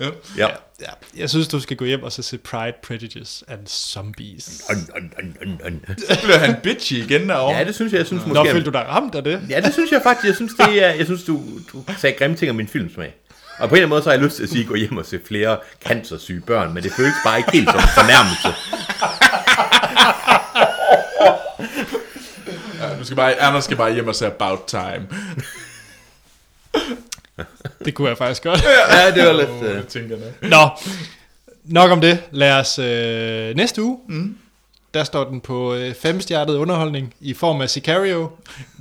S3: ja. ja.
S1: Ja. Jeg synes, du skal gå hjem og så se Pride, Prejudice and Zombies.
S3: Un, un, un, un, un.
S2: Så bliver han bitchy igen derovre.
S3: Ja, det synes jeg, jeg synes
S1: Nå,
S3: måske...
S1: følte du dig ramt af det?
S3: Ja, det synes jeg faktisk. Jeg synes, det er, jeg synes du, du sagde grimme ting om min filmsmag. Og på en eller anden måde, så har jeg lyst til at sige, gå hjem og se flere cancersyge børn, men det føles bare ikke helt som en fornærmelse.
S2: Ja, du skal bare, Anders skal bare hjem og se About Time.
S1: Det kunne jeg faktisk godt.
S3: Ja, det var
S2: Åh,
S3: lidt...
S2: det øh. tænker jeg. nok.
S1: Nå, nok om det. Lad os øh, næste uge. Mm. Der står den på øh, femstjertet underholdning i form af Sicario.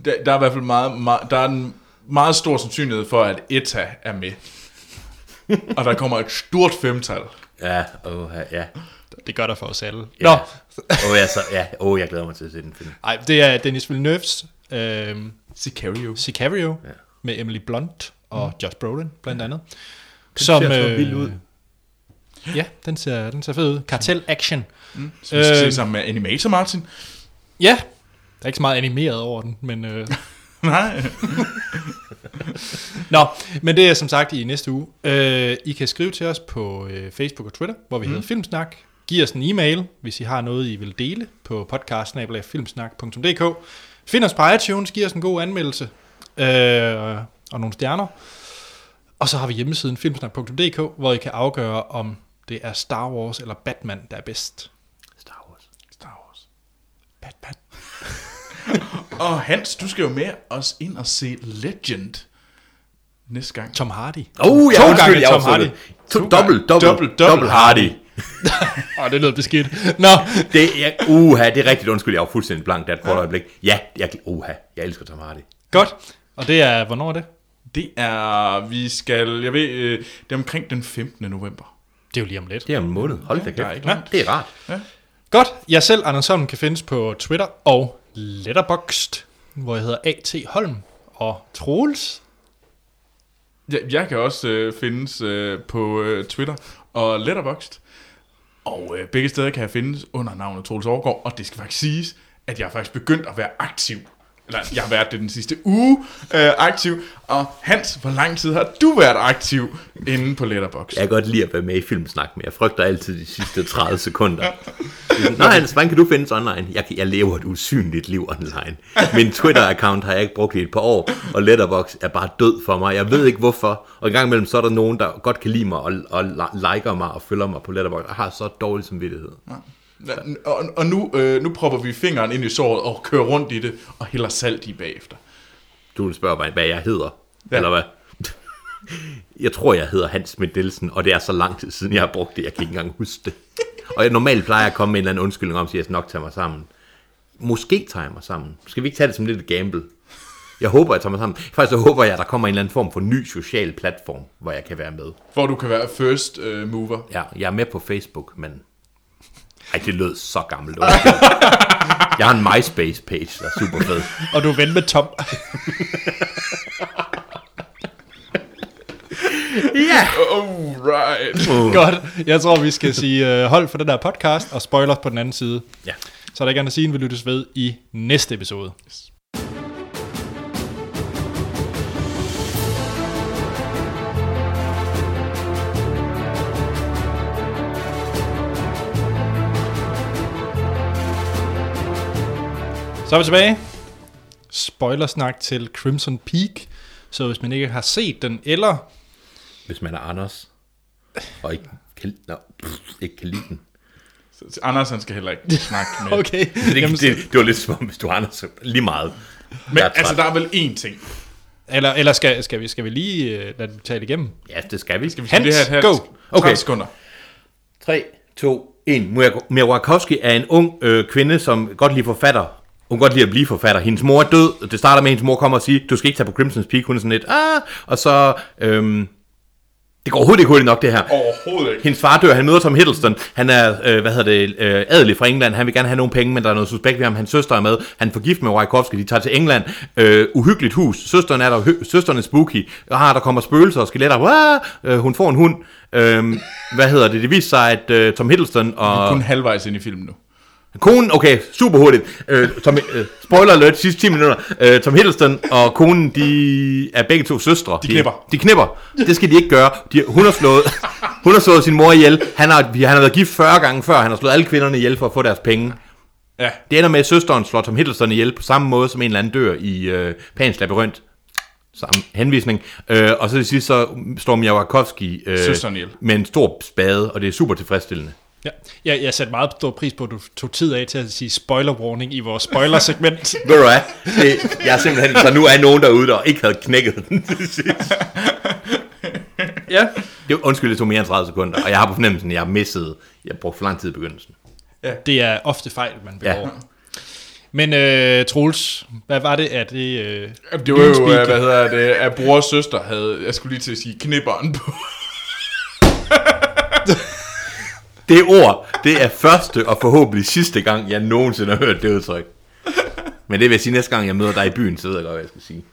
S2: Der, der er i hvert fald meget, meget, der er en meget stor sandsynlighed for, at ETA er med. og der kommer et stort femtal.
S3: Ja, åh, ja.
S1: Det gør der for os alle.
S3: Ja.
S1: Nå,
S3: Åh, jeg, så, ja. åh, jeg glæder mig til at se den film.
S1: Ej, det er Dennis Villeneuve's øh,
S2: Sicario.
S1: Sicario ja. med Emily Blunt og mm. Josh Brolin blandt andet. øh,
S3: ser så vild ud.
S1: Ja, den ser, den ser fed ud. Kartel Action.
S2: Som vi skal
S1: Øh.
S2: se sammen med Animator Martin.
S1: Ja, der er ikke så meget animeret over den, men... Øh,
S2: Nej.
S1: Nå, men det er som sagt i næste uge. Øh, I kan skrive til os på øh, Facebook og Twitter, hvor vi mm. hedder Filmsnak. Giv os en e-mail, hvis I har noget, I vil dele på podcast-filmsnak.dk. Find os på iTunes, giv os en god anmeldelse øh, og nogle stjerner. Og så har vi hjemmesiden filmsnak.dk, hvor I kan afgøre, om det er Star Wars eller Batman, der er bedst.
S3: Star Wars.
S2: Star Wars.
S1: Batman.
S2: Og Hans, du skal jo med os ind og se Legend næste gang.
S1: Tom Hardy.
S3: Oh, jeg
S1: To
S3: undskyld,
S1: gange
S3: jeg
S1: Tom
S3: afsluttede.
S1: Hardy.
S3: To, dobbelt, dobbelt,
S2: Dobbelt,
S3: dobbelt,
S2: dobbelt
S3: Hardy.
S1: Åh, oh, det lød beskidt. Nå,
S3: Det er, uha, det er rigtigt. Undskyld, jeg var fuldstændig blank der et kort øjeblik. Ja, jeg, uha, jeg elsker Tom Hardy.
S1: godt. Og det er, hvornår er det?
S2: Det er, vi skal, jeg ved, øh, det er omkring den 15. november.
S1: Det er jo lige om lidt.
S3: Det er om en måned. Hold da
S2: der er
S3: kæft.
S2: ikke
S3: Ja,
S2: langt.
S3: det er rart.
S1: Godt. Jeg selv, Anders Holm, kan findes på Twitter og Letterboxd, hvor jeg hedder A.T. Holm og Troels.
S2: Jeg, jeg kan også øh, findes øh, på øh, Twitter og Letterboxd. Og øh, begge steder kan jeg findes under navnet Troels Overgaard, og det skal faktisk siges, at jeg er faktisk begyndt at være aktiv. Eller jeg har været det den sidste uge øh, aktiv. Og Hans, hvor lang tid har du været aktiv inde på Letterboxd?
S3: Jeg kan godt lide at være med i filmsnak, men jeg frygter altid de sidste 30 sekunder. Nå Hans, hvordan kan du findes online? Jeg, jeg lever et usynligt liv online. Min Twitter-account har jeg ikke brugt i et par år, og Letterbox er bare død for mig. Jeg ved ikke hvorfor. Og en gang imellem, så er der nogen, der godt kan lide mig og, og li- liker mig og følger mig på Letterbox. Jeg har så dårlig samvittighed.
S2: Og, og nu, øh, nu propper vi fingeren ind i såret og kører rundt i det og hælder salt i bagefter.
S3: Du vil spørge mig, hvad jeg hedder,
S2: Ja.
S3: ja. eller hvad? Jeg tror, jeg hedder Hans Schmidt Nielsen, og det er så lang tid siden, jeg har brugt det, jeg kan ikke engang huske det. Og jeg normalt plejer jeg at komme med en eller anden undskyldning om, at jeg skal nok tage mig sammen. Måske tager jeg mig sammen. Skal vi ikke tage det som lidt et gamble? Jeg håber, jeg tager mig sammen. Faktisk så håber jeg, at der kommer en eller anden form for ny social platform, hvor jeg kan være med.
S2: Hvor du kan være first øh, mover.
S3: Ja, jeg er med på Facebook, men... Ej, det lød så gammelt. Undskyld. Jeg har en MySpace-page, der er super fed.
S1: Og du er ven med Tom.
S3: Ja!
S2: Alright.
S1: godt. Jeg tror, vi skal sige øh, hold for den der podcast og spoilers på den anden side.
S3: Ja.
S1: Så er der gerne at sige, at vi lyttes ved i næste episode. Så er vi tilbage. Spoilersnak til Crimson Peak. Så hvis man ikke har set den, eller
S3: Hvis man er Anders, og ikke kan, no, pff, ikke kan lide den.
S2: Så Anders han skal heller ikke snakke med.
S1: Okay.
S3: Det,
S1: Jamen,
S3: Jamen, det, det var lidt som om, hvis du er Anders, så lige meget.
S2: Men
S3: Jeg er
S2: altså,
S3: træt.
S2: der er vel én ting.
S1: eller eller skal, skal, vi, skal vi lige øh, lade det tale igennem?
S3: Ja, det skal vi. Skal vi
S1: Hans,
S2: det her,
S1: go.
S2: Okay.
S3: Okay.
S2: 30 sekunder.
S3: 3, 2, 1. Mirakovsky er en ung øh, kvinde, som godt lige forfatter. Hun kan godt lide at blive forfatter. Hendes mor er død. og Det starter med, at hendes mor kommer og siger, du skal ikke tage på Crimson's Peak. Hun er sådan lidt, ah, og så... Øhm, det går overhovedet ikke hurtigt nok, det her.
S2: Overhovedet ikke.
S3: Hendes far dør, han møder Tom Hiddleston. Han er, øh, hvad hedder det, øh, adelig fra England. Han vil gerne have nogle penge, men der er noget suspekt ved ham. Hans søster er med. Han får gift med Wajkowski. De tager til England. Øh, uhyggeligt hus. Søsteren er der. Hø- søsteren er spooky. Og har der kommer spøgelser og skeletter. Wah! Øh, hun får en hund. Øh, hvad hedder det? Det viser sig, at øh, Tom Hiddleston og...
S2: Kun halvvejs ind i filmen nu.
S3: Konen, okay, super hurtigt. Øh, Tom, øh, spoiler alert, sidste 10 minutter. Øh, Tom Hiddleston og konen, de er begge to søstre. De
S2: knipper.
S3: De knipper. Det skal de ikke gøre. De, hun, har slået, hun har slået sin mor ihjel. Han har, han har været gift 40 gange før. Han har slået alle kvinderne ihjel for at få deres penge.
S2: Ja.
S3: Det ender med, at søsteren slår Tom Hiddleston ihjel på samme måde, som en eller anden dør i øh, Pans Labyrinth. Samme henvisning. Øh, og så til sidst, så står Miawakovski øh,
S2: Søsteren ihjel.
S3: med en stor spade, og det er super tilfredsstillende.
S1: Ja, jeg, jeg satte meget stor pris på, at du tog tid af til at sige spoiler warning i vores spoiler-segment.
S3: Ved du hvad? Det, jeg er simpelthen, så nu er nogen derude, der ikke havde knækket den til sidst.
S1: ja.
S3: Det, undskyld, det tog mere end 30 sekunder, og jeg har på fornemmelsen, at jeg missede, jeg brugte for lang tid i begyndelsen.
S1: Det er ofte fejl, man begår.
S3: Ja.
S1: Ja. Men øh, Troels, hvad var det, at det... Øh,
S2: Jamen, Det var jo,
S1: Speaking.
S2: øh, hvad hedder det, at bror og søster havde, jeg skulle lige til at sige, knipperen på.
S3: Det ord, det er første og forhåbentlig sidste gang, jeg nogensinde har hørt det udtryk. Men det vil jeg sige, næste gang jeg møder dig i byen, så ved jeg godt, hvad jeg skal sige.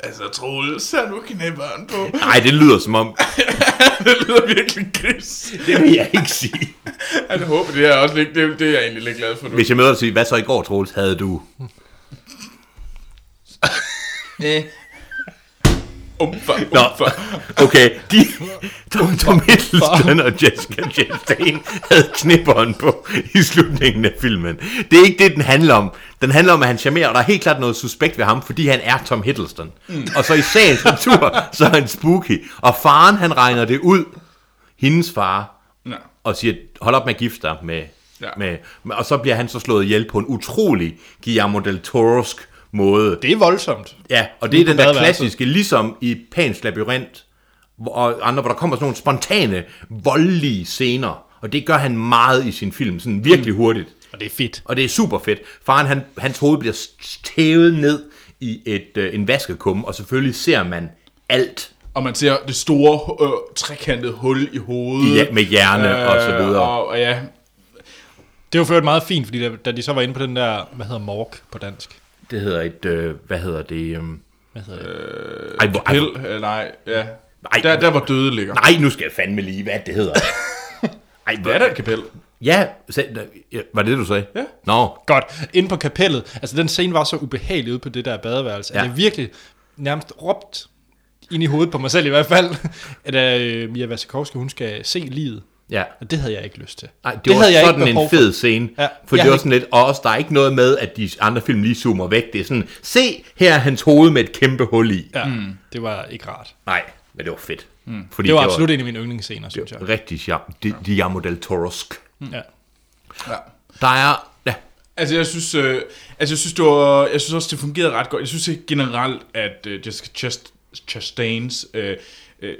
S2: Altså, Troels, er du knæpperen på?
S3: Nej, det lyder som om...
S2: det lyder virkelig gris.
S3: Det vil jeg ikke sige.
S2: Jeg håber, det er også lidt, det, det er jeg egentlig lidt glad for nu.
S3: Hvis jeg møder dig og siger, hvad så i går, Troels, havde du?
S2: Umfa,
S3: Nå,
S2: umfa.
S3: okay, de, Tom, Tom Hiddleston og Jessica Chastain havde knipperen på i slutningen af filmen. Det er ikke det, den handler om. Den handler om, at han charmerer, og der er helt klart noget suspekt ved ham, fordi han er Tom Hiddleston. Mm. Og så i sagens natur, så er han spooky. Og faren, han regner det ud, hendes far,
S2: Nå.
S3: og siger, hold op med at gifte dig med,
S2: Ja.
S3: ja. med... Og så bliver han så slået ihjel på en utrolig Guillermo del Toro'sk måde.
S1: Det er voldsomt.
S3: Ja, og det er
S1: Ude på
S3: den der
S1: badeværelset.
S3: klassiske, ligesom i Pans Labyrinth, hvor- og andre, hvor der kommer sådan nogle spontane, voldelige scener. Og det gør han meget i sin film, sådan virkelig hurtigt.
S1: Og det er fedt.
S3: Og det er super fedt. Faren, han, hans hoved bliver stævet ned i et, øh, en vaskekum, og selvfølgelig ser man alt
S2: Og man ser det store, øh, trekantede hul i hovedet.
S3: i, med hjerne øh, og så videre.
S2: Mm. Og, og ja,
S1: Det var ført meget fint, fordi da, da de så var inde på den der, hvad hedder morg på dansk?
S3: Det hedder et, øh, hvad hedder det? Øh,
S1: Hvad hedder det?
S3: ej, hvor, ej,
S2: pil, øh, nej, ja.
S3: Nej.
S2: Der, der var døde ligger.
S3: nej, nu skal jeg fandme lige, hvad det hedder. Ej,
S2: Det er da et kapel.
S3: Ja, sag, ja, var det det, du sagde? Ja. Nå,
S1: Godt. Inde på kapellet. Altså, den scene var så ubehagelig ude på det der badeværelse, ja.
S3: Ja.
S1: at jeg virkelig nærmest råbt ind i hovedet på mig selv i hvert fald, at øh, Mia Wasikowska, hun skal se livet.
S3: ja.
S1: Og det havde jeg ikke lyst til.
S3: Ej, det, det var
S1: havde jeg
S3: sådan
S1: behov
S3: en
S1: for.
S3: fed scene.
S1: Ja,
S3: Ja, for
S1: jeg
S3: det var
S1: havde
S3: sådan lidt, og også der er ikke noget med, at de andre film lige zoomer væk. Det er sådan, se, her er hans hoved med et kæmpe hul i. Ja.
S1: Ja, mm. det var ikke rart.
S3: Nej, men det var fedt. Mm. Fordi
S1: Det var absolut en af mine yndlingsscener, synes jeg.
S3: det var rigtig charm. De, Guillermo del Torosk.
S1: Ja.
S2: Ja.
S3: Der er... Ja,
S2: Altså, jeg synes, øh, altså, jeg synes, det var, jeg synes også, det fungerede ret godt. Jeg synes ikke generelt, at øh, Jessica Chast Chastains øh, øh,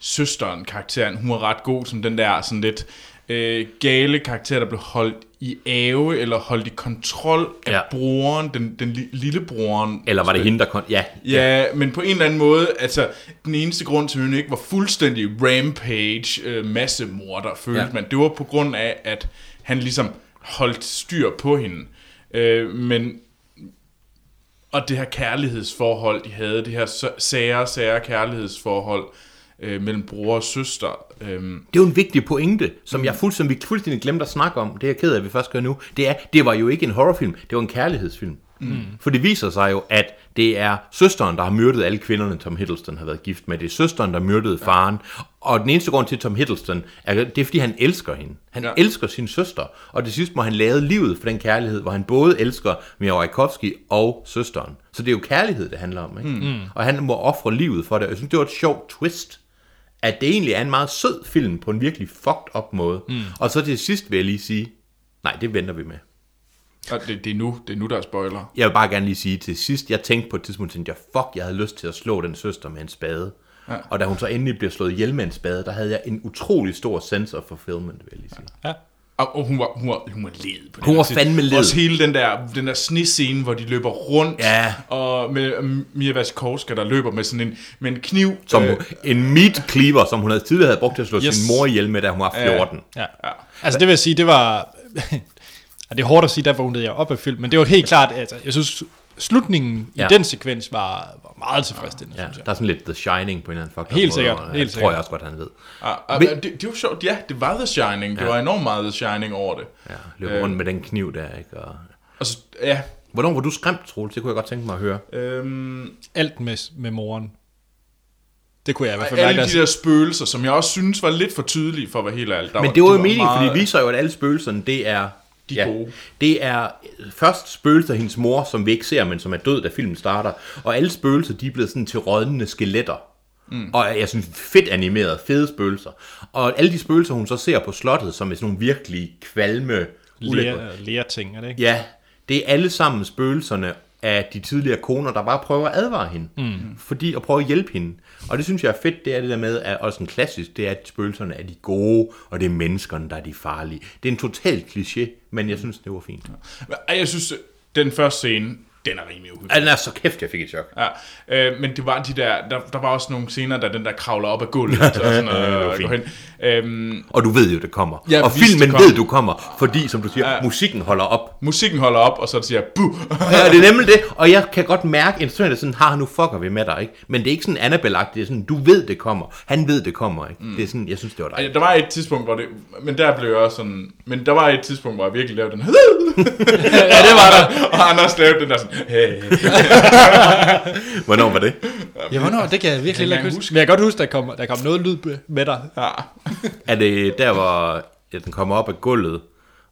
S2: søsteren, karakteren, hun var ret god som den der sådan lidt øh, gale karakter, der blev holdt i ave eller holdt i kontrol af ja.
S3: Ja.
S2: broren, den, den li- lille broren.
S3: eller var det hende, der kom... Ja,
S2: Ja, men på en eller anden måde, altså den eneste grund til, at hun ikke var fuldstændig rampage, øh, massemorder, følte ja.
S3: Ja.
S2: man. Det var på grund af, at han ligesom holdt styr på hende. Øh, men og det her kærlighedsforhold, de havde, det her så- sære, sære kærlighedsforhold øh, mellem bror og søster. Øh,
S3: Det er jo en vigtig pointe, som jeg fuldstændig, vi fuldstændig glemte at snakke om. Det er jeg ked af, at vi først gør nu. Det er, det var jo ikke en horrorfilm, det var en kærlighedsfilm. Mm. For det viser sig jo, at det er søsteren, der har myrdet alle kvinderne, Tom Hiddleston har været gift med. Det er søsteren, der myrdede faren. Og den eneste grund til Tom Hiddleston, er, det er, fordi han elsker hende. Han
S2: Ja.
S3: ja. elsker sin søster. Og til sidst må han lave livet for den kærlighed, hvor han både elsker Mia Wajkowski og søsteren. Så det er jo kærlighed, det handler om. Ikke? Mm. Og han må ofre livet for det. Jeg synes, det var et sjovt twist at det egentlig er en meget sød film på en virkelig fucked up måde. Mm. Og så til sidst vil jeg lige sige, nej, det venter vi med.
S2: og det, det, er nu, det er nu, der er spoiler.
S3: Jeg vil bare gerne lige sige til sidst, jeg tænkte på et tidspunkt, tænkte jeg, fuck, jeg havde lyst til at slå den søster med en spade. Ja. Og da hun så endelig blev slået ihjel med en spade, der havde jeg en utrolig stor sense of fulfillment, vil jeg lige sige.
S1: ja.
S2: Og, og hun var, hun var, hun var led på det
S3: Hun
S2: her
S3: var
S2: tidspunkt.
S3: fandme led.
S2: Også hele den der, den der snescene, hvor de løber rundt.
S3: Ja.
S2: Og med øhm, Mia Wasikowska, der løber med sådan en, med en kniv.
S3: Som
S2: øh,
S3: øh. en meat cleaver, som hun havde tidligere havde brugt til at slå yes.
S1: Yes.
S3: sin mor ihjel med, da hun var 14.
S1: Ja. Altså det vil jeg sige, det var... og det er hårdt at sige, der vågnede jeg op af film, men det var helt klart, altså, jeg synes, slutningen ja.
S3: Ja.
S1: i den sekvens var, var meget tilfredsstillende,
S3: Ja,
S1: synes jeg.
S3: der er sådan lidt The Shining på en eller anden fucked up
S1: Helt
S3: måde,
S1: sikkert,
S3: og
S1: helt
S3: jeg tror
S1: sikkert.
S3: jeg også godt, han ved.
S2: ah, ah,
S3: Men-
S2: det, det var sjovt, ja, det var The Shining. Det var enormt meget The Shining over det.
S3: Ja, løber
S1: Øh.
S3: rundt med den kniv der, ikke? Og...
S2: Og så, ja,
S3: Hvornår var du skræmt, Troels? Det kunne jeg godt tænke mig at høre.
S2: øhm,
S1: Alt med, med moren. Det kunne jeg i hvert fald mærke.
S2: alle de
S1: Der...
S2: der spøgelser, som jeg også synes var lidt for tydelige for at være helt ærlig. Der
S3: Men det var jo
S2: de
S3: meningen, fordi det
S2: meget-
S3: viser jo, at alle spøgelserne, det er...
S2: De gode.
S3: Det er øh, først spøgelser af hendes mor, som vi ikke ser, men som er død, da filmen starter. Og alle spøgelser, de er blevet sådan til rådnende skeletter. Mm. Og jeg synes, fedt animeret, fede spøgelser. Og alle de spøgelser, hun så ser på slottet, som er sådan nogle virkelig kvalme... ulækre-
S1: Lære, lære ting, er det ikke?
S3: Ja, det er alle sammen spøgelserne af de tidligere koner, der bare prøver at advare hende. Mm. Fordi at prøve at hjælpe hende. Og det synes jeg er fedt, det er det der med, at også en klassisk, det er, at spøgelserne er de gode, og det er menneskerne, der er de farlige. Det er en total kliché, men jeg synes, det var fint.
S2: Ej, Jeg synes, øh, den første scene,
S1: Den er rimelig uhyggelig.
S3: Ej, den er så kæft, jeg fik et chok.
S2: Ja, øh, men det var de der, der, der var også nogle scener, der den der kravler op af gulvet og sådan
S3: Ja, det var
S2: noget, og
S3: fint.
S2: går hen. Øhm,
S3: Og du ved jo, det kommer.
S2: Ja,
S3: og
S2: hvis det
S3: filmen
S2: kommer.
S3: ved, du kommer, fordi, som du siger,
S2: Ja.
S3: musikken holder op.
S2: musikken holder op, og så siger jeg, buh!
S3: Ja, det er nemlig det, og jeg kan godt mærke, at sådan, sådan, har nu fucker vi med dig, ikke? Men det er ikke sådan annabelle det er sådan, du ved, det kommer. Han ved, det kommer, ikke? Mm. Det er sådan, jeg synes, det var dig.
S2: Ej, der var et tidspunkt, hvor det... Men der blev jeg også sådan... Men der var et tidspunkt, hvor jeg virkelig lavede den... ja, det var der. Og Anders lavede den der sådan... Hey.
S3: Hvornår var det?
S1: Ja, hvornår? Det kan jeg virkelig
S2: Kan jeg
S1: ikke
S2: huske?
S1: huske. Men jeg kan godt huske, der kom, der kom noget lyd med dig.
S2: Ja.
S3: Er det der, hvor ja, den kommer op af gulvet,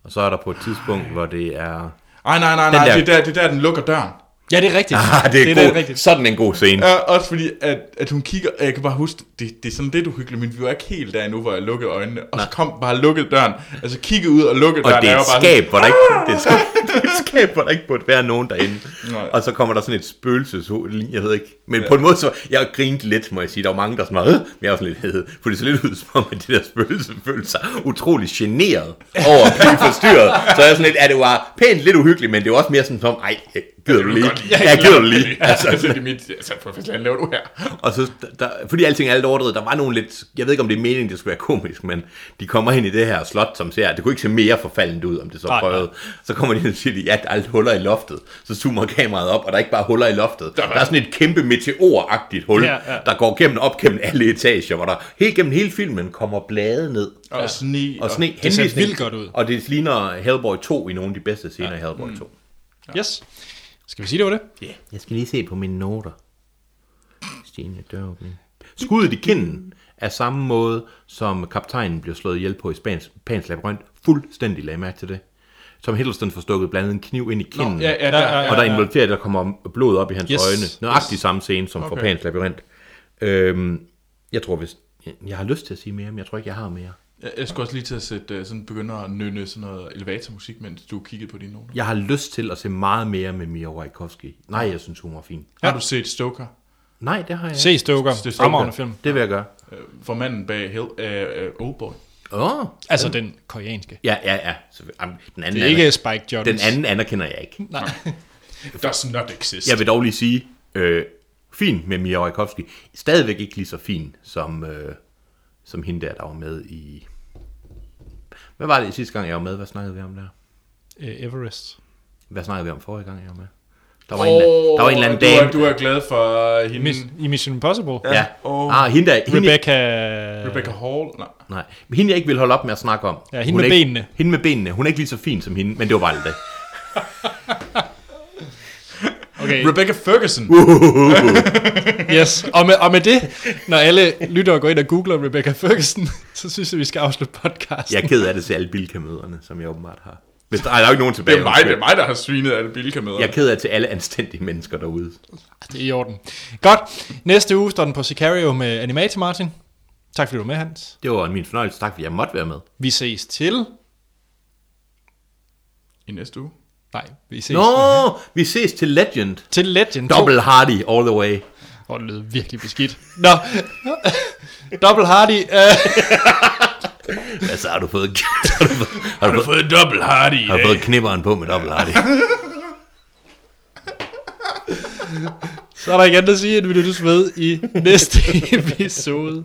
S3: og så er der på et tidspunkt, hvor det er...
S2: Ej, nej, nej, nej.
S3: Den der-
S2: Det er, der, det er der, den lukker døren.
S1: Ja, det er rigtigt.
S3: Ah, det er,
S1: det
S3: det er god, sådan en god scene.
S2: Ja, også fordi, at, at hun kigger... og Jeg kan bare huske, det, det er sådan lidt uhyggeligt, men vi var ikke helt der endnu, hvor jeg lukkede øjnene. Og så kom bare lukket døren. Altså kigge ud og lukkede
S3: Og
S2: døren.
S3: det er
S2: jeg var
S3: et
S2: bare
S3: skab, hvor der ikke, det er et skab, det er et skab, hvor der ikke burde være nogen derinde.
S2: Nej.
S3: Og så kommer der sådan et spøgelseshoved, jeg ved ikke. Men ja. på en måde, så jeg grinte lidt, må jeg sige. Der var mange, der sådan var, "Øh", men jeg var sådan lidt hed. For det så lidt ud som om, at det der spøgelse følte sig utrolig generet over at blive forstyrret. Så jeg er sådan lidt, at det var pænt lidt uhyggeligt, men det var også mere sådan som, ej, gider du lige? Ja, gider du lige?
S2: Altså,
S3: Altså,
S2: altså, det er mit... Altså, for fanden laver du her?
S3: og så, der, fordi alting er lidt overdrevet, der var nogle lidt, jeg ved ikke om det er meningen, det skulle være komisk, men de kommer ind i det her slot, som ser, det kunne ikke se mere forfaldent ud, om det så
S1: Nej,
S3: prøvede. Så kommer de ind og siger, de, ja, der er lidt huller i loftet. Så zoomer kameraet op, og der er ikke bare huller i loftet. Der,
S2: var-
S3: der er sådan et kæmpe meteoragtigt hul,
S1: Ja,
S3: ja,
S1: ja.
S3: ja. der går gennem op gennem alle etager, hvor der helt gennem hele filmen kommer blade ned.
S2: Og sne.
S3: Og sne,
S1: det ser
S3: henvis-
S1: vildt godt ud.
S3: Og det ligner Hellboy 2 i nogle af de bedste scener ja. i Hellboy 2.
S1: Yes. Skal vi sige, det var det?
S3: Jeg skal lige se på mine noter. Stigende døråbning. Skuddet i kinden er samme måde, som kaptajnen bliver slået ihjel på i Spans, Pans labyrint. Fuldstændig lagde mærke til det. Som Hiddleston får stukket blandt andet en kniv ind i kinden.
S2: Ja, ja, der,
S3: Og der involverer, der kommer blod op i hans
S1: Yes,
S3: yes, øjne. Nøjagtig yes. samme scene som okay. for
S2: Okay.
S3: Pans labyrint. Øhm, jeg tror, hvis... Jeg har lyst til at sige mere, men jeg tror ikke, jeg har mere.
S2: Jeg, jeg skulle også lige til at sætte, øh, sådan begynde at nynne sådan noget elevatormusik, mens du kiggede på dine noter.
S3: Jeg har lyst til at se meget mere med Mia Wajkowski. Nej, jeg synes, hun var fin.
S2: Ja. Har du set Stoker?
S3: Nej, det har jeg
S1: Se Stoker.
S2: Det er Stoker.
S1: Fremragende film.
S3: Det vil jeg gøre.
S2: Øh, For manden bag Hell, øh, øh, Oldboy.
S3: Åh, oh,
S1: Altså den koreanske.
S3: Ja, ja, ja. selvfølgelig. Jamen, Den anden,
S1: Det er ikke
S3: anerk-
S1: Spike
S3: den
S1: Jonze.
S3: anden anerkender jeg ikke.
S2: Does not exist.
S3: Jeg vil dog lige sige, øh, fin med Mia Wajkowski. Stadigvæk ikke lige så fin som, øh, som hende der, der var med i... Hvad var det sidste gang, jeg var med? Hvad snakkede vi om der?
S1: Øh, Everest.
S3: Hvad snakkede vi om forrige gang, jeg var med? Der var, oh, en, eller- der var en eller anden
S2: du
S3: dame...
S2: Er, du er glad for hende.
S1: Miss, I Mission Impossible.
S3: Ja.
S2: Åh.
S3: Ah, hende der... Hende,
S1: Rebecca...
S2: Rebecca Hall? Nej.
S3: Nej, men hende jeg ikke vil holde op med at snakke om.
S1: Ja, hende
S3: Hun
S1: med
S3: er ikke,
S1: benene.
S3: Hende med benene. Hun er ikke lige så fin som hende, men det var bare det.
S1: Okay,
S2: Rebecca Ferguson.
S3: Uh,
S1: yes. Og med, og med det, når alle lytter og går ind og googler Rebecca Ferguson, så synes jeg, vi skal afslutte podcasten.
S3: Jeg er ked af det til alle bilkamøderne, som jeg åbenbart har. Hvis der, ej, der er jo ikke nogen
S2: Det
S3: tilbage.
S2: er, mig, det
S3: undskyld.
S2: er mig, der har svinet alle bilka med.
S3: Jeg er ked af til alle anstændige mennesker derude.
S1: Det er i orden. Godt. Næste uge står den på Sicario med Animator Martin. Tak fordi du var med, Hans.
S3: Det var min fornøjelse. Tak, fordi jeg måtte være med.
S1: Vi ses til...
S2: I næste uge.
S1: Nej, vi ses
S3: Nå, vi ses til Legend.
S1: til Legend 2.
S3: Double Hardy all the way.
S1: Åh, det lyder virkelig beskidt. Nå, Double Hardy. Uh,
S3: Hvad så, har du fået... har du fået, har du fået,
S2: Fået dobbelt hard i
S3: har du fået knipperen på med Double Hardy?
S1: så er der ikke andet at sige, end vi lyttes med i næste episode.